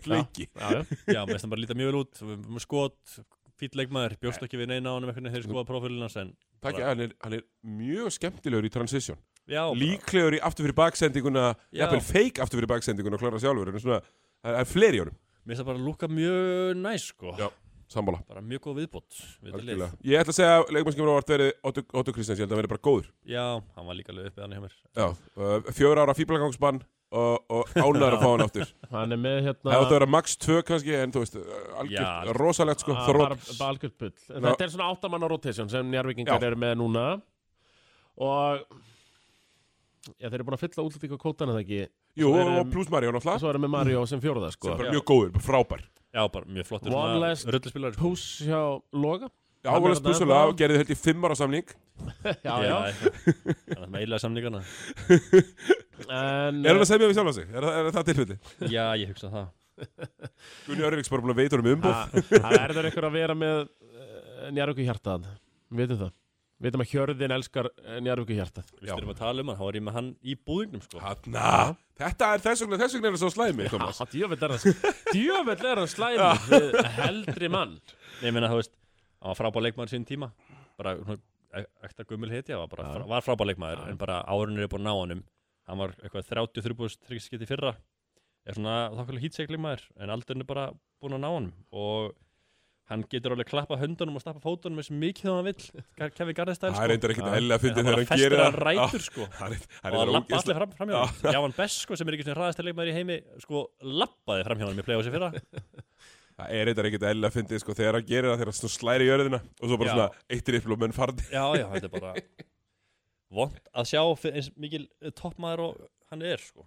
A: leiki
B: já,
C: Já, mér finnst hann bara líta mjög vel út við- við Skot, fýll leikmaður, bjóst ekki við neina á hann einhvern veginn þeir skoða prófílinn hans en
A: Takk, hann er, hann er mjög skemmtilegur í transition
C: Já, bara-
A: líklegur í aftur fyrir baksendinguna
C: Já.
A: jafnvel fake aftur fyrir baksendinguna og klára sjálfur en svona, það er fleiri í honum
C: mér finnst það bara lúka mjög næs sko
A: Já. sammála,
C: Bara mjög góð viðbót við þetta lið.
A: algjörlega ég ætla að segja að leikmannskjöfum ávart verið Otto Otto Kristjáns, ég held að hann verið bara góður
C: Já, hann var líka alveg uppið hann hjá mér
A: Já, uh, fjögur ára fíblagangsbann og, og ánæður að fá hann aftur það
B: hann er með hérna
A: átt að vera max 2 kannski en þú veist, uh, algjört,
C: Já.
A: rosalegt sko,
B: Ah,
A: þrótt
B: bara, bara algjört bull En
A: Já.
B: Þetta er svona áttamanna rotation sem njárvíkingar
A: Já.
B: eru með núna og já, þeir eru búin að fylla útlýtinga kótana það ekki
A: jú,
B: svo er,
A: og
B: um,
A: pluss Mario náttúrulega,
B: Svo erum við Mario sem fjóruða sko
A: sem bara
C: Já.
A: mjög góður, bara frábær
C: Já, bara mjög flottur
B: One last
C: rulluspilari sko.
B: Pús hjá Loga
A: Já,
B: Hann er
A: ávalast
B: þarna
A: plussulega,
B: ennþá.
A: gerði held í 5 ára samning
B: Já, já,
C: Já, eitthvað. Hann er með eilaði samningana
B: En,
A: Er hann að segja mér við sjálfa sig? Er, er, er það tilfelli?
C: Já, ég hugsa það
A: Gunni Örlíks bara búin að veita honum umbúð
B: Ha- eh, Það er það einhver að vera með njárvíku hjartað Við vitum það Við vitum að Hjörðin elskar eh, njárvíku hjartað
C: Við styrum að tala um hann, þá er ég með hann í búðingnum sko
A: Hanna, þetta er þess vegna, þess vegna er það svo slæmi, Thomas.
B: Djöfell er hann Djöfell er hann slæmi Heldri mann
C: Nei, ég meina, þú veist, hann var frábær leikmaður sín tíma Bara, svona, e- ekta gummul hetja var, bara,
B: Já.
C: frá, var frábær leikmaður En bara árunir er búin að ná honum Hann var eitthvað 33 búðist tryggskitt í fyrra Er svona þokkalega hýtseg leikmaður En aldurinn er bara búin að ná honum Og hann getur alveg klappa höndunum og stappa fótunum eins mikið þá hann vill Gar- Kevin Garðestæl
A: Það er reyndar ekkit eðlilega að fyndi
C: sko- Það
A: þegar hann gerir það.
C: bara festir hann rætur sko
A: Já, Það er það
C: og það
A: er
C: lappa allir
A: ógeðslega-
C: fram, framhjá hann Javan Bess sko sem er ekki sem hraðast leikmaður í heimi sko lappaði framhjá hann í playoffs í fyrra
A: það er reyndar ekkit eðlilega að fyndi sko, þegar hann gerir það, þegar hann svona slæri í jörðina og svo bara
C: Já.
A: svona eitt riffl og menn farði.
C: Já, já, þetta er bara vond að sjá fyrir eins mikil eh, toppmaður og hann er sko,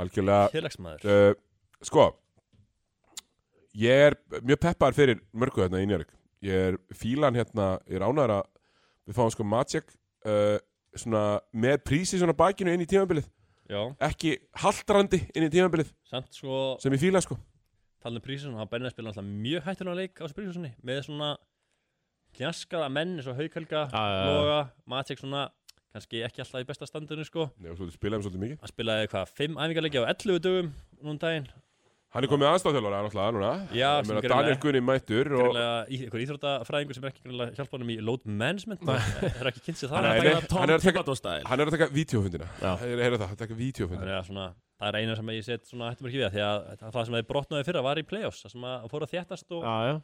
A: Algjörlega,
C: félagsmaður
A: uh, sko, ég er mjög peppar fyrir mörgu hérna í Njörg. Ég er fílan hérna, ég er ánæður að við fáum sko Matsjek uh, svona með prísi svona bakinu inn í tímabilið,
C: Já,
A: ekki haldrandi inn í tímabilið
C: samt sko,
A: sem ég fíla sko.
C: talin um prísun hann bennið að spila alltaf mjög hættulega leik á þessu prísunni með svona hljaskaða menn eins og Haukhelga,
B: Já, já, já.
C: Loga, Matek svona kannski ekki alltaf í besta standinu sko
A: Nei, og svo spilaði hann svolítið mikið
C: hann spilaði hvað, 5 æfingarleiki á 11 dögum núna um daginn,
A: Hann er komið aðstátþjálfara náttúrulega núna Ég
C: Já,
A: meina,
C: sem greinilega-
A: Daniel Gunni mættur og
C: greinlega einhver íþróttafræðingur sem er ekki greinlega hjálpa honum í load management það er ekki kynnt sér það
B: Hann er
A: Nei,
B: að
A: nei, hann er
B: taka Tom
A: að taka-
B: Thibodeau-stæl
A: hann er að taka vídeofundina
B: Já.
A: Ég heyrði það, hann taka vídeofundina
C: Þannig að svona, það er eina sem ég set svona hættum ekki við það, því að það- það sem þeir brotnaði fyrra var í play-offs, það sem að hann fór að þjættast og
B: Já, já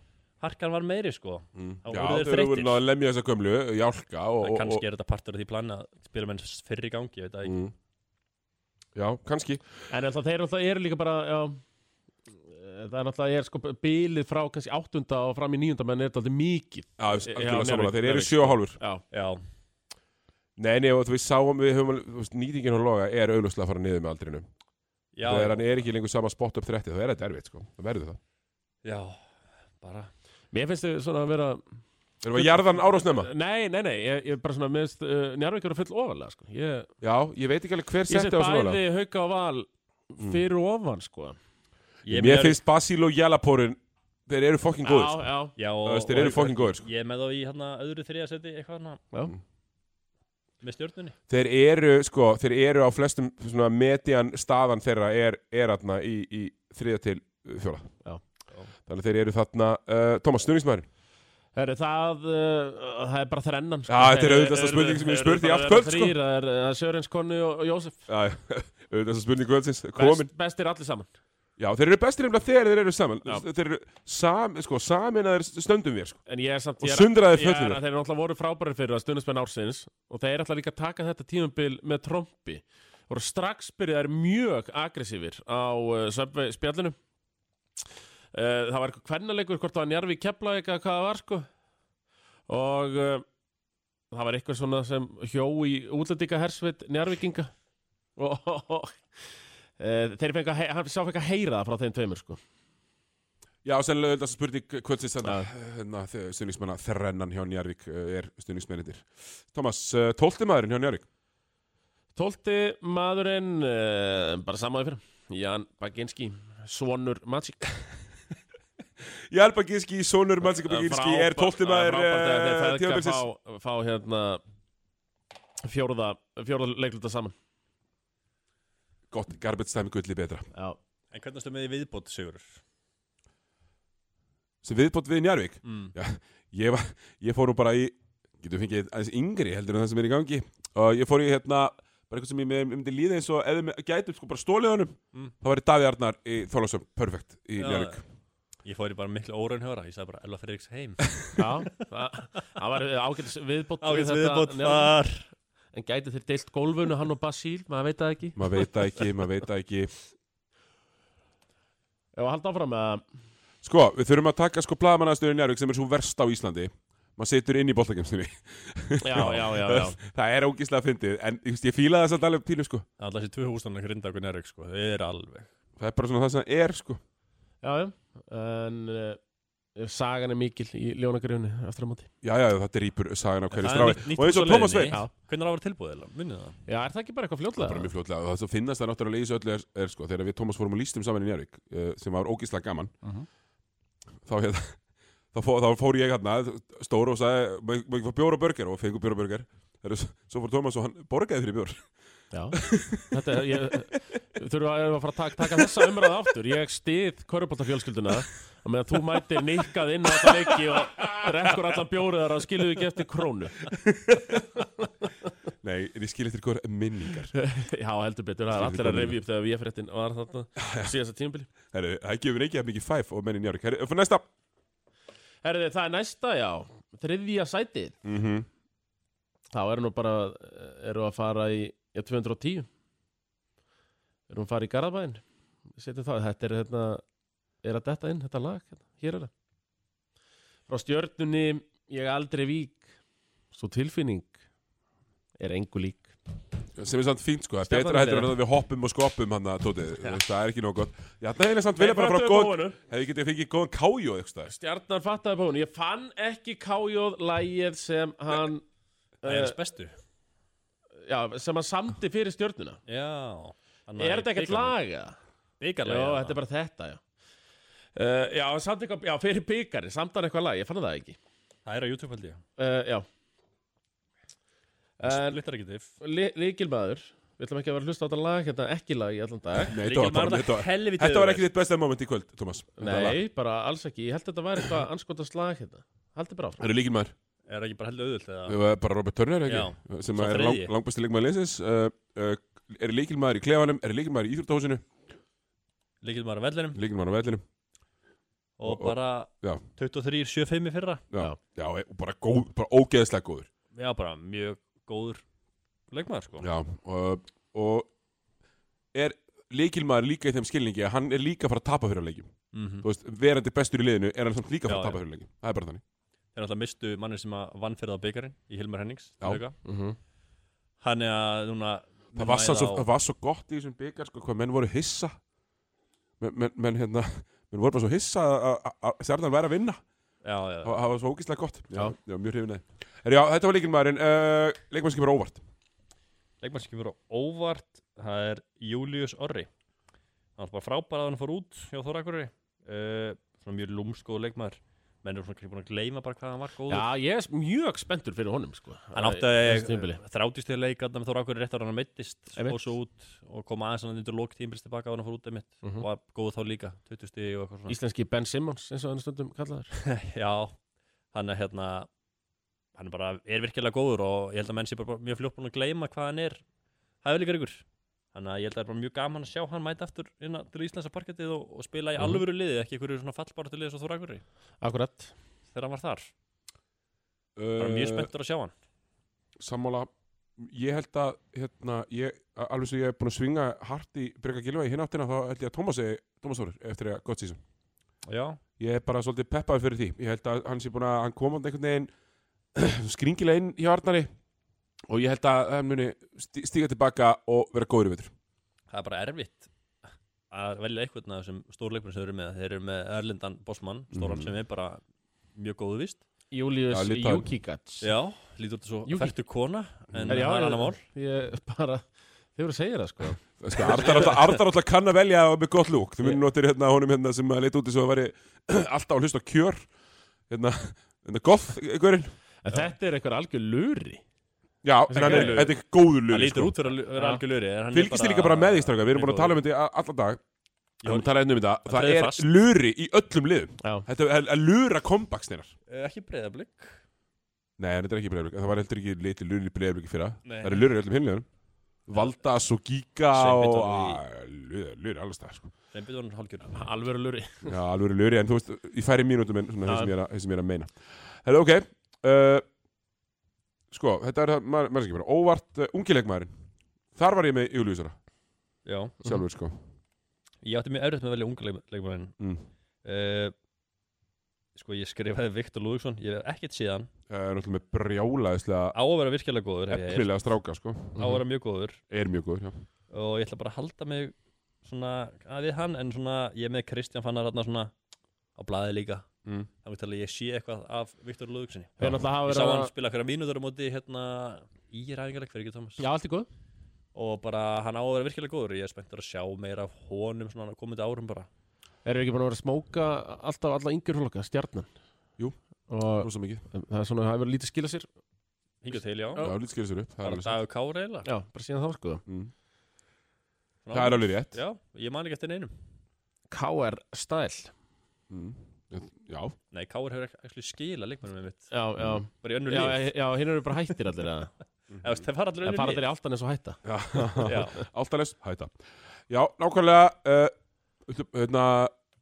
C: harkan var meiri sko
A: Mm.
C: Þá
A: Já,
C: voru þeir
A: þeir eru verið
C: þreyttir.
A: að lemja þessa gömlu, jálka og,
C: en
A: og, og
C: kannski er þetta partur af því plana að spila menn fyrri gangi, ég veit að ekki
A: mm. Já, kannski
B: En alltaf þeir alltaf eru líka bara já, Það er alltaf, ég er sko Bilið frá kannski áttunda og fram í níunda Menn er þetta alltaf mikið
A: Já, algjörlega
B: Njarðvík,
A: samanlega, þeir eru
B: Njarðvík.
A: sjö og hálfur
B: Já,
C: Já,
A: Nei, nei, og þú veist, sáum við höfum, alveg- þú veist, nýtingin og loga er auðvitað að fara niður með aldrinu
C: já,
A: Þegar hann er ekki lengur sama spot up 30, þá er þetta erfitt, sko Það verður það
C: já, bara
B: mér finnst þau svona að vera
A: Erum við að jarðan árásnema?
B: Nei, nei, nei, ég, ég bara svona Mér finnst uh, njárvík eru full ofalega sko. Ég,
A: Já, ég veit ekki alveg hver
B: ég set
A: setti á svona lag. Mm.
B: bæði hauka og val Fyrir ofan sko
C: Ég er
A: Mér
C: með-
A: finnst Basil og Jalaporin Þeir eru fokkin góðir, sko.
B: Já, já,
C: já,
A: Þú
C: og,
A: veist, þeir eru
C: og
A: fokkin góðir, sko
C: ég er með þá í hérna öðru þriða seti eitthvað hérna
B: Já.
C: með stjórnunni
A: Þeir eru, sko, þeir eru á flestum svona median staðan þeirra er, er aðna í, í þriða til uh, fjóla.
B: Já.
A: Þannig að þeir eru þarna, uh, Thomas, stuðningsmæðurinn.
B: Herru, það, uh, það er bara þrennan sko.
A: Já, þetta er
B: Þeir-
A: auðvitasta
B: þeir-
A: spurning sem ég
B: þeir-
A: spurt í
B: þeir- þeir-
A: allt
B: þeir-
A: kvöld, sko.
B: þrír, Það er uh, Sörens Konni og, og Jósef
A: Já, auðvitað þess að spurning kvöldsins, komin.
B: Best, Bestir allir saman
A: Já, þeir eru bestir nefnilega þegar þeir eru saman.
B: Já.
A: Þeir eru sam, sko, saminaðir stöndum við, sko.
B: En ég er samt
A: Og
B: ég er-
A: sundraðir
B: ég er
A: föllinu.
B: að Þeir eru náttúrulega voru frábæri fyrir að stundismenn ársins Og þeir ætla líka að taka þetta tímabil með trompi Og strax byrja þær mjög agressífir á uh, söpvei spjallinu uh, Það var eitthvað kvennalegur hvort það var njarfi kepla eitthvað hvað það var sko Og uh, það var eitthvað svona sem hjó í útlendinga hersveit njarvikinga Og uh, þeir fengi að, he- hann sá fengi að heyra það frá þeim tveimur sko
A: Já, og sennilega auðvitað þess að spurning kvöldsins þarna,
B: Já.
A: þarna þegar stuðningsmæna þrennan hjá Njarvík uh, er stuðningsmænindir. Thomas, uh, tóltimaðurinn hjá Njarvík.
B: Tólti maðurinn, uh, bara samáði fyrir, Jan Baginski, Svonur Magic.
A: Jálpa Gíski, Sónur Mansika Baginski er
B: eh,
A: tóltimaður
B: uh,
A: tímabilsins.
B: Fá, fá hérna fjóruða, fjóruða leikluta saman.
A: Gott, garbage time gulli betra.
B: Já.
C: En hvernig stöðum við í viðbót, Sigur?
A: sem viðbótt við Njarvík
C: Mm.
A: ég, var, ég fór nú bara í getur fengið aðeins yngri heldur en það sem er í gangi og ég fór í hérna bara eitthvað sem ég með- myndi líða eins og ef við gætum sko bara stólið honum
C: Mm.
A: þá væri Davi Arnar í Þorlásum perfect í
C: Já.
A: Njarvík
C: Ég fór í bara miklu óraunhöra, ég sagði bara Elva Fredriks heim
B: Já, það það var ágætis viðbótt. við
C: Ágætt
B: þetta
C: viðbót
B: nefn-
C: þar
B: En gæti þeir deilt gólfunu, hann og Basíl, maður veit það ekki.
A: maður veit það ekki, maður veit það ekki
B: Ef að halda áfram að,
A: sko, við þurfum að taka sko blagamannastöður Njarvík sem er svo verst á Íslandi maður situr inn í boltakemstinni
B: já, já, já, já.
A: það er ógíslega fyndið en ég, veist, ég fílaði þess að alveg pílu sko
C: Alltaf þessi tvö húsnarna grinda okkur nærvík sko, þau eru alveg
A: það er bara svona það sem það er sko
B: Já, já, en uh, sagan er mikil í ljónagrifinu eftir að móti.
A: já, já, það drýpur sagan á
C: En
A: hverju
C: það er
A: strái
C: nýtt- nýtt
A: og eins
C: hús á
A: og Thomas
C: leiðinni.
A: veit
B: Já,
C: Hvernig var tilbúið eða? Munið það?
B: já, er það ekki bara eitthvað fljótlega?
A: bara mjög fljótlega og það sem finnast það náttúrulega í þessu öllu er, er sko, þegar við Tómas fórum og lístum saman í Njárvík uh, sem var ógíslega gaman þá, hérna, þá, fó, þá fór ég hérna stór og sagði, "Má ég- má ég fá bjór og burger og fengur bjór og burger Heru, svo fór Tómas og hann borgaði fyrir bjór
B: Já, þetta er, ég, þurfum að, erum að fara að taka, taka þessa umræða aftur. Ég stið korrupoltafjölskylduna og meðan þú mætir nikkað inn á þetta leiki og rekkur allan bjórið þar og skilur ekki eftir krónu.
A: nei, en ég skil eftir hver minningar
B: Já, heldur betur, það er allir að reyfi upp þegar við fréttin var þarna síðasta tímabili.
A: Heru, það gefur ekki að mikið fæf og menn í Njárvík Heru, fyrir næsta
B: Herði, það er næsta, já, þriðja sætið.
A: mm
B: Þá eru nú bara, eru að fara í ja, 210. Erum að fara í Garðabæinn. Setjum það, þetta er hérna, er að detta inn, þetta lag, hérna. hér er það. Frá stjörnunni, ég aldrei vík, svo tilfinning er engu lík.
A: sem er samt fínt sko, það er
B: Stjarnan
A: betra
B: er
A: heldur en
B: þeirra.
A: að við hoppum og skoppum hann að tótið það er ekki nóg gott já, það er samt vilja bara frá góð hefði getið fengið góðan kájó eitthvað staðar.
B: Stjarnan fattaði bóðinu, ég fann ekki kájóð lægið sem hann,
C: Það er
B: eh,
C: hans bestu
B: já, sem hann samdi fyrir stjörnuna.
C: Já
B: Er þetta ekkert laga?
C: Byggarlega
B: Já, þetta er bara þetta, já uh, Já, samt eitthvað, já, fyrir byggarinn, samt hann eitthvað lag, ég fann það ekki
C: Það er á YouTube held ég
B: uh, Já En
C: Littar ekki diff
B: líkilmaður Við ætlum ekki að vera að hlusta á þetta lag Hérna ekki lag í allan dag
A: Nei, þetta var bara-
C: Líkilmaður
A: þetta
C: það
A: var-
C: helviti
A: Þetta var ekki þitt besta moment í kvöld, Thomas
B: Nei, bara alls ekki Ég held að þetta væri eitthvað anskotast lag hérna Haldið bara áfram
A: Það eru líkilmaður
C: Er ekki bara heldur auðvöld eða
A: Við varum bara Robert Turner, ekki? Sem
C: sá
A: er
C: þriðji.
A: lang, langbæsti leikmaður liðsins uh, uh, Er líkilmaður í klefanum, er líkilmaður í íþróttahúsinu
C: Líkilmaður á vellinum
A: Líkilmaður á vellinum
C: Og
A: Og- og-
C: bara
A: já.
C: 23-75 í fyrra
A: Já,
B: Já.
A: já og bara, góð, bara ógeðslega góður
C: Já, bara mjög góður leikmaður sko
A: Já, og, og er líkilmaður líka í þeim skilningi að hann er líka að fara að tapa fyrir á leikjum
C: Mhm.
A: Þú veist, verandi bestur í liðinu er hann samt líka að fara
C: Já,
A: að tapa fyrir á leikjum Það er bara þannig
C: Þeir náttúrulega mistu mannir sem að vann fyrir það byggarinn Í Hilmar Hennings
A: Já.
C: Hauka.
B: mm -hmm.
C: Hann er að núna
A: Það var, svo,
C: mæða
A: það
C: á-
A: var svo gott í þessum byggar, sko, hvað menn voru hissa Men, men, men hérna, menn voru bara svo hissa að- að- að Sjarnan væri að vinna
C: Já, já,
A: Það það var svo ógíslega gott Já,
B: Já.
A: já mjög hrifin aðeins Herri, já, þetta var leikilmaðurinn uh, Leikmaður sem kemur á óvart
C: leikmann sem kemur á óvart það er Július Orri hann var bara frábær að hann fór út hjá Þorakurri uh, svona mjög lúmskóð leikmaður menn eru svona kannski búin að gleyma bara hvað hann var góður Eh,
B: Já, ég er mjög spenntur fyrir honum sko.
C: hann
B: Þessu
C: átti
B: tímabili.
C: þrátist til leik þarna með Þorakurri rétt ára hann meittist
B: Einmitt.
C: og svo út og kom aðeins hann undir lók tímbils tilbaka og hann fór út einmitt
B: Mhm.
C: og var góð þá líka 20 stíg og eitthvað svona
B: Íslenski Ben Simmons eins og hann er stundum kallaður
C: já, hann er hérna hann er bara, er virkilega góður og ég held að menn sé bara mjög fljótt búin að gleyma hvað hann er hæfileikar ykkur þannig að ég held að það er bara mjög gaman að sjá hann mæta aftur inn að- til Íslands að parkettið og, og spila í
B: Mhm.
C: alvöru liði, ekki ykkur svona fallbára til liði svo þóra ykkur
B: Akkurat
C: þegar hann var þar, bara mjög
A: uh,
C: spenntur að sjá hann
A: Sammála Ég held að, hérna, ég, a- alveg svo ég er búin að svinga hart í Breka Gilva í hináttina þá held ég að Tómas er, Tómas Þórir eftir að gott sísum
C: já,
A: Ég er bara svolítið peppaði fyrir því Ég held að hann sé búin að, hann komandi einhvern veginn skringilega inn hjá Arnari og ég held að hann muni stí- stíga tilbaka og vera góður í vetur
C: það er bara erfitt að velja einhvern af þessum stórleikmenn sem þeir eru með, þeir eru með Erlendan Bosman, stóran
A: Mhm.
C: sem er bara mjög góðu vist,
B: Július
A: Já, Litáen.
B: Júkigats
C: já, lítur þetta svo
B: Jú. Mhm.
C: færtu kona, en
B: Er- já,
C: það
B: já,
C: er annar mál
B: Ég bara Þið voru að segja það sko
A: Það Sko, Arnar alltaf, Arnar alltaf kann að velja með gott lúk Þú munir notir hérna honum hérna sem að leita út þess að það væri alltaf að hlusta á kjör hérna, hérna goth ykkurinn
B: En þetta er eitthvað algjör lúri
A: Já, en hann er, þetta er góður
C: hann
A: lúk
C: lítur
A: sko.
C: út fyrir að lu- vera
B: Já.
C: algjörlöri
A: Fylgist þið líka bara með því strákar, við erum búin að tala um þetta í a- allan dag Við erum að tala einnig um þetta, það
C: treður
A: er
C: fast.
A: luri í öllum liðum
B: Já
A: Þetta er að lura kompaksnirar
C: Ekki breyðablík
A: Nei, þetta er ekki breyðarblik, það var heldur ekki litli luri í breyðarblik fyrra
C: Nei.
A: Það eru luri í öllum hinliðunum Valdas og Giga
C: Sveinbjörn
A: og
C: var
A: Á, luri luri alls það sko.
C: Þeim byrður hann hálgjör
B: Alvöru lúri
A: Já, alveg verið luri, en þú veist, ég færi mínútum en svona
B: Já.
A: þeir sem, ég er að- þeir sem ég er að meina Hefðu, ok uh, Sko, þetta er það, maður maður er ekki bara Óvart uh, ungilegmaðurinn Þar var ég með Júliusara,
C: Já
A: sjálfur sko
C: Ég átti mjög erfitt með að velja unga leikmæðin
A: mm.
C: uh, Sko ég skrifaði Viktor Lúðvíksson Ég hef ekkert síðan
A: uh, Náttúrulega með brjálaðislega
C: Á að vera virkilega góður hef ég heyrt.
A: Eflilega stráka, sko
C: Á að vera mjög góður
A: Er mjög góður, já
C: Og ég ætla bara að halda mig Svona að við hann En svona ég er með Kristján fannar hann svona Á blaði líka
A: Mm.
C: Það veit alveg að ég sé eitthvað af Viktor Lúðvíkssoni
B: Við erum alltaf að
C: Ég sá
B: vera
C: hann spila hverja mínútur á móti hérna í ræðingarleik fyrir ekki Thomas
B: Já, allt í góð
C: og bara hann á að vera virkilega góður ég er spenntur að sjá meira af honum svona á komandi árum bara
B: Erum við ekki búin að vera að smóka alltaf alla yngjur hloka, stjarnan
A: Jú.
B: Og
A: Rosa mikið
B: um, það er svona, það hefur lítið skila sér
C: hingað til já,
A: Já, lítið skilur sér upp, það er
C: bara
A: alveg satt
C: dagur kára eiginlega
B: Já, bara síðan þá sko
A: mm.
C: Svona
A: Það er alveg rétt
C: já, ég man ekki eftir neinum
B: KR stæl
A: mm. Já,
C: nei, kára hefur ekki skila leikmennum mitt
B: Já, já
C: bara í önnur
B: Já,
C: líf
B: já, já hinn eru bara hættir allir að
C: Eða, þú veist, það var allir
B: Það fara
C: önnur
B: allir í alltaf eins og hætta
A: já.
C: líf já,
A: alltaf les, hæta Já, nákvæmlega uh, ætlum- Hérna,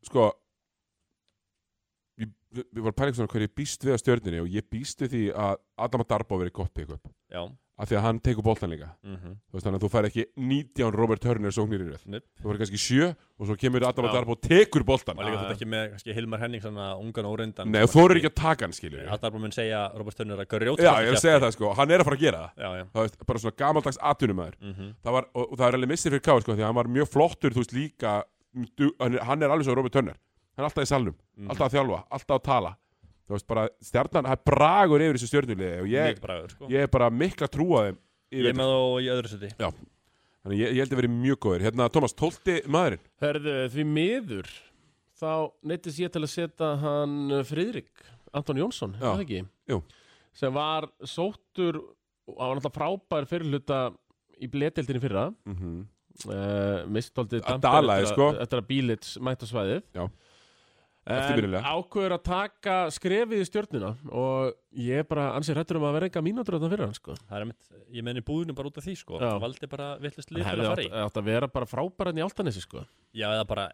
A: sko Ég, ég var að pæla eitthvað hverju ég býst við að stjörninni og ég býst við því að Adama Darbo verið gott pick-up
C: já.
A: af því að hann tekur boltan líka
C: Mm -hmm.
A: þú veist þannig að þú fær ekki 19 Robert Turner sóknir í röð
C: Nei.
A: þú fær kannski 7 og svo kemur Adama
B: Já.
A: Darbo og tekur boltan
C: maður líka
B: Já,
C: þetta ekki með kannski Hilmar Henning svona ungan og óreindan
A: Nei, þú eru ekki að taka hann skilur
C: að Darbo mun segja Robert Turner að grjóta
A: Já, ég er að segja það sko, hann er að fara að gera það
C: já, já
A: Það veist, bara svona gamaldags atvinnumæður
C: mm
A: það var, og, og það er alveg missið fyrir Káir sko, því að hann var mjög flottur, þú veist líka du, hann, er- hann er alveg svo Robert Turner hann er alltaf í salnum, alltaf að þjálfa, alltaf að tala þú veist bara, stjarnan, hann bragur yfir þessu stjörnuliði og
C: ég,
A: ég,
C: bragur, sko. ég,
A: ég er bara mikla trúa þeim
C: ég er
A: yfir,
C: með þá í öðru seti
A: já, þannig ég, ég held að verið mjög góður hérna, Thomas, tólti maðurinn
B: Hörðu, því miður þá neytist ég til að setja hann eh, Friðrik Anton Jónsson, er
A: Já,
B: það ekki?
A: jú.
B: Sem var sóttur og hann var náttúrulega frábær fyrirluta í bletildinni fyrra
A: Mhm.
B: uh, mistoltið
A: Að dalaði, sko.
B: eftir að Bílits mætt á svæðið
A: Já.
B: en
A: Eftirminnilega.
B: ákveður að taka skrefið í stjórnina og ég er bara ansið hrættur um að vera enga mínútur þarna fyrir hann sko.
C: Það er einmitt, ég meni búðinu bara út af því sko
B: Já.
C: Það valdi bara villist lið
B: hann
C: til
B: hefði
C: að fara í
B: átt, átt að vera bara frábæran í áltanessi sko.
C: Já, eða bara,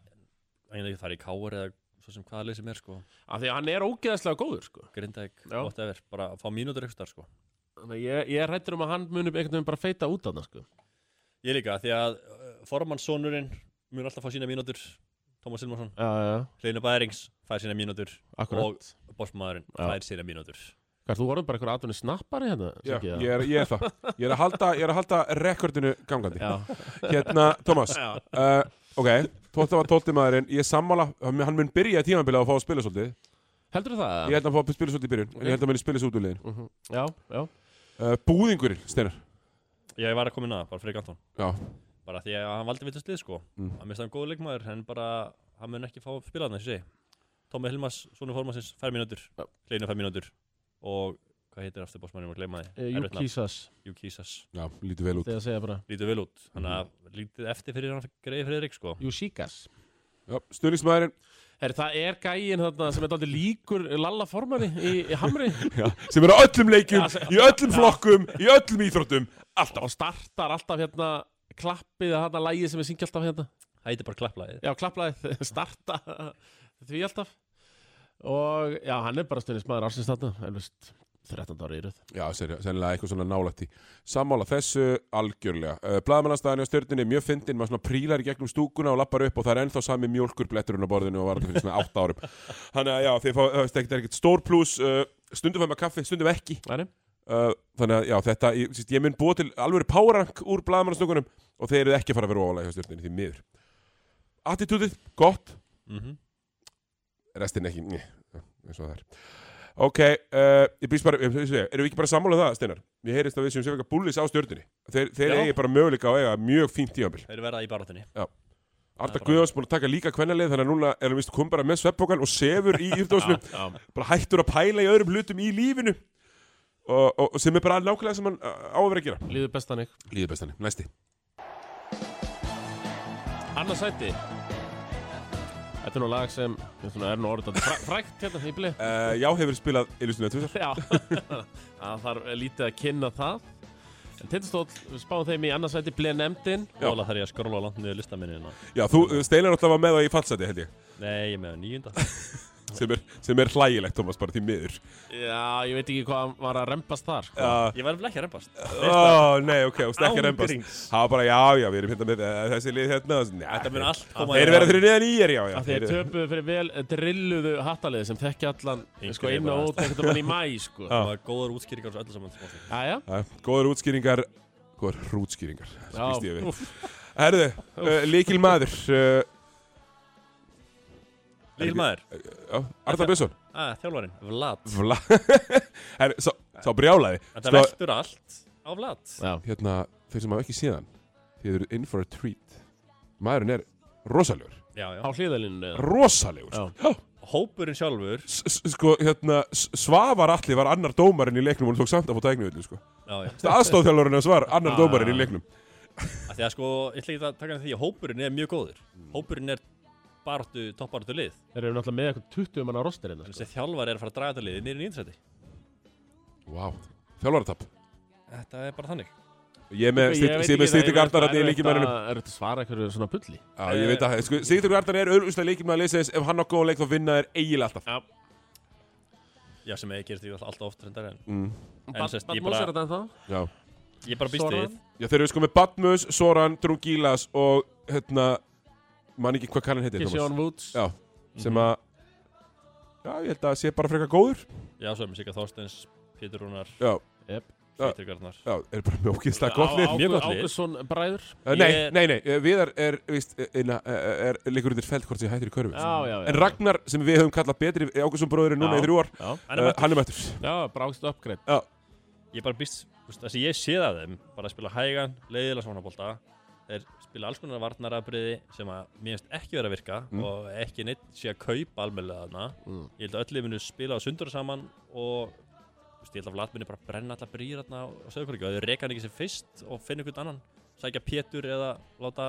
C: ég veit ekki fara í káur eða svo sem hvaða lið sem er sko
B: af því að hann er ógeðaslega góður sko.
C: Grindæk,
B: Já.
C: whatever, bara fá mínútur ykkur starf sko
B: Þannig að ég, ég er hrættur um að hann muni einhvern veginn bara feita út af hann sko.
C: Ég líka, því að uh, formannssonurinn mun alltaf fá sína mínútur Tómas Silmarsson,
B: já, já, já,
C: Hleyna Bærings fær sína mínútur
B: akkurat
C: og bossmaðurinn
B: Já.
C: fær sína mínútur
B: Hvað, þú vorum bara eitthvað atvinni snappari hérna?
A: Já,
B: Siggi,
A: ég er, ég er það Ég er að halda, ég er að halda rekordinu gangandi
B: Já,
A: Hérna, Thomas
B: Já.
A: uh, Ok, þetta var tólti maðurinn Ég er sammála, hann mun byrja tímabilið á að fá að spila svolítið
B: heldur það?
A: Ég held að hann fá að spila svolítið í byrjun En ég held að hann muni spila svo út úr liðin
B: Mhm. Já, já,
A: uh, Búðingurinn, Steinar
C: Já, ég var að koma inn að, það, bara Freyr Anton
A: Já,
C: bara því að hann valdi villast lið sko
A: Mm.
C: hann mista hann góð leikmaður, en bara hann mun ekki fá að spila hann þessi Tómi Hilmas, svona formansins, fær mínútur
B: Já.
C: Hleyna fær mínútur og hvað heitir aftur bossmaðurinn, ég var að gleyma því
B: Eh, Jú
C: Erfitt nafn.
B: Kísas
C: Jukísas,
A: já, lítið vel út
B: Þegar að segja bara
C: lítið vel út þannig að lítið eftir fyrir hann greiði Freyrik sko
B: Jú Síkas
A: já, Stuðningsmaðurinn,
B: Her, Það er gæin þarna sem er aldrei líkur Lalla formari í, í Hamri
A: já, sem er á öllum leikjum Í öllum flokkum, í öllum íþróttum Alltaf
B: og startar alltaf hérna klappið að þarna lægið sem við syngja alltaf hérna
C: Það heitir bara klapplaðið
B: Já, klapplaðið, starta því alltaf og já, hann er bara stundins maður ársins þarna elvist 13 ári í röð
A: Já, sen- sennilega eitthvað svona nálætti Sammála þessu algjörlega uh, Blaðmannastæðan hjá stjörninni er mjög fyndin maður svona prílar í gegnum stúkuna og lappar upp og það er ennþá sami mjólkur bletturinn á borðinu og var þetta fyrir svona 8 árum Þannig að já, þið fá, það er ekkert- ekkert stór pluss uh, stundum fæma kaffi, stundum ekki
B: Þannig?
A: uh, Þannig að já, þetta, ég, síst, ég mun búa til alveg powerrank úr blaðmannastúkunum og þeir eru ekki að fara að vera ofalega hjá stjörninni því miður Attitútið, gott
C: mm -hmm.
A: restin ekki, njö, eins og það er ok, uh, ég býst bara erum við ekki bara sammálað það, Steinar? Mér heyrist að við séum sem eitthvað búlis á stjörnunni þeir, þeir
C: Já.
A: eigi bara möguleika á að eiga mjög fínt tímabil
C: Þeir verða í baráttunni
A: Arda
C: bara-
A: Guðjóns búin að taka líka kvennalið þannig að núna er hann vist kom bara með sveppbókan og sefur í yfdósnum, bara hættur að pæla í öðrum hlutum í lífinu og, og, og sem er bara nákvæmlega sem hann uh, á að vera að gera
B: Líður bestan ykk
A: Líður bestanni, næsti
B: Annars sæti Þetta er nú lag sem ég svona, er nú orðið dálítið fræ, frækt hérna í blið
A: uh, Já, hefur spilað Illustrinu tvisar
B: Já, það þarf lítið að kynna það En tindastóll, við spáum þeim í annarsæti Blei nefndin
A: Já.
C: Óla þarf ég að skróla langt niður listaminni
A: Já, þú, uh, Steinar alltaf var með það í fallseti, held ég
C: Nei, ég er með á nýjunda
A: sem er, sem er hlægilegt, Thomas, bara því miður
B: Já, ég veit ekki hvað hann var að rempast þar sko.
A: uh,
C: Ég var vel ekki að reymbast
A: Ó, nei, ok, þú stekkar reymbast
C: Ángríns.
A: Það var bara, já, já, við erum hérna með eh, þessi lið hérna
C: Þetta mun allt koma
A: Þeir
C: í-
A: verða fyrir neðan í er, já, já
B: Af því að
A: þeir-
B: töpuðu fyrir vel eh, drilluðu hattaliði sem þekki allan
C: Einhver
B: sko,
C: er
B: inn
C: bara
B: og út ekkert um hann í mæ sko.
A: Já.
B: Já,
C: Það var góðar útskýringar og öllu saman sko.
B: já,
A: Já, Góðar útskýringar, góðar hrútskýringar Skýrst ég við
B: úff,
A: Herðu, uh, líkil maður uh,
C: Lílmaður,
A: já, Arnar Björnsson
C: ah, þjálfarinn, Vlad
A: Vla Herðu, sá, sá brjálaði
C: Þetta
A: Sko,
C: veltur allt á Vlad
B: já.
A: hérna, þeir sem hafa ekki síðan Þeir eru in for a treat Maðurinn er rosalegur
C: Já, já
B: á hliðalínu
A: Rosalegur
B: Já.
A: Já.
C: Hópurinn sjálfur
A: S- s- Sko, hérna, S- Svavar Atli var annar dómarinn í leiknum og hann tók samt að fá tæknu sko.
C: Já, já
A: aðstóðþjálfurinn að svar, annar
B: Ah.
A: dómarinn í leiknum
C: Af Því að sko, ég ætla ekki að taka hann því að hópurinn er mjög góður Hópurinn er baráttu, toppbaráttu lið
B: Þeir eru náttúrulega með eitthvað 20 manna á rostirinn
C: En
B: sko.
C: þessi þjálfar er að fara að draga þetta liðið niður í nýjnsæti
A: Vá, þjálfaratap
C: Þetta er bara þannig
A: Ég er með,
B: Ég veit
A: Sig-
B: ekki
A: Sig- með
B: það,
A: Sigtrygg
B: ég veit
A: Arnar hérna í
B: það, er þetta-
A: líkimærinum
B: Er þetta svara einhverju svona pulli?
A: Já, ég veit að sko, Sigtrygg Arnar er auðvitað líkimæri liðsins ef hann á góðan leik þá vinna er eiginlega alltaf
C: Já, sem ég gerist ekki alltaf oft reyndar en
A: mm.
C: En sérst, ég
B: Batmos er
C: bara,
B: þetta ennþá?
A: Já,
C: ég bara býst
B: Soran?
C: við
A: Já þeir eru sko með Batmus, Soran, Drungilas og hérna, mann ekki hvað kannan heitir Thomas.
B: Kissjón Woods
A: Já, sem að Já, ég held að sé bara frekar góður
C: Já, svo er mér Sigga Þorsteins, Pétur Rúnar,
A: Já,
B: yep.
A: Já.
C: Pétur Garnar
A: já, er bara með ógeðslega gott lið
C: á- Mjög gott lið.
B: Águsson bræður
A: Eh, Nei,
C: ég-
A: nei, nei, eh, Viðar er, víst, eh, inna, eh, er liggur undir feld hvort sem hættir í körfu
B: Já, já, já
A: En Ragnar, sem við höfum kallað betri Ágússon bróðurinn núna í
B: Já.
A: þrjú ár,
B: Já,
C: Hann er
A: uh,
C: mættur.
A: hann er mættur
B: já brákst uppgreitt
C: ég bara býst, þú veist, þessi ég sé það þeim bara að spila hægan, leiðilega svanabólta þeir spila alls konar varnarabriði sem að mér finnst ekki vera að virka
A: Mm.
C: og ekki neitt sé að kaupa almennilega þarna
B: Mm.
C: ég held að öll lið munu spila á sundur saman og Þú veist, ég held að Vladminni bara brenna alltaf brýr þarna á Söðurkvöldu og þau reka hann ekki sem fyrst og finna einhvern annan sækja Pétur eða láta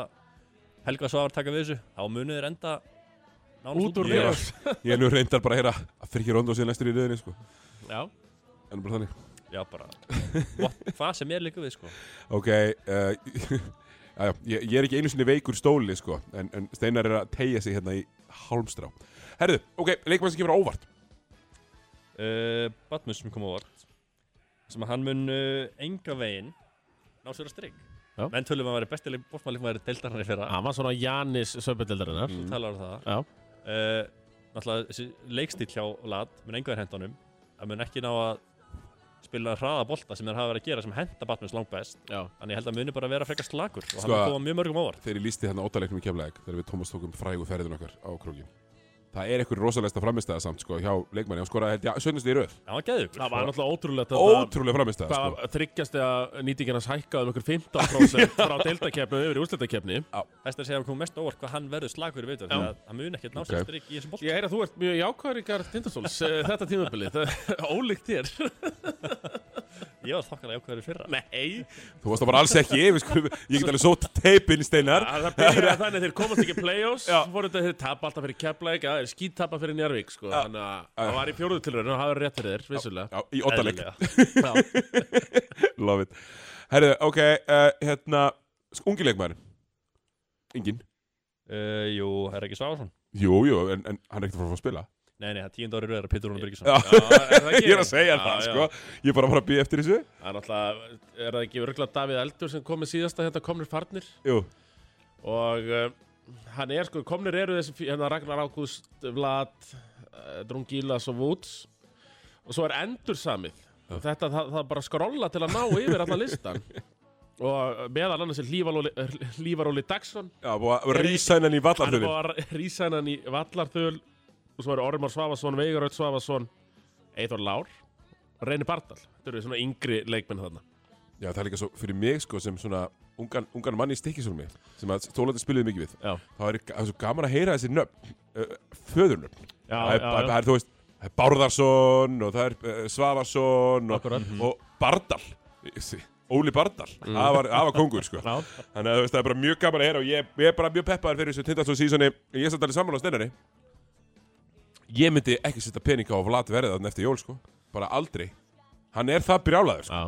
C: Helga Svavar taka við þessu þá munið þeir enda nánast
B: Út úr
A: Ég-
B: Rivers
A: Ég er nú reyndar bara að heyra að fyrir ekki ronda og síðan næstur í röðinni sko.
B: Já,
A: En bara þannig
C: Já, bara, what, hvað sem er líka við sko
A: Ok, uh, já, já, ég, ég er ekki einu sinni veikur stóli sko, en, en Steinar er að tegja sig hérna í hálmstrá. Herðu, ok, leikmann sem kemur á óvart.
C: uh, Batmus sem kom á vart sem að hann mun uh, enga veginn ná sér að strygg
B: Já.
C: menn tölum að hann væri bestileg bóttmæli hann væri deildarinn í fyrra
B: hann var svona Janis söpildildarinnar
C: þú talar um það
B: Já,
C: uh, náttúrulega þessi leikstíl hjá Lat mun enga er hendanum hann mun ekki ná að spila hraða bolta sem þeir hafa verið að gera sem henda Batmus langt best
B: já,
C: þannig ég held að muni bara vera frekar slagur og
A: Sko
C: hann mun
A: að-
C: koma mjög mörgum ávart
A: Þegar ég lísti hérna óttalegnum í kemleik, þegar við Tómas tókum frægu ferðin okkar á krókin. Það er einhver rosalegsta framistæða samt sko, hjá leikmanni. Hann skoraði held ég 17. í röð.
C: hann var sko. gæðið
B: það var náttúrulega ótrúlegt að það-
A: Ótrúlega framistæða
B: hvað
A: sko.
B: var þryggjast eða nýtingarnas hækkað um ykkur 15% frá deildakeppni yfir í úrslitakeppni
C: þess að segja að hann kom mest ávart hvað hann verður slagur í veitur þannig að hann mun ekki ná sér
A: Ok.
C: að strygg í þessum bolta
B: Ég heyra að þú ert mjög jákvæður í Garð Tindastóls eh, þetta tímabili, ólíkt þér
C: ég var þokkalega ákveður í fyrra
B: Nei,
A: Þú varst það bara alls ekki, við skulum, ég get alveg svo teipin Steinar.
B: það það byrjaði þannig að þeir komast ekki í play-offs svo voru þetta þeir tapa alltaf fyrir Keflæk það er skítapa fyrir Njárvík sko. þannig að það var í fjóruðu tilraun og það var rétt fyrir þér, vissulega
A: Já, í óttaleg.
C: Eðlilega.
B: Já.
A: Love it. Herðu, ok, uh, hérna, ungi leikmann. Engin.
C: Uh, jú, er ekki Svafarsson?
A: Jú, jú, en, en hann er ekkert að fara að fá að spila.
C: Nei, nei, það er tíund ári röðar Pétur Rúnar Birgisson
A: Já.
B: Já, er það ekki?
A: ég er að segja
B: Já,
A: það,
B: já.
A: sko Ég er bara að fara að býja eftir þessu
B: Það er náttúrulega, er það ekki örgulega Davíð Eldur sem komið síðasta hérna komnir farnir
A: Jú,
B: og uh, hann er sko, komnir eru þessi fí- hérna Ragnar Ágúst, Vlad uh, Drungilas og Woods og svo er endursamið og þetta, það, það bara skrolla til að ná yfir allan listan og meðal annars er Lífaróli, Lífaróli Dagsson
A: já, búið að rísa hennan í
B: hann er
A: vallarfjörðin
B: búið að rísa hennan í Vallarþöl og svo eru Ormar Svavason, Veigaröld Svavason Eithor Lár Reyni Bardal, þetta eru svona yngri leikmenn þarna
A: Já, það er líka svo fyrir mig, sko, sem svona ungan, ungan manni í stikkisólmi sem að stólandi spiluði mikið við
B: Já,
A: þá er það er svo gaman að heyra þessi nöfn uh, föðurnöfn
B: já,
A: það er, það er, þú veist, það er Bárðarsson og það er uh, Svavarsson og, Mhm.
B: Akkurat.
A: og Bardal Þessi, Óli Bardal, það var, það var kongur, sko
B: Mhm. Já.
A: Þannig að þú veist, það er bara mjög gaman að heyra og ég, ég er bara mjög peppaður fyrir þessu tindastóð sísoni Ég er samt alveg sammála á steinari Ég myndi ekki setja peninga á Vlad verðan eftir jól, sko Bara aldrei Hann er það brjálaður, sko
B: Já.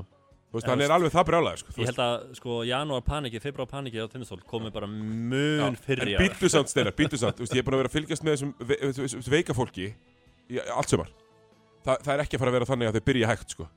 A: Þú veist, hann er alveg það brjálaður, sko Þú
C: Ég
A: veist,
C: held að, sko, janúar panikið, februar panikið á Tindastól komið bara mun fyrir
A: En býttu samt, steinar, býttu samt Þú veist, Ég er búin að vera að fylgjast með þessum ve- þessu- þessu veika fólki í- Allt sumar Þa, Það er ekki að fara að vera þannig að þau byrja hægt, sko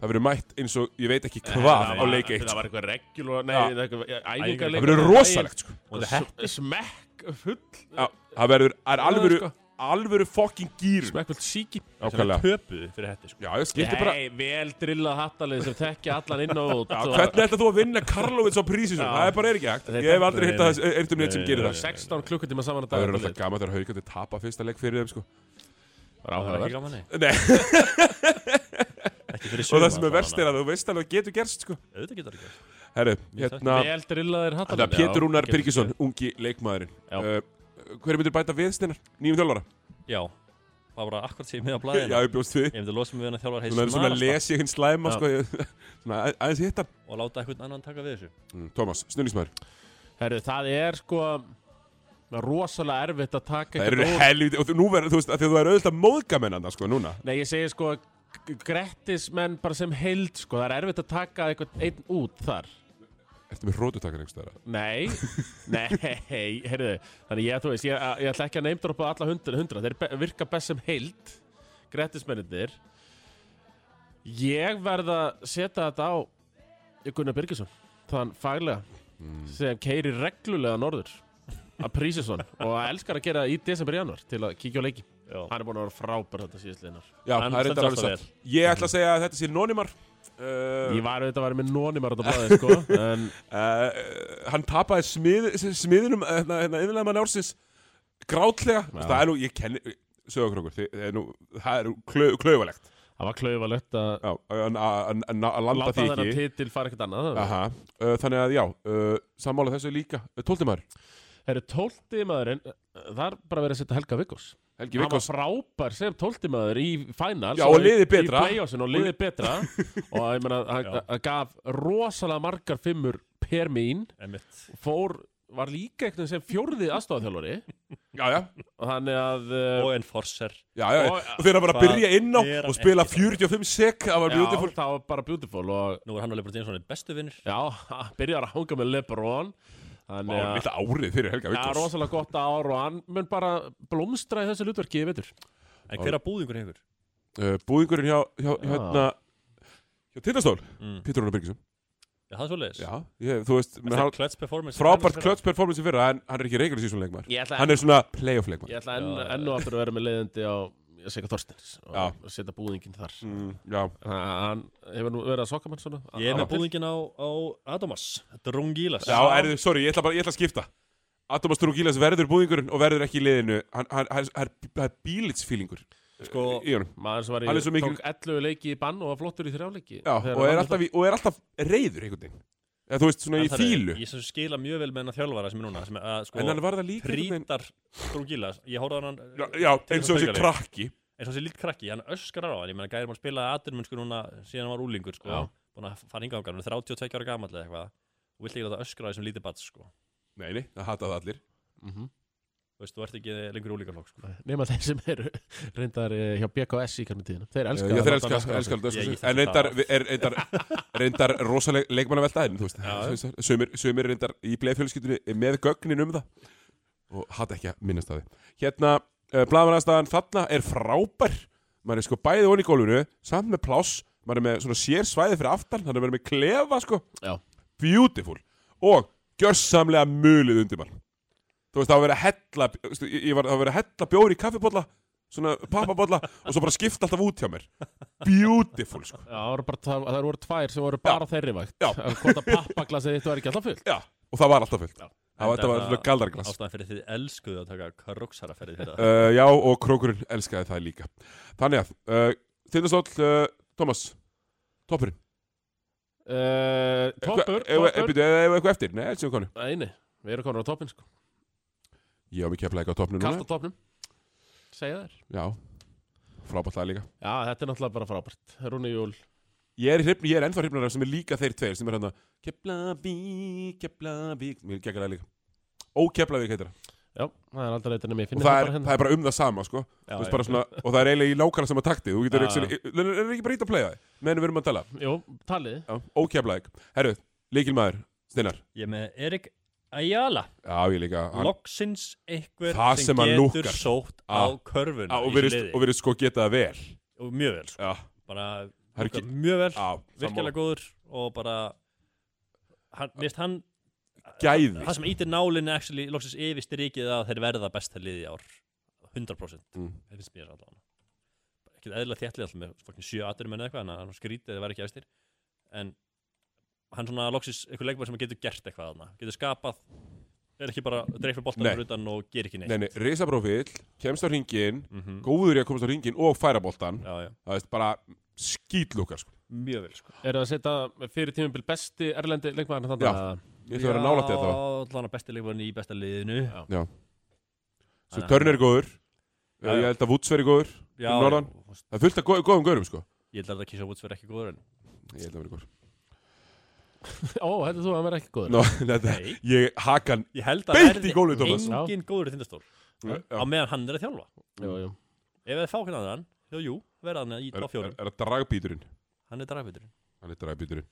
A: Það verður mætt eins og ég veit ekki hvað
B: Það
A: á
B: var-
A: leik eitt
B: Það
A: sko.
B: var eitthvað regular, nei,
A: Já.
B: það var eitthvað æfingarleik
A: Það verður rosalegt, sko
C: Og þetta er
B: Smekk full
A: Já, Það verður, það er alvöru
B: sko.
A: Alvöru fucking gýr
B: Smekk full síki
A: Ákvæmlega
C: höpuð fyrir hætti, sko
A: Já, ég skipti bara
B: Nei, vel drillað hattalið sem þekkja allan inn og út og-
A: Hvernig ætlað þú að vinna Karlovins á prísi svo? Það er bara er ekki hægt Ég hef aldrei hitt að eitt um neitt sem gerir það
B: 16 klukkutíma saman að
A: Það
B: dag
A: verður alltaf gaman þegar haugandi tapa fyrsta leik fyrir þeim sko
C: Það var ekki
B: Ráðverð
C: gaman, nei
A: Nei,
C: Ekki fyrir
A: og
C: sjöma
A: það sem er verst er að þú veist alveg að getur gerst sko
C: Auðvitað getur það ekki
A: Herru, hérna
B: Vel drillaðir
A: Þetta
B: hattalið
A: er Pétur Rúnar Birgisson, ungi leikmaðurinn
B: Já.
A: uh, Hver myndir bæta við Steinar? Nýjum þjálfara?
C: Já, það var bara akkurat sem ég með á
A: Já,
C: blæðina
A: ég bjóst við
C: Ég myndi losa mig við hann að þjálfar heið
A: Svona, svona les ég hinn slæma
B: Já.
A: sko ég- Svona að- aðeins hitta
C: Og láta eitthvað annan taka við þessu
A: Mm, Tómas, snurningsmaður
B: Herru, það er sko rosalega erfitt að taka
A: Það eru
B: einhvern úr-
A: helviti Og þú- nú verður, þú veist, af því að þú er auðvitað móðgamennanda sko núna
B: Nei, ég segi sko g- Grettismenn bara sem heild sko Það er erfitt að taka einhvern einn út þar
A: Ertu með rótutakar einhverstaðar?
B: Nei, nei, heyrðu Þannig ég, þú veist, ég, ég ætla ekki að neymdropa alla hundra, hundra. Þeir be, virka best sem heild Grettismennir Ég verð að setja þetta á Gunnar Birgisson Þann faglega
A: Mm.
B: sem keiri reglulega norður að prísi svona og að elskar að gera það í desember januar til að kíkja á leiki
C: Já,
B: Hann er búin að vera frábær þetta síðastliðinar
A: Já, það
C: Hann
A: er
C: stendur
A: þetta alveg
C: alltaf
A: satt Ég ætla að segja að þetta sé nónimar
B: Ég
A: uh,
B: var auðvitað að vera með nónimar á þetta blæði sko en
A: uh, Hann tapaði smið, smiðinum hérna, hérna, innlega mann ársins grátlega
B: Já.
A: Það er nú, ég kenni Sögur okkur okkur, þið- það er nú, það er nú klö, klauvalegt
B: það var klaufalegt að
A: Já, að- að að- að landa
B: láta
A: því
B: þennan
A: ekki
B: titil fara ekkert annað
A: Aha, uh, Þannig að já, uh, sammála þessu líka Tóltimar,
B: Herru, tólti maðurinn, það er bara verið að setja Helga Viggós
A: Helgi
B: hann var
A: Vikkos
B: frábær sem tóltimaður í finals
A: Já, og liðið betra.
B: í playossin og liðið betra og ég meina, hann
C: Já.
B: hann gaf rosalega margar fimmur per mín
C: Einmitt.
B: fór, var líka eitthvað sem fjórði aðstofðarþjálfari
A: Já, já,
B: og þannig að uh,
C: Og Enforcer
A: já, já
B: Og-
A: Og þeir eru bara að
C: Hvað
A: byrja inn á
C: er
A: og
C: hann
A: spila
C: ekki?
A: 45 sek Það var beautiful
B: það var bara beautiful og
C: Nú er hann og Lebron James svona bestu vinnir
B: já, hann byrjar að hanga með Lebron
A: Það
B: þannig
A: var
B: að
A: lítið árið fyrir Helga
B: Já,
A: Vikkos
B: rosalega gott ár og hann mun bara blómstra í þessu hlutverki, ég veitur.
C: En hver að búðingur hefur?
A: uh, Búðingurinn hjá, hjá,
B: Já.
A: hérna Hjá Tindastól,
C: Mm.
A: Pétur Rúnar Birgisson
C: Já, það er svoleiðis
A: Já, ég, þú veist menn
C: Þetta
A: hann-
C: er klöts performance
A: Frábært klöts performance í fyrra En hann er ekki regular season leikmar
B: Ég ætla,
A: Hann er svona playoff leikmar
B: ég ætla enn,
C: Já, já,
B: enn og aftur að vera með leiðindi á Sika Þorstins og
A: Já.
B: og setja búðingin þar.
A: mm, Já,
B: Hann hann hefur nú verið að sokka mann svona.
C: Ég er með
B: Áður.
C: búðingin á, á Adamas Drungilas
A: já erðu, sorry, ég ætla bara ég ætla að skipta Atomas Trúkilas verður búðingurinn og verður ekki í liðinu Hann hann- hann- hann- hann er bílitsfílingur eh,
C: Sko,
A: í honum
B: Maður sem var í,
A: Hann er svo mikil-
B: tók 11 leiki í bann og var flottur í þrjáleiki.
A: Já, og er, alltaf, í- og er alltaf reyður einhvern veginn Eða þú veist, svona
C: en
A: í
C: það er-
A: þýlu
C: Ég sem skila mjög vel með hennar þjálfara sem er núna sem er, að, sko,
A: En hann var það líka einhvern veginn
C: Prítar Drungilas Ég hóraði hann eh,
A: Já, já eins og þessi
C: Tindastólsleikari.
A: krakki
C: eins og þessi lít krakki, hann öskrar á hann ég meina gæri maður spilaði aðurmennsku núna síðan hann var úlingur sko,
B: Já.
C: búin að fara yngangar, hann er 32 ára gamall eða eitthvað og vill ekki láta öskra á þessum lítið bats sko.
A: Nei, nei, það hata það allir
C: þú veist, þú ert ekki lengur úlingarflokk sko.
B: Nefna Mhm. þeir sem eru reyndar eh, hjá BKS í kannum tíðina. Þeir elskar
A: Já,
B: að
A: þeir
B: láta hann
A: elska,
B: öskra á sig.
A: elska alltaf
C: Ég- ég
A: En
C: þekki
A: reyndar,
C: það.
A: er, reyndar, reyndar rosaleg leikmannavelta En þú veist,
C: Já.
A: sömur, sömur reyndar í bleiðfjölskyldunni með gögnin um það Og hata ekki að minnast það Hérna, uh, blamanastæðan þarna er frábær Maður er sko bæði onni í gólfinu Samt með pláss Maður er með svona sér svæði fyrir aftan Þannig að maður er með klefa sko
B: Já.
A: Beautiful Og gjörsamlega mulið undir mann Þú veist, það var verið að hella veistu, Ég ég var það var verið að hella bjóri í kaffibólla Svona pappabolla Og svo bara skipta alltaf út hjá mér Beautiful sko
B: Já, það voru bara, það, það voru tvær sem voru bara þeirri vægt.
A: Já.
B: Hvort að pappaglasið þitt var ekki alltaf fullt.
A: Já, og það var alltaf fullt
B: Já.
A: Það var, þetta var
C: Þetta-
A: svona galdarglas
C: ástæðan fyrir því elskuðu að taka karoksaraferði fyrir það
A: uh, Já, og krókurinn elskaði það líka Þannig að uh, Tindastóll, uh, Thomas Toppurinn
B: Uh, toppur,
A: Eða
B: toppur.
A: eitthvað eftir Nei, elsum við konu
B: Æni, við erum konur á toppin, sko.
A: Ég á mikið að blæka á toppnum
B: Kast
A: núna
B: á toppnum. Segja þér.
A: Já, frábært það líka
B: Já, þetta er náttúrulega bara frábært. Rúni Júl.
A: Ég er, hrifn, ég er ennþá hrifnara sem er líka þeir tveir sem er hann að Keflavík, Keflavík Mér gekkar það líka Ó, Keflavík heitir það
B: Já, það er aldrei leitin að mér
A: Og
B: finna
A: það er,
B: bara hérna.
A: það er bara um það sama, sko
C: Já,
A: Þú veist,
C: já.
A: bara svona, Og það er eiginlega í nákvæmlega sama takti Þú getur
B: Já,
A: ekki, er er ekki bara ít að playa það Menn við erum að tala
B: Jú, talið.
A: Já, Ó, Keflavík Herru, líkilmaður, Steinar
C: ég er með Erik Ayala
A: Já, ég líka hann-
C: loksins einhver
A: Það sem að
C: getur
A: lúkkar.
C: sótt á
A: Já.
C: körfun
A: Já, og virðist- og verið sko geta það vel
C: og mjög vel sko.
A: Já,
C: bara,
A: Það er
C: lúkkar
A: ekki-
C: mjög vel,
A: já
C: virkilega góður og bara hann, mist, hann
A: Gæði
C: Það sem ítir nálinni actually loksins yfir strikið að þeir verða besta liði í ár 100%
A: Mm.
C: það finnst mér allavega Bara ekkert eðlilega þjætlið alltaf með fokkin sjö atur menn eitthvað en hann skrítið það var ekki efstir en hann svona loksins einhver leikmar sem getur gert eitthvað þarna getur skapað er ekki bara dreifir boltan
A: Nei.
C: fyrir utan og ger ekki neitt
A: Nei, nei, risabrófill, kemst á ringin
C: Mhm.
A: Góður í að komast á ringin og færa boltan
C: já, já.
A: Það veist, bara skýtlúkar, sko
C: mjög vel sko
B: Eru að setja fyrir tímumbil besti erlendi leikmaðurinn þannig
A: Já.
B: að...
A: Ég ætla að vera nálægt þetta
C: allan að besti leikmarinn í besta liðinu
B: Já.
A: Svo
C: Þannig að-
A: Törn er góður
C: Já,
A: Ég
C: já.
A: held að Woods verið góður
C: já,
A: fyrir norðan.
C: já,
A: Það er fullt af góð, góðum góðurum sko
C: ég held að það kísa Woods verið ekki góður en
A: Ég held að verið góður
B: Ó, heldur þú að hann verði ekki góður?
A: Nó, þetta,
C: Nei.
A: ég haka hann
C: ég held að
A: Beint
C: verði
A: í gólfið, Thomas.
C: engin góður í þindastól
A: Já.
C: á meðan hann er að þjálfa
B: Jú, jú.
C: ef þið fá hvernig annan, jú, jú, verða hann í
A: Er,
C: top
A: er,
C: 4
A: er að dragbíturinn
C: hann er dragbyturinn
A: Hann er dragbíturinn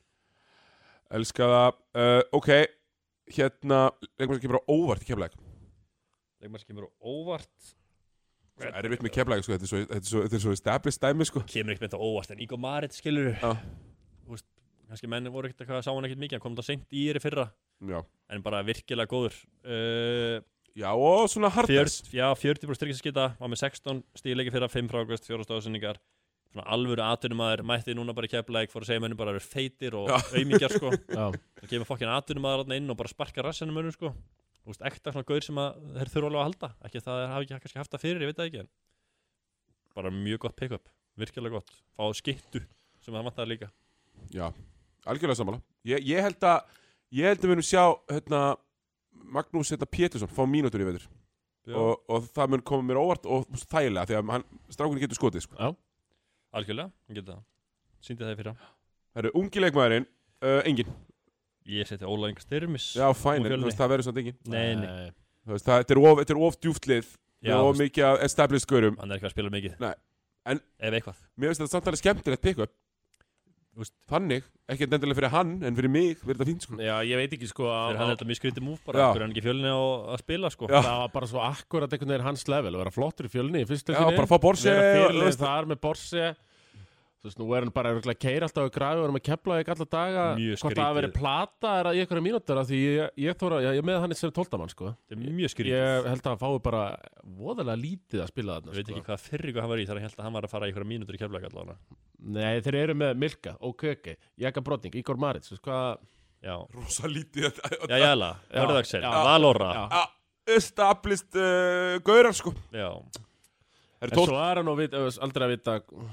A: Elska það uh, Ok, hérna Leikmann sem kemur á óvart í keflæk
C: leikmar sem kemur á óvart
A: Erfitt með keflæk sko Þetta er svo, þetta er svo, þetta er svo established dæmi sko
C: kemur ekkert með þetta óvart en Ígo Marit skilur
A: Já.
C: Úst, kannski menn voru ekkert eitthvað sá hann ekkert mikið hann kom þetta seint í yfir fyrra
A: Já,
C: en bara virkilega góður uh,
A: já og svona
C: fjör,
A: hardness
C: já, 40 brúst styrkinsskita var með 16 stíleiki fyrra 5 frákvæmst, 4 stóðsynningar svona alvöru atunumæður mætti núna bara í keflæk fór að segja mönnum bara að vera feitir og
A: Já.
C: auðmíkjar sko
B: Já.
C: það kemur fokkin atunumæður alltaf inn og bara sparka rassinu mönnum sko Þú veist, ekta svona gaur sem að þeir þurfa alveg að halda ekki að það er- hafi ekki kannski haft það fyrir, ég veit það ekki en bara mjög gott pick-up, virkilega gott fá skittu sem það vantaði líka
A: Já, algjörlega sammála Ég, ég held að Ég held að við erum sjá hérna, Magnús hérna, Pétursson Fá mínútur í veður
C: Já.
A: og, og það mun koma mér óvart og þægilega því að hann, strákunni getur skotið sko.
C: Algjörlega, ég geta það Sýndi það í fyrra
A: Það eru ungi leikmaðurinn, uh, engin
C: Ég seti Óla Inga Styrmis
A: Já, fæn,
C: Og
A: en
C: Fjölni.
A: þú veist, það verður samt engin
C: Nei, nei
A: Þú veist, það, þetta, er of, þetta er of djúftlið og
C: Já,
A: of
C: veist,
A: mikið af established skörum
C: hann er ekki að spila mikið
A: Nei, en-
C: Ef eitthvað
A: Mér finnst þetta samtalið skemmtilegt pick-up
C: Þú veist.
A: Þannig, ekki endilega fyrir hann en fyrir mig verður þetta fínt sko.
B: Já, ég veit ekki sko
C: Þegar
B: að
C: hann er þetta mjög skrítið múf bara
A: Já.
C: Hvernig hann ekki í fjölni á að spila sko
A: Já.
B: það var bara svo akkurat einhvern veginn hans level að vera flottur í fjölni í fyrstu
A: Já, bara fá Borse
B: vera
A: og-
B: fyrirlið þar með Borse þú veist, nú er hann bara örugglega að keira alltaf að græða og erum að kepla ekki alla daga hvort
C: Mjög
B: það hafi
C: skrítið.
B: verið plata er að í einhverja mínútur af því ég, ég þóra, ég, ég með hann sem tóltamann sko
C: Þetta er mjög skrítið
B: ég held að hann fái bara voðalega lítið að spila
C: Ég
B: þarna
C: veit
B: sko.
C: ekki hvað fyrri hvað hann var í Þegar hann held að hann var að fara í einhverja mínútur í keflæk allavega
B: Nei, þeir eru með Milka, Okeke, Jaka Brotning, Igor Maritz þú veist hvað,
C: Já,
A: Rosa lítið
C: já, jæla,
B: Já.
C: Hörðaksel,
B: Já.
C: Valóra
B: já.
A: Established uh, gaurar sko.
C: Já,
A: Það
B: En
A: eru tótt
B: svo er hann og vit, aldrei að vita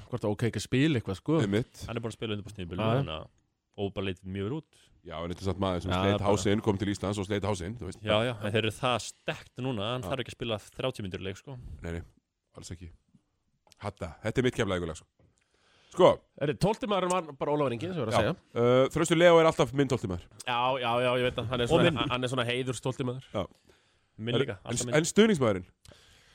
B: hvort að Okeke spil eitthvað sko
A: mitt
C: hann er búin að spila undir búin
B: Já.
C: stíðbílu Og bara leitir mjög vel út
A: Já, en þetta er samt maður sem
B: Já,
A: sleit
B: bara-
A: hásinn kom til Íslands og sleit hásinn þú veist.
C: Já, já, en þeir eru það stekt núna að
A: Já.
C: Hann þarf ekki að spila 30 myndur leik sko
A: Nei, nei, alls ekki Hatta, þetta er mitt kemlaðigulega sko. Sko,
B: Tóltimaðurinn var bara Ólafur Ingi, sem ég var að segja
A: uh, Þröstu Leo er alltaf minn tóltimæður
B: Já, já, já, ég veit að hann er
C: Og
B: svona,
C: minn.
B: hann er svona heiðurstólti maður
C: Minn líka, alltaf
A: En,
C: minn
A: en stuðningsmæðurinn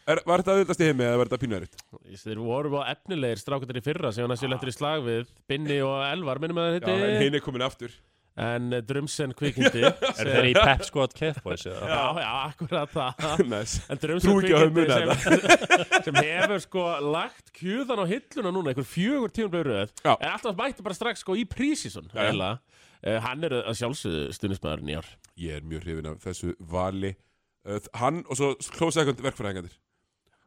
A: er, Var þetta auðvitast í heimi eða var þetta pínuðaritt?
B: Þeir voru á efnilegir strákundar í fyrra sem hann að séu eftir í slag við Binni og Elvar, minnum að
A: Já, en
B: það heiti
A: hinn er komin aftur
B: En eh, Drumsen kvikindi
C: Er þeir í Pep Squad Cafboys eða?
B: Já, já, akkurat það
A: Næs
B: En
A: Trúi
B: Drumsen
A: ekki að hafa
B: kvikindi
A: munað
B: sem, sem hefur sko lagt kjúðan á hilluna núna einhver fjögur tíum bleið röð
A: Já.
B: En alltaf mætti bara strax sko í
A: Já,
B: prísísun
A: já.
B: eiginlega. Eh, Hann er að sjálfsögðu stuðnismæðurinn í ár
A: Ég er mjög hrifin af þessu vali uh, Hann og svo close second verkfræðingandir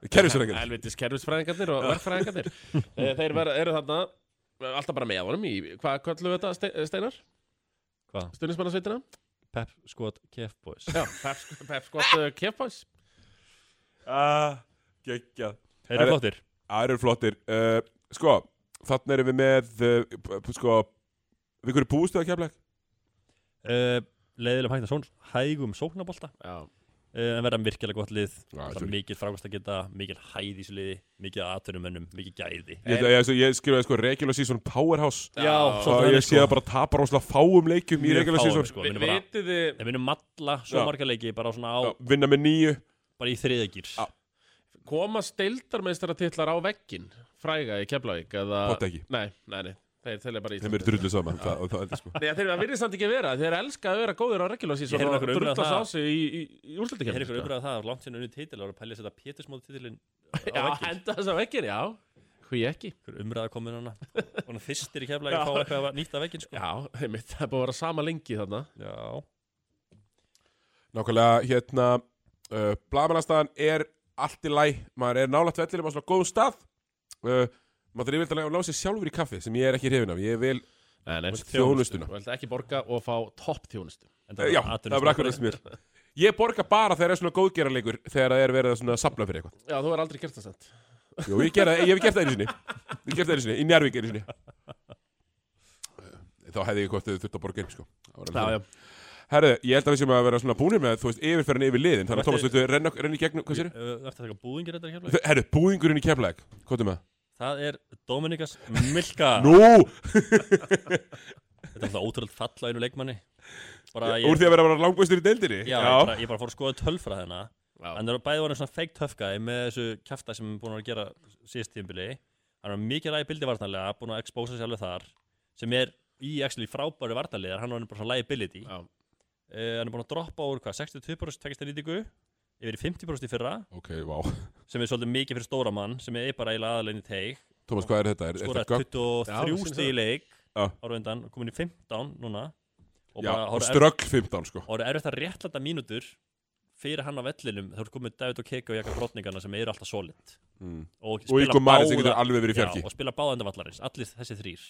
A: Kerfisverðingandir
B: Helvitis kerfisfræðingarnir og verkfræðingarnir Eh, Þeir vera, eru þarna eh, alltaf bara með honum í, hvað kallum við þetta Ste- eh, Steinar?
C: Hvað?
B: Stunismannasveitina?
C: Pep Squad Cafboys
B: Já, Pepskott Kefbæs
A: ah, Gekja
C: Þeir eru flottir
A: Það eru flottir uh, Sko, þannig erum við með uh, p- p- Sko Við hverju búistu að kemla
C: uh, leiðilegum hægt að són hægum sóknabolta
B: Já,
C: uh, en verða virkilega gott lið
A: Já,
C: Það
A: þetta
C: er
A: er-
C: mikil frákvæmst að geta, mikil hæð í þessu liði mikil aðtunumönnum, mikil gæði
A: Ég, ég, ég, ég skrifaði sko regular season powerhouse
B: Já,
A: Svo
C: þannig sko.
A: ég sé það bara tapa róslega fáum leikjum í
C: Mjög
A: regular
C: fáum,
A: season
C: sko,
B: Vi,
C: minnum bara,
B: vitið þið
C: Þeir minnum alla
A: Já.
C: svo marga leiki bara, svona á,
A: Já, Vinna með nýju
C: bara í þriðagýr
A: Já.
B: koma steildarmeistaratitlar á veggin fræga í Keflavík eða
A: Pott ekki.
B: Nei, nei, nei, þeir telja bara í
A: Þeim eru drullu saman það, það, það, er sko.
B: Nei, þeir verið samt ekki vera, þeir elska að vera góðir á regjulósi
C: Ég heyrði
B: og
C: nokkur umræða
B: drullast á
C: það.
B: sig í, í, í
C: Ég er ykkur
B: úrslutakeppni, sko.
C: umræðað um það, langt sinni unni titil og að pælja að setja pétismóti titilin
B: Já,
C: á ekki
B: henda þess að veggin, já Hví ekki
C: Ykkur umræða komin hana og hann fyrstir í kefla
B: Já.
C: að fá eitthvað nýtt af veginn sko.
B: Já, einmitt, það er búið að vera sama lengi þarna
C: Já.
A: Nákvæmlega hérna uh, Blamanastan er allt í læ Maður er nálægt vellirum á svona góð stað uh, Maður þarf yfirlega að láta sér sjálfur í kaffi Sem ég er ekki hrifin af Ég vil
B: Nei, nei,
A: þjónustuna
B: Þú vilt ekki borga og fá topp þjónustu
C: En
A: Já, það er akkur þess mér Ég borga bara þegar er svona góðgerarleikur Þegar það er verið að svona sapna fyrir eitthvað
B: Já, þú er aldrei gert það sent
A: Jú, ég, gera, ég hef gert það einu sinni Ég hef gert það einu sinni, í Njárvík einu sinni Uh, Þá hefði ég hvort þau þurft að borga einu sko Það var alveg
B: Já,
A: þannig.
B: já,
A: Herðu, ég held að við séum að vera svona búnir með Þú veist, yfirferðin yfir liðin Þannig að
C: Þú
A: Thomas,
C: ætti-
A: viltu renna, renna í gegnum, hvað sér?
C: Það er eitthvað búðingir þetta í kefla
A: Þe- Herru, búðingurinn í Keflæk, hvað er með?
C: Það er Dominikas Milka
A: Nú,
C: Þetta er alltaf ótrúlega falla einu leikmanni bara
A: úr
C: ég,
A: því að vera bara langbæstur í deildinni
C: já, Ég, bara, ég bara fór að skoða tölfra þennan
B: Já.
C: Hann er bæði var hann svona feikt töfkaði með þessu kjafta sem hann búin að vera að gera síðast tíðinbili Hann var mikið ræði bildi vartanlega búin að expósa sig alveg þar sem er í actually frábæru vartanlega hann var bara svona liability uh,
B: já.
C: Eh, Hann er búin að droppa úr hvað 62% tekist að nýtingu yfir í 50% í fyrra
A: Ok, vá
C: sem er svolítið mikið fyrir stóra mann sem er bara eiginlega aðalegin í teig
A: Thomas, hvað er þetta? Er, er
C: skoraði
A: þetta gögn?
C: 23
B: Já,
C: stig í leik
A: Já.
C: ára undan, komin í 15 núna og
A: Já,
C: bara
A: og
C: horfa
A: ströggl 15, sko
C: og það er eftir að réttlæta mínútur fyrir hann á vellinum þá er komið David og Keke og Jaka Brotningarna sem eru alltaf solid
A: mm.
C: og,
A: Og ykkur maður sem getur alveg verið í fjarki
C: já, og spila báða enda vallarins, allir þessi þrýr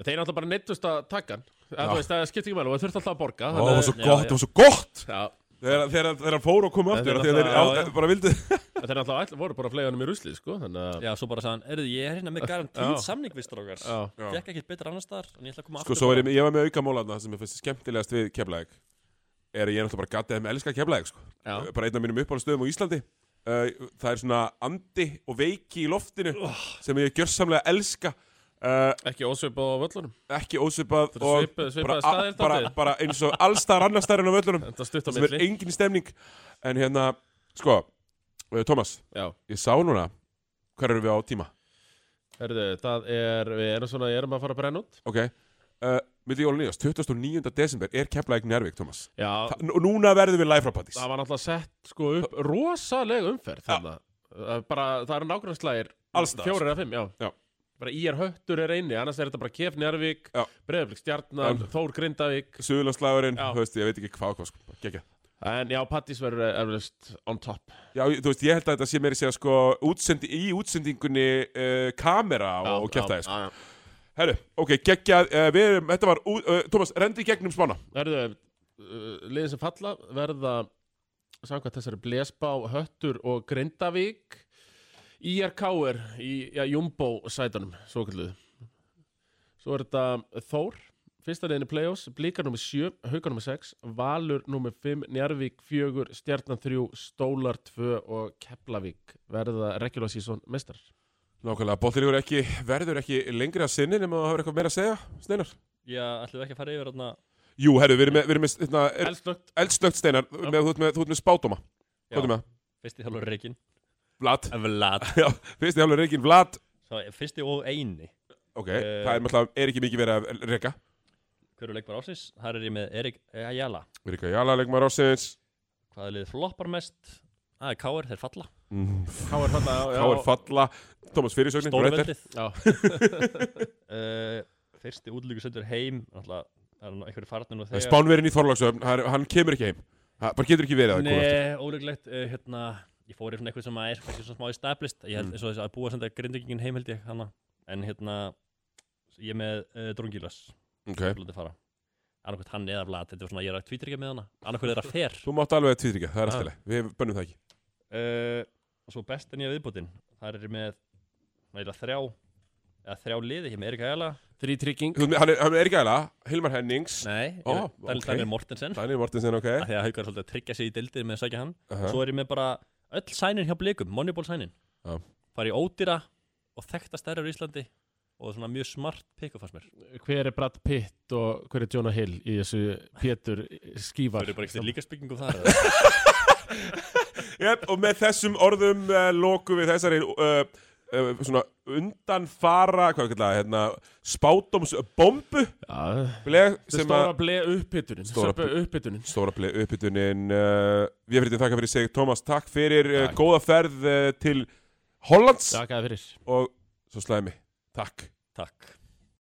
B: Þeir náttúrulega bara neittust að taka hann Eða,
A: Já.
B: Þú veist, það skiptir ekki mælu og þeir þurft alltaf að borga
A: Ó, það var svo
C: já,
A: gott,
C: já.
A: það var svo gott
B: Já,
A: Þegar þegar- þegar hann fór og kom
B: Þetta er
A: aftur af því að Þeir
B: náttúrulega-
A: á-
B: já, já.
A: bara vildu
B: en þeir náttúrulega all, voru bara að flega hann um í rusli, sko Þannig að,
C: já, svo bara sagðan, erðu ég er hérna með
B: Já.
C: garantíð samning við strókar
B: já,
C: fekk ekkert betra annars þar en ég ætla að koma
A: Sko,
C: aftur
A: svo var
C: bara.
A: ég, ég var með auka mólana sem ég finnst skemmtilegast við Keflæk er að ég er náttúrulega bara gatið með elska keflaðið sko.
B: Já.
A: bara einn af mínum uppáhaldstöðum á Íslandi uh, það er svona andi og veiki í loftinu sem ég gjörsamlega elska uh,
B: Ekki ósvipað á völlunum
A: ekki ósvipað
B: Þetta er
A: og
B: svipa- svipaðir
A: bara,
B: staðir
A: bara,
B: dálítið.
A: bara eins og allstar annarstæðin á völlunum
B: Þetta stutt á
A: sem er
B: milli
A: engin stemning en hérna, sko uh, Thomas,
B: Já,
A: ég sá núna hver eru við á tíma,
B: herðu, það er Við erum svona, erum að fara að brenna út
A: ok uh, milli jólun nýjast, 29. desember er keflaðið njárvík, Thomas
B: Já,
A: Þa, og núna verðum við live frá pattis
B: það var náttúrulega sett sko upp rosalega umferð þarna Það er bara, það eru nágrunnslægir
A: Alls staðar.
B: Fjórir eða fimm, já,
A: Já.
B: Bara IR Höttur er einni, annars er þetta bara Kef Njarvík
A: Já.
B: Breiðablík Stjarnan,
A: Já.
B: Þór Grindavík
A: Suðurlandslægurinn,
B: Já.
A: þú veist, ég veit ekki hvað hvað, sko, gegja
B: En já, Pattis verður erflust on top
A: Já, þú veist, ég held að þetta sé meiri segja sko útsendi, í útsendingunni uh, kamera
B: Já,
A: og kjæftæði sko.
B: já, já.
A: Herru, ok, geggjað, uh, við erum, þetta var, ú- uh, Thomas, rendi í gegnum spána.
B: Verðu, uh, liðin sem falla verða samkvæmt þessari Blesbá, Höttur og Grindavík IRK er í já, Jumbo sætanum, svo kalluðu Svo er þetta Þór Fyrsta liðin í play-offs, Blíkar nr. 7, Haukar nr. 6, Valur nr. 5, Njarvík 4, Stjarnan 3, Stólar 2 og Keplavík verða regular season mestar.
A: Nákvæmlega, boltilegur ekki, verður ekki lengri að sinni nema þú hafur eitthvað meira að segja, Steinar?
C: Ég ætlum við ekki að fara yfir þarna
A: Jú, herru, við erum með, við erum með, hérna, er,
B: Elstögt,
A: eldstökt Steinar, með, þú ert með, þú ert með spátoma. Hvað er með?
C: fyrsti þjálfur Reykján
A: Vlad.
C: Vlad
A: Já, fyrsti hálfur reygin, Vlad.
C: Fyrsti og eini
A: Ok,
C: Eh.
A: það er, náttúrulega- er ekki mikið verið að reyka.
C: Hver er leikmar ásins? Þar er ég með Erik Ayala
A: Við erum jala, leikmaður ásins.
C: Hvað er liðið floppar mest? Það er Káur, þeir falla
A: Mm,
B: Háar falla já, já.
A: Káir falla, Thomas fyrirsögnin, Rötter.
C: Stórveldið
B: Já,
C: uh, Fyrsti útlíku sendur heim Náttúrulega Það er nú einhverju farnir nú
A: Það er
C: þegar
A: Spánverinn í Þorlagsöfn, hann, hann kemur ekki heim Það bara getur ekki verið að góða
C: Nei, ólíklegt uh, Hérna Ég fór í svona eitthvað sem að er kannski svona smá established Ég held
A: Mm.
C: eins og þess að búa að senda grindvikingin heim held ég hana. En hérna Ég er með uh, Drungilas
A: okay.
C: Látið fara Annarkvæmt hann eða Vlad Þetta var svona Ég er að tvítra ekki með hana Annarkvæmt er að fer
A: Þú mátt alveg að tvítryggja, það er
C: Ah.
A: alltaf leið Við bönnum það ekki
C: uh, og svo besta nýja viðbútin það er ég með nægilega þrjá eða þrjá liði hér með Erika Jæla
B: þrítrygging
A: Þú- Hann er, hann er ekki aðla, Hilmar Hennings
C: nei,
A: Ó,
C: oh, Daniel
A: ok.
C: okay. Mortensen af
A: Daniel Mortensen, ok
C: því að Haukar er svolítið að tryggja sig í dildið með að sækja hann
A: uh -huh.
C: svo er ég með bara öll sænin hjá blikum Moneyball sænin
A: Já.
C: fari í ódýra og þekkta stærra í Íslandi og svona mjög smart pick-up fannst mér
B: hver er Brad Pitt og hver er Jonah Hill í þessu Pétur
C: það
B: skívar
C: eru bara ekki líka speaking of það eða?
A: yep, Og með þessum orðum uh, lokum við þessari uh, uh, Svona undanfara, hvað kallar það, hérna Spátumsbombu
B: ja, sem
A: Sem að
B: stóra ble upphittunin
A: Stóra
B: stóra upphittunin
A: Stóra bleið uppbytunin uh, Við fyrir þakka fyrir sig, Tómas, takk fyrir uh,
B: Takk.
A: Góða ferð uh, til Hollands
B: þakkaði fyrir
A: Og svo slæmi, takk
C: takk